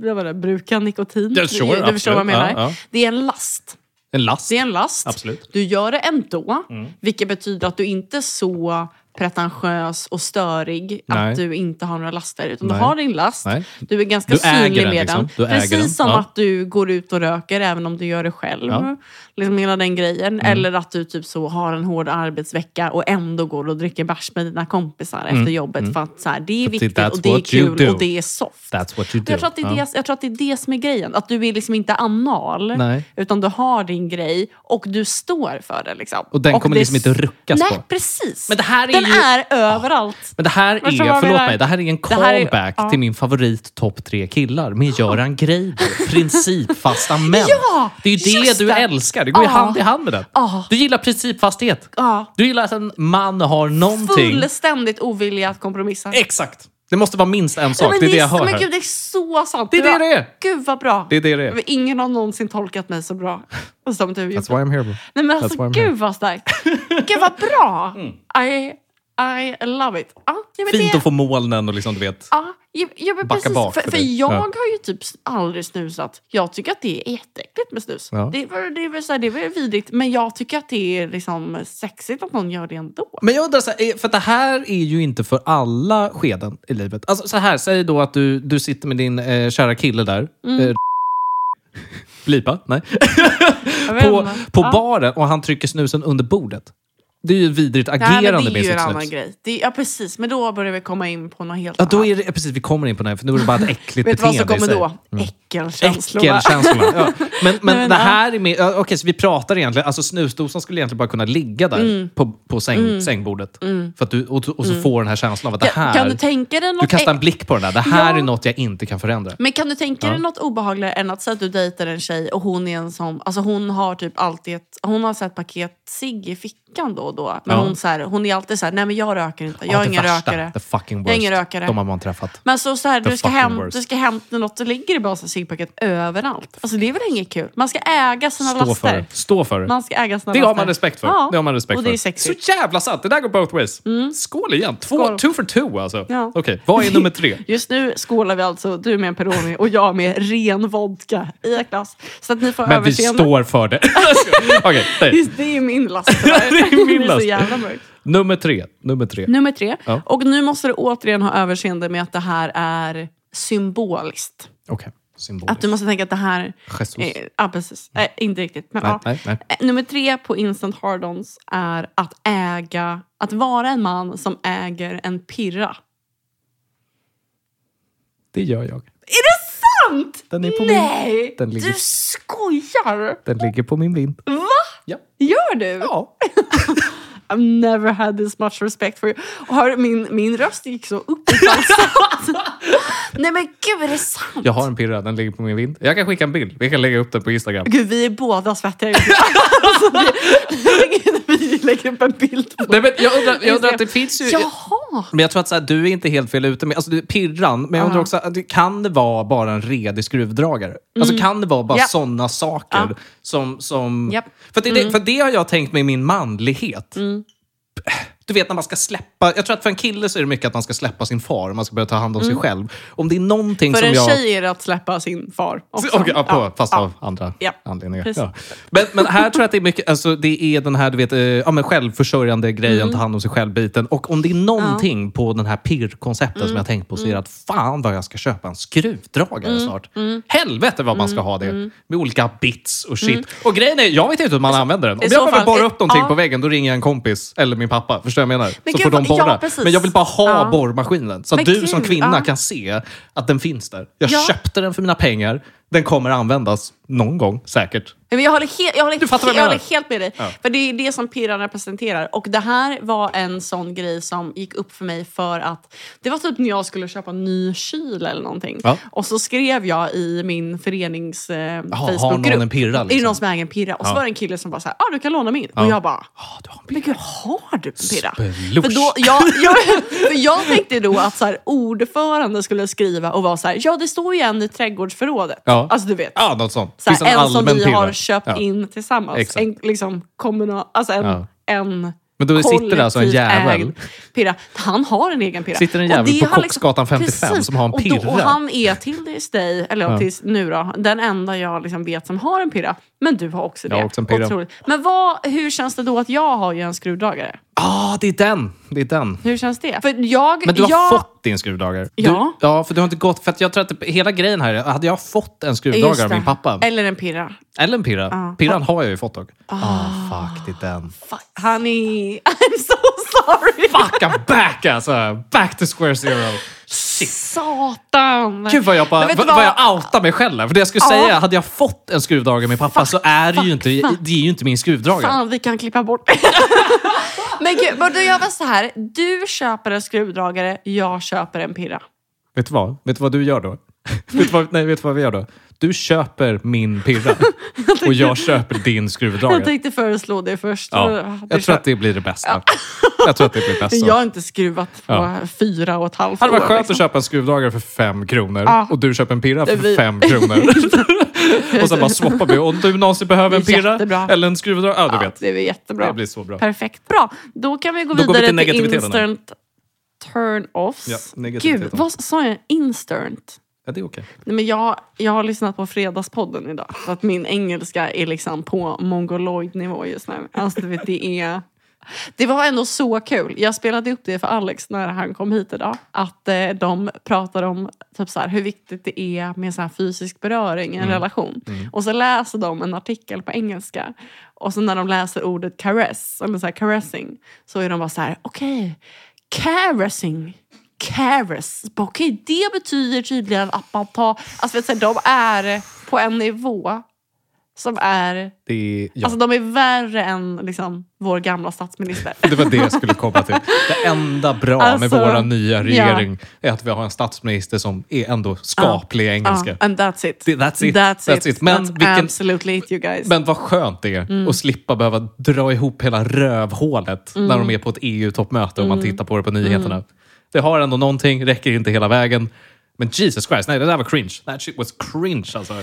jag vet inte, bruka nikotin.
Mm. Ja, sure,
du du förstår
absolut.
vad jag menar?
Ja, ja.
Det är en last.
En last.
Det är en last.
Absolut. Mm.
Du gör det ändå, vilket betyder att du inte är så pretentiös och störig
Nej.
att du inte har några laster. Utan
Nej.
du har din last,
Nej.
du är ganska
Du äger
synlig
den,
med
liksom.
den.
Du äger
Precis
den.
som
Ja.
att du går ut och röker även om du gör det själv.
Ja. Mm.
Liksom hela den grejen. Eller att du typ så har en hård arbetsvecka och ändå går och dricker bärs med dina kompisar efter jobbet. För att så här, det är
Mm. För
viktigt
that's
och det är
what you
kul
do.
och det är soft.
That's what you do.
Jag tror, att det är
Ja.
det, jag tror att det är det som är grejen. Att du är liksom inte anal,
Nej.
utan du har din grej och du står för det. Liksom.
Och den kommer
det-
liksom inte ruckas
Nej,
på.
precis.
Men det här är
den
ju-
är överallt.
Men det här är,
Förstår du vad jag
förlåt
menar?
mig, det här är en
Det här är-
callback
ja.
till min favorit topp tre killar med Göran Greider. Principfasta män.
Ja,
det är ju det
just
du
det.
älskar. Det går ju
Ja.
hand i hand med den.
Ja.
Du gillar principfasthet.
Ja.
Du gillar att en man har någonting.
Fullständigt ovillig att kompromissa.
Exakt. Det måste vara minst en sak.
Nej, men
det är det jag
är-
hör
Men
här.
gud, det är så sant.
Det är
Du
det
har-
det är.
Gud vad bra.
Det är det det är.
Men Ingen har någonsin tolkat mig så bra som du gjorde.
That's why I'm here. bro.
Nej men
That's why
alltså
I'm
gud vad starkt. Gud vad bra. I, I love it. Ah, ja, men
Fint
det,
att få molnen och liksom, du vet.
Ja, ja, ja men
Backa
precis.
bak
för,
för
för,
dig.
jag
Ja.
har ju typ aldrig snusat. Jag tycker att det är jätteäckligt med snus.
Ja.
Det, är väl- det, är väl så här, det är väl vidrigt. Men jag tycker att det är liksom sexigt att någon gör det ändå.
Men jag undrar, så här, eh, för att det här är ju inte för alla skeden i livet. Alltså så här, säg då att du, du sitter med din eh, kära kille där.
Mm.
Eh, blipa? Nej.
Jag vet
På,
inte.
på
Ja.
baren och han trycker snusen under bordet. Det är ju vidrigt
Nej,
agerande
men det är
med
ju en
sitt
annan
snus.
grej. Det, är- ja, precis. Men då börjar vi komma in på något helt
Ja, då
annat.
är det, ja, precis, vi kommer in på det här, för nu är det bara ett äckligt
Vet du vad
beteende
som
i
kommer
sig. Mm.
då? Äckelkänslor. va?
Äckelkänslorna. Ja. Men, men
men,
det
ja.
här är mer... ja, Okej, så vi pratar egentligen... Alltså snusdosan skulle egentligen bara kunna ligga där
Mm.
på, på säng, sängbordet. För att du, och, och så får den här känslan av att det
Kan-
här...
Kan du tänka dig något
Du kastar en
äck-
blick på den där. Det här
Ja.
är något jag inte kan förändra.
Men kan du tänka
Ja.
dig något obehagligare än att säga att du dejtar en tjej och hon är en som, alltså hon har typ alltid ett, hon har sett paket cigg i fickan då och då. Men
Ja.
hon, så här, hon är alltid så här, nej men jag röker inte, jag
Ja,
är
det
ingen
värsta.
rökare.
The fucking worst.
Jag är ingen rökare.
De har man träffat.
Men så, så här,
The
du, ska
fucking
hem,
worst.
du ska hämta något och ligger det bara så här ciggpaket överallt. Alltså det är väl inget kul? Man ska äga sina
Stå
laster.
för det. Stå för det.
Man ska äga sina
Det
laster.
har man respekt för.
Ja.
Det har man respekt
och
för.
det är sexigt. Mm.
Så jävla sant! Det där går both ways. Skål igen! Två,
Skål.
Two for two alltså.
Ja.
Okej, vad är nummer tre?
Just nu skålar vi alltså, du med en Peroni och jag med ren vodka i ett glas. Så att ni får
Men vi
överseende.
står för det. Okej, nej.
Just, det är min last. det
är min
är
last.
så jävla mörkt.
nummer tre. Nummer tre.
Nummer tre.
Ja.
Och nu måste du återigen ha överseende med att det här är symboliskt.
Okej, symboliskt.
Att du måste tänka att det här...
Jesus.
Eh, ja, precis. Eh, inte riktigt. Men,
Nej,
ja.
nej, nej.
Eh, Nummer tre på Instant Hardons är att äga... Att vara en man som äger en pirra.
Det gör jag.
Är det sant?
Den är på min-
Nej!
den ligger-
Du skojar!
Den ligger på min vind.
Va?
Ja.
Gör du?
Ja.
I've never had this much respect for you. Och hör, min, min röst gick så upp i falsett. Nej men gud, är det sant?
Jag har en pirra, den ligger på min vind. Jag kan skicka en bild. Vi kan lägga upp den på Instagram.
Gud, vi är båda svettiga just nu. alltså, det, vi lägger upp en bild på
Nej, men jag undrar, jag undrar att det finns ju...
Jaha!
Men jag tror att så här, du är inte helt fel ute. Med, alltså, du, pirran, men jag undrar
Ja.
också, att det- kan det vara bara en redig skruvdragare? Alltså kan det vara bara
Mm. Ja.
sådana saker
Ja.
som... som
Japp. Mm.
för, att det, det- för det har jag tänkt med min manlighet. Du vet när man ska släppa... Jag tror att för en kille så är det mycket att man ska släppa sin far. Man ska börja ta hand om sig själv. Om det är någonting
Mm. För
som
en
jag...
tjej är det att släppa sin far också.
Okej, ja, på, fast
ja.
av andra
Ja.
anledningar.
Precis.
Ja. Men, men här tror jag att det är mycket, alltså, det är den här du vet, eh, ja, men självförsörjande grejen,
Mm.
ta hand om sig själv-biten. Och om det är någonting på den här pirrkonceptet
Mm.
som jag tänkt på så är det att fan vad jag ska köpa en skruvdragare
Mm.
snart. Helvete vad man ska ha det. Med olika bits och shit. Och grejen är, jag vet inte hur man använder den. Om
Mm. så
jag behöver
fall- eh,
borra upp någonting
ja.
på väggen, då ringer jag en kompis eller min pappa. Förstår du vad jag menar?
Men
så
gud,
får de
vad- ja,
borra.
precis.
men jag vill bara ha
Ja.
borrmaskinen. Så
Men
att du som
kul,
kvinna
ja.
kan se att den finns där. Jag
Ja.
köpte den för mina pengar. Den kommer användas någon gång, säkert.
Nej, Men jag håller, he- jag håller,
Du
he-
fattar vad jag
jag
menar.
håller helt med dig.
Ja.
För det är det som pirran representerar. Och det här var en sån grej som gick upp för mig för att det var typ när jag skulle köpa en ny kyl eller någonting.
Ja.
Och så skrev jag i min förenings eh,
har
Facebookgrupp.
någon en pirra,
Är
liksom?
det någon som äger en pirra? Och så
Ja.
var det en kille som bara så här, ah, du kan låna min. Och jag bara,
Ah, du har en
men gud, har du en pirra?
Splush.
För, då, jag, jag, för jag tänkte då att så här, ordförande skulle skriva och vara så här, ja det står ju en i trädgårdsförrådet.
Ja.
Alltså du vet.
Ja, något sånt.
Så här,
Finns en,
en, som
allmän
vi har
pirra.
köpt
Ja.
in tillsammans.
Exakt.
En, liksom, kommunal, alltså en,
Ja.
en
Men då sitter det alltså en
kollektivt
jävel.
ägd pirra. Han har en egen pirra.
Sitter en
Och
jävel
det
på
har
Kocksgatan 55
precis.
som har en
Och, då, och
pirra.
han är tills dig, eller
Ja.
tills nu då, den enda jag liksom vet som har en pirra. Men du har också det.
Jag har också en pirra.
Otroligt. Men vad, hur känns det då att jag har ju en skruvdragare?
Ah, det är den! Det är den.
Hur känns det? För jag...
Men du har
jag,
fått din skruvdragare.
Ja.
Du, ja, för du har inte gått... För att jag tror att det, hela grejen här är, hade jag fått en
Just
skruvdragare av
det. Eh,
min pappa,
Eller en pirra.
eller en pirra,
Ja.
pirran har jag ju fått dock. Ah, fuck, det är den.
Fuck, han är... I'm so sorry!
Fuck, I'm back alltså! Back to square zero.
Satan!
Gud vad jag, bara,
Men vet du
vad, vad jag outar mig själv. här. För det jag skulle
Ja.
säga, hade jag fått en skruvdragare av min pappa så är det ju inte, det är ju inte min skruvdragare.
Fan, vi kan klippa bort Men gud, men då gör vi så här. Du köper en skruvdragare, jag köper en pirra.
Vet du vad? Vet du vad du gör då? vet, du vad, nej, vet du vad vi gör då? Du köper min pirra och jag köper din
Jag
skruvdragare.
tänkte föreslå det först.
Ja,
Du
jag tror
kör-
att det blir det bästa. Jag tror att det blir bäst så.
Jag har inte skruvat på
Ja.
fyra och ett halvt
Det hade varit
år,
skönt
liksom.
att köpa en skruvdragare för fem kronor
Ja.
och du köper en pirra
Det
för
blir-
fem kronor. Och sen bara swappar vi. Om du någonsin behöver en
Det är
pirra
jättebra.
eller en skruvdrag. Ja, du
Ja,
vet.
det är väl jättebra.
Det blir så bra.
Perfekt. Bra, då kan vi gå
Då går
vidare
vi till
till,
negativiteten här.
instant turn-offs.
Ja, negativiteten.
Gud, vad sa jag? Instant?
Ja, det är okej.
Nej, men jag, jag har lyssnat på Fredagspodden idag. Så att min engelska är liksom på mongoloidnivå just nu. Alltså, du vet, det, är, det var ändå så kul. Jag spelade upp det för Alex när han kom hit idag. Att eh, de pratade om typ så här, hur viktigt det är med så här fysisk beröring i en relation. Och så läser de en artikel på engelska. Och så när de läser ordet caress, eller så här caressing, så är de bara så här, okej, caressing. Caress. Bara, Okej, det betyder tydligen att man tar... Alltså, vet du, de är på en nivå som är...
Det är... Ja.
Alltså, de är värre än liksom, vår gamla statsminister.
Det var det jag skulle komma till. Det enda bra med
Alltså,
vår nya
ja.
regering är att vi har en statsminister som är ändå skaplig i
Ja,
engelska.
and that's it.
Det- that's it.
That's,
That's
it.
it. Men
That's
vilken-
absolutely it, you guys.
Men vad skönt det är att slippa behöva dra ihop hela rövhålet när de är på ett EU-toppmöte och man tittar på det på nyheterna. Det har ändå någonting, räcker inte hela vägen. Men Jesus Christ, nej det där var cringe. That shit was cringe alltså.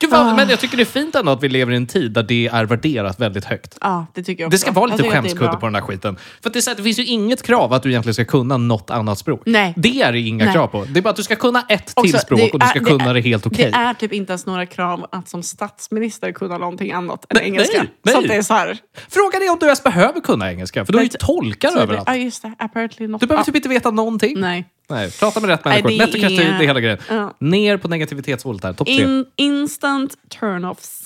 Gud, vad, Men jag tycker det är fint ändå att vi lever i en tid där det är värderat väldigt högt.
ja, det tycker jag också.
Det ska vara
Jag
lite
tycker att det är
skämskudde
bra.
på den här skiten. För att det, är så här, det finns ju inget krav att du egentligen ska kunna något annat språk.
Nej.
Det är det inga
Nej.
krav på. Det är bara att du ska kunna ett
Också,
till språk och du ska
är-
kunna
är-
det helt okej.
Det är typ inte ens några krav att som statsminister kunna någonting annat än
Nej,
engelska.
nej, nej.
Så att det är så här...
Frågan är om du ens behöver kunna engelska, för du har ju
Nej,
tolkar
Ja,
överallt.
just Alltså, det. Apparently not.
Du behöver
Ah,
typ inte veta någonting.
Nej.
Nej, prata med rätt
Nej,
människor.
det
Lätt och kraftigt,
är-
det är hela grejen.
Ja.
Ner på negativitetshålet här, topp tre.
In, instant turn-offs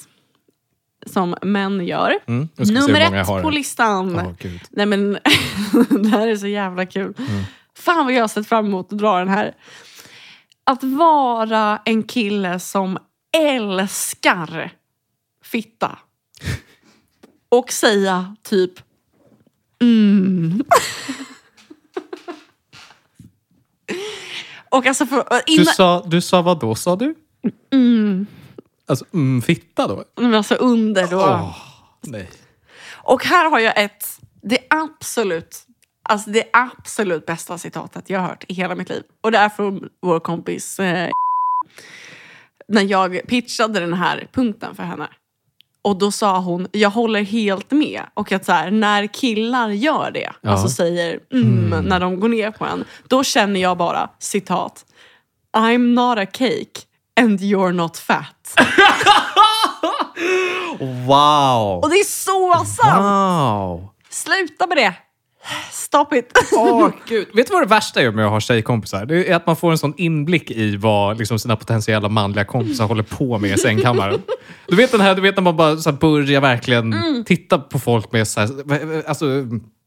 som män gör.
Mm, nu ska vi se hur
Nummer
många jag
ett
har här.
på listan.
Åh, gud. Mm.
Nej men, det här är så jävla kul. Fan vad jag har sett fram emot att dra den här. Att vara en kille som älskar fitta. Och säga typ mm. Och alltså för,
Du,
innan,
sa, du sa vad då, sa du? Mm. Alltså, mm, fitta då?
men alltså under då.
Åh, nej.
Och här har jag ett, det absolut, alltså det absolut bästa citatet jag har hört i hela mitt liv. Och det är från vår kompis eh, när jag pitchade den här punkten för henne. Och då sa hon, jag håller helt med. Och att så här, när killar gör det,
Ja.
alltså säger mm, när de går ner på en, då känner jag bara, citat, I'm not a cake and you're not fat.
Wow!
Och det är så sant!
Wow!
Sluta med det! Stop it!
Åh, gud. Vet du vad det värsta är med att ha tjejkompisar? Det är att man får en sån inblick i vad liksom, sina potentiella manliga kompisar håller på med i sängkammaren. Du vet, den här, du vet när man bara så här, börjar verkligen
Mm.
titta på folk med så här, alltså,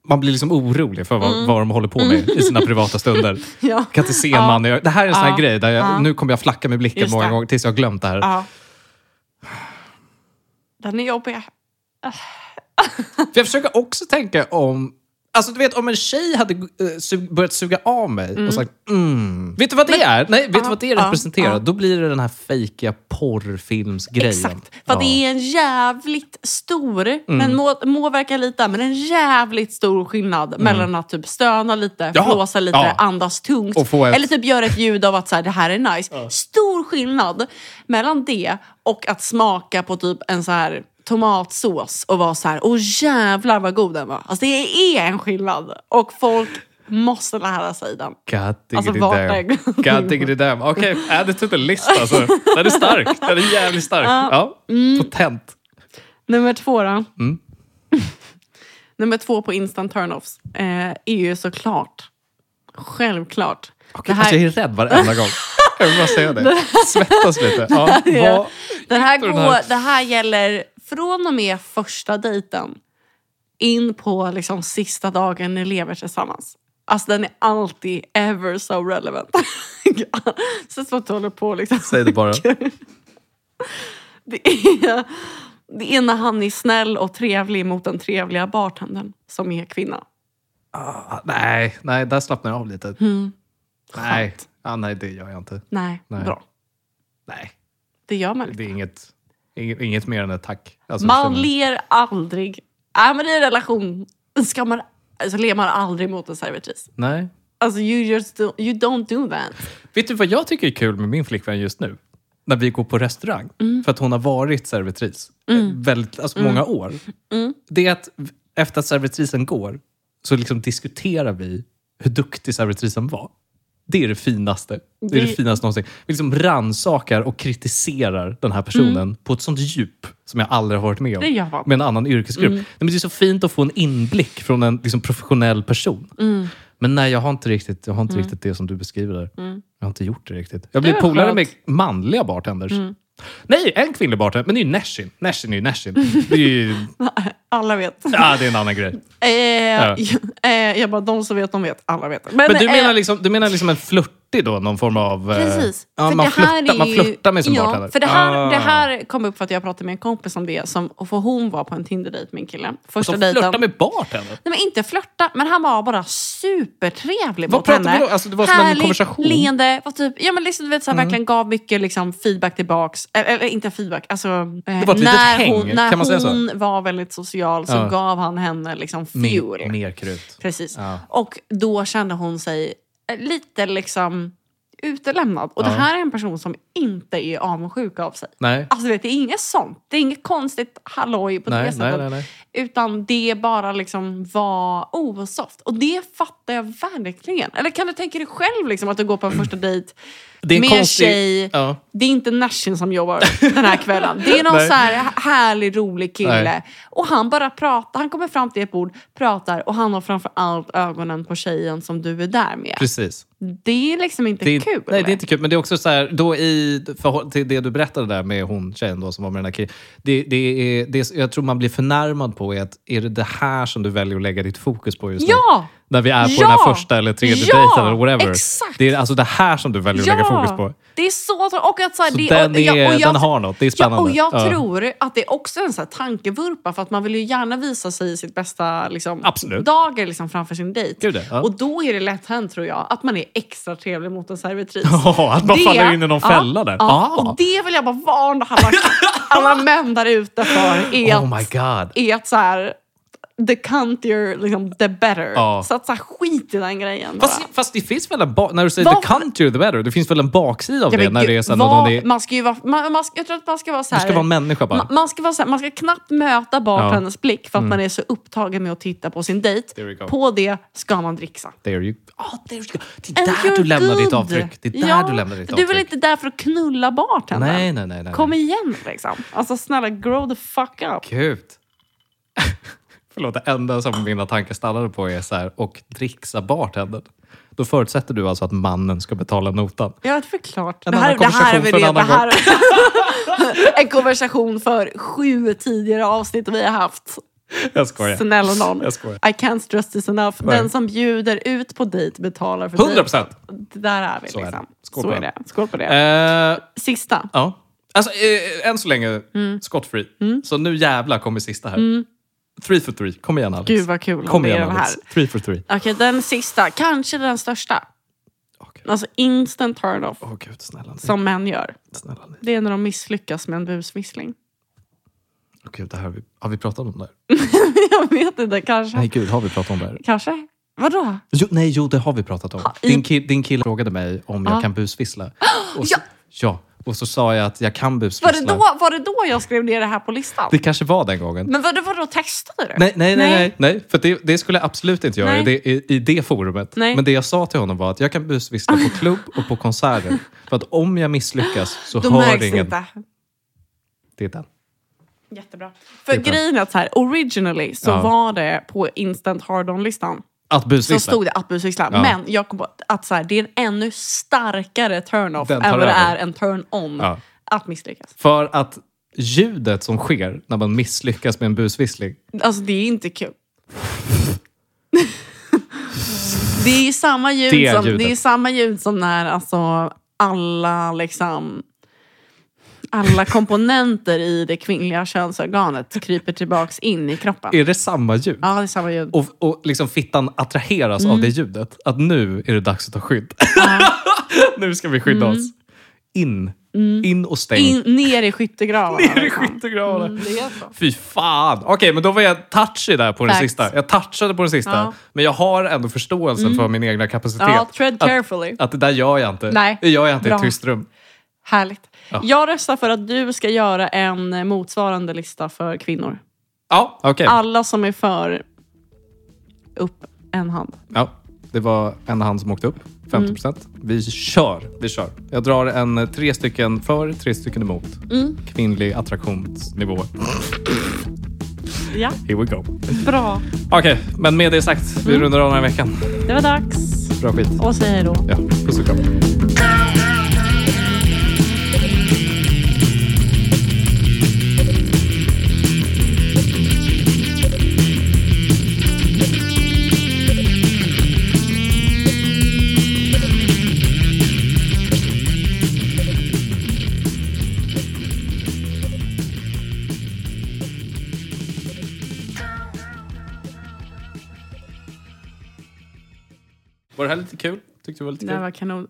man blir liksom orolig för vad, vad de håller på med i sina privata stunder.
Mm. Ja.
Kan inte se en man i ögonen. Det här är en sån här
Ja.
grej där jag,
Ja.
nu kommer jag flacka med blicken
Just
många
det.
gånger tills jag har glömt det här.
Ja. Den är jobbig.
För jag försöker också tänka om... Alltså du vet om en tjej hade eh, sug- börjat suga av mig och sagt mm. Vet du vad det är? Nej, vet du
Ja,
vad det
ja,
representerar?
ja.
Då blir det den här fejkiga porrfilmsgrejen.
Exakt. För att det är en jävligt stor,
Mm.
men må, må verka lite, men en jävligt stor skillnad mellan att typ stöna lite,
Mm. Ja.
flåsa lite,
Ja.
andas tungt.
Och få ett-
Eller typ göra ett ljud av att så här, det här är nice. Stor skillnad mellan det och att smaka på typ en så här tomatsås och vara så här, åh jävlar vad god den var. Alltså det är en skillnad. Och folk måste lära sig den.
God
Alltså,
diggity
vart
damn.
är-
God diggity damn. Okej, add it to the list alltså. Den är stark. Den är jävligt stark. Ja. Potent.
Nummer två då.
Mm.
Nummer två på instant turn-offs eh, är ju såklart, självklart.
Okay, alltså, jag är rädd varenda gång. Jag vill bara säga det. Svettas lite. Ja, vad,
Den här
den
går,
här-
Det här gäller från och med första dejten in på liksom sista dagen ni lever tillsammans. Alltså den är alltid ever so relevant. Så som att du håller på liksom.
säg det bara.
Det är, det är när han är snäll och trevlig mot den trevliga bartendern som är kvinna.
Ah, nej, nej, där slappnar jag av lite. Nej. Ah, nej, det gör jag inte.
Nej,
Nej.
bra.
Nej,
Det gör man inte.
det är inget, inget, inget mer än ett tack. Alltså,
Man
känner-
ler aldrig. Äh, men I en relation ska man, alltså, ler man aldrig mot en servitris.
Nej.
Alltså, you, just do, you don't do that.
Vet du vad jag tycker är kul med min flickvän just nu?
när vi går på restaurang. För att hon har varit servitris eh, väldigt, alltså många år. Det är att v- efter att servitrisen går så liksom diskuterar vi hur duktig servitrisen var. Det är det finaste. Det är det
Det-
finaste någonsin. Vi liksom rannsakar och kritiserar den här personen på ett sånt djup som jag aldrig har varit med om.
Det gör man.
Med en annan yrkesgrupp. Nej, men det är så fint att få en inblick från en liksom, professionell person.
Mm.
Men nej, jag har inte riktigt, jag har inte riktigt det som du beskriver där. Jag har inte gjort det riktigt. Jag blir
var
polare
Mm. skönt. Mm.
med manliga bartenders. Nej, en kvinnlig bartender, men det är ju Nashin. Nashin är ju Nashin. Det är ju,
Alla vet.
ah, det är en annan grej.
Eh, eh, jag bara, de som vet, de vet. Alla vet.
Men du
eh,
menar liksom, du menar liksom en flörtig då, någon form av... eh,
Precis.
Ja,
För
man,
det här
flörtar,
är
man
ju-
flörtar med sin bartender.
För det här,
Ah.
det här kom upp för att jag pratade med en kompis om det. Som, och för hon var på en Tinder-dejt med en kille. Första
Som
dejten.
flörtar med bartender?
Nej, men inte flörta, men han var bara supertrevlig
Vad
mot
pratar vi
henne.
då? Alltså, det var som en
Härligt,
konversation. Mm.
leende. Var typ, ja, men liksom, du vet, så här, Verkligen gav mycket liksom, feedback tillbaks. Eller, eller inte feedback, alltså... Det
var ett litet
när
häng,
hon, när
kan man säga så?
hon var väldigt social så
Ja.
gav han henne liksom fuel.
Mer, mer krut.
Precis.
Ja.
Och då kände hon sig eh, lite liksom utelämnad. Och
Ja.
det här är en person som inte är avundsjuk av sig.
Nej.
Alltså du vet, det är inget sånt. Det är inget konstigt halloj på det
Nej, nej,
sättet.
nej, nej.
Utan det bara liksom var osoft. Och det fattar jag verkligen. Eller kan du tänka dig själv liksom att du går på en första dejt
Mm. Det är en
med
konstig-
en tjej.
Ja.
Det är inte Nashin som jobbar den här kvällen. Det är någon
Nej.
så här härlig, rolig kille.
Nej.
Och han bara pratar. Han kommer fram till ett bord, pratar och han har framför allt ögonen på tjejen som du är där med.
Precis.
Det är liksom inte
Det är,
kul.
Nej, det är inte kul. Men det är också så här, då i, för, till det du berättade där med hon tjejen då som var med den här killen. Det, det är, det är, jag tror man blir förnärmad på är att är det det här som du väljer att lägga ditt fokus på just nu?
Ja!
När vi är på
Ja!
den här första eller tredje
Ja!
dejten eller whatever.
Exakt!
Det är alltså det här som du väljer att
Ja!
lägga fokus på.
Det är så tråkigt. Och att så här,
Så
det,
den,
och,
är,
ja, och jag,
den har något. Det är spännande.
Ja, och jag
Ja.
tror att det är också en så här tankevurpa för att man vill ju gärna visa sig i sitt bästa liksom,
Absolut.
dagar liksom, framför sin dejt.
Gud, ja.
Och då är det lätt hänt tror jag att man är extra trevlig mot en servitris.
Ja, att man faller in i någon
ja,
fälla där.
Ja,
Ah.
Och det vill jag bara varna alla, alla män där ute för. Är
Oh my god.
är att så här, the cuntier, liksom, the better.
Ja.
Så att så här, skit i den grejen bara.
Fast, fast det finns väl en bak... När du säger
Vad-
the country the better, det finns väl en baksida av
Ja,
det?
men
När
gud,
det är sen
vad-
någon är...
man ska ju vara, man, man ska, jag tror att man ska vara så
Du
här,
ska vara en människa bara.
Ma- Man ska, vara så här, man ska knappt möta bartenderns blick för att man är så upptagen med att titta på sin
Mm. There we
dejt.
go.
På det ska man dricksa.
There you... Ah, there you go. Det är
And
där du
you're
lämnar ditt
good.
avtryck. Det är där
Ja,
du lämnar ditt
Du är väl
avtryck.
inte där för att knulla bartendern?
Nej, nej, nej. nej.
Kom igen liksom. Alltså snälla, grow the fuck up.
Gud. Förlåt, det enda som mina tankar stannade på är så här, och dricksa bartendern. Då förutsätter du alltså att mannen ska betala notan.
Ja, det är klart.
En
Det här,
annan
det här är väl
konversation
det.
för
det
en annan
här, en konversation för sju tidigare avsnitt vi har haft.
Jag skojar.
Snälla någon.
Jag skojar.
I can't stress this enough.
Nej.
Den som bjuder ut på dejt betalar för
100
dejt.
procent!
Det där är vi
Så är det.
liksom.
Skål
Så
på
är
den.
det. Skål på det.
Eh,
Sista.
ja. Alltså, eh, än så länge skottfri.
Mm.
Så nu jävla kommer sista här. Three for three. Kom igen, Alex.
Gud vad kul om
Kom
det är
igen,
den
Alex.
här.
Three for three.
Okej, den sista. Kanske den största.
Okej.
Alltså instant turn-off
Åh gud, snälla ni.
som män gör.
Snälla ni.
Det är när de misslyckas med en busvissling.
Åh, gud, det här har, vi, har vi pratat om det här?
Jag vet inte, kanske.
Nej, gud, har vi pratat om det här?
Kanske. Vadå?
Jo, nej, jo, det har vi pratat om.
i-
Din, ki- din kille frågade mig om jag
Ja.
kan busvissla. Och så, ja! Och så sa jag att jag kan
Var
busvissla.
det, då, var det då jag skrev ner det här på listan?
Det kanske var den gången.
Men vad, vadå, testade du?
Nej, nej, nej,
Nej.
nej, nej. För det, det skulle jag absolut inte göra i
Nej.
det, i, i det forumet.
Nej.
Men det jag sa till honom var att jag kan busvissla på klubb och på konserter. För att om jag misslyckas så
Då
hör
märks det
ingen.
inte.
Det är den.
Jättebra. För
Titta.
grejen är att så här, originally så
Ja.
var det på instant hard on-listan.
Att
Så
busvissla.
stod det att busvissla.
Ja.
Men jag kom på att så här, det är en ännu starkare turn-off
Den
än
tar
vad det
över.
är en turn-on.
Ja.
Att misslyckas.
För att ljudet som sker när man misslyckas med en busvissling.
Alltså det är inte kul. det, är samma ljud
Det
som,
ljudet.
det är samma ljud som när alltså, alla liksom alla komponenter i det kvinnliga könsorganet kryper tillbaks in i kroppen.
Är det samma ljud?
Ja, det är samma ljud.
Och, och liksom fittan attraheras av
Mm.
det ljudet. Att nu är det dags att ta skydd. nu ska vi skydda
Mm.
oss. In. In och stäng.
In, ner i skyttegravarna.
Ner i
liksom.
skyttegravarna.
Mm, det är så.
Fy fan! Okej, men då var jag touchy där på den
Facts.
sista. Jag touchade på den sista.
Ja. Mm.
Men jag har ändå förståelsen för min egna kapacitet.
Ja, tread
Att-
carefully.
Att det där gör jag inte.
Nej.
Det gör jag inte i
Bra.
ett tyst rum.
Härligt.
Ja.
Jag röstar för att du ska göra en eh, motsvarande lista för kvinnor.
Ja, okej.
Alla som är för, upp en hand.
Ja, det var en hand som åkte upp.
Mm.
50 Vi kör. Vi kör. Jag drar en eh, tre stycken för, tre stycken emot.
Mm.
Kvinnlig attraktionsnivå.
Ja,
Here we go.
bra.
Okej, men med det sagt,
Mm.
vi rundar av den här veckan.
Det var dags.
Bra skit.
Och säg hej då.
Ja, puss och kram. Var det här lite kul? Tyckte du det var lite
Det
kul?
här var kanon.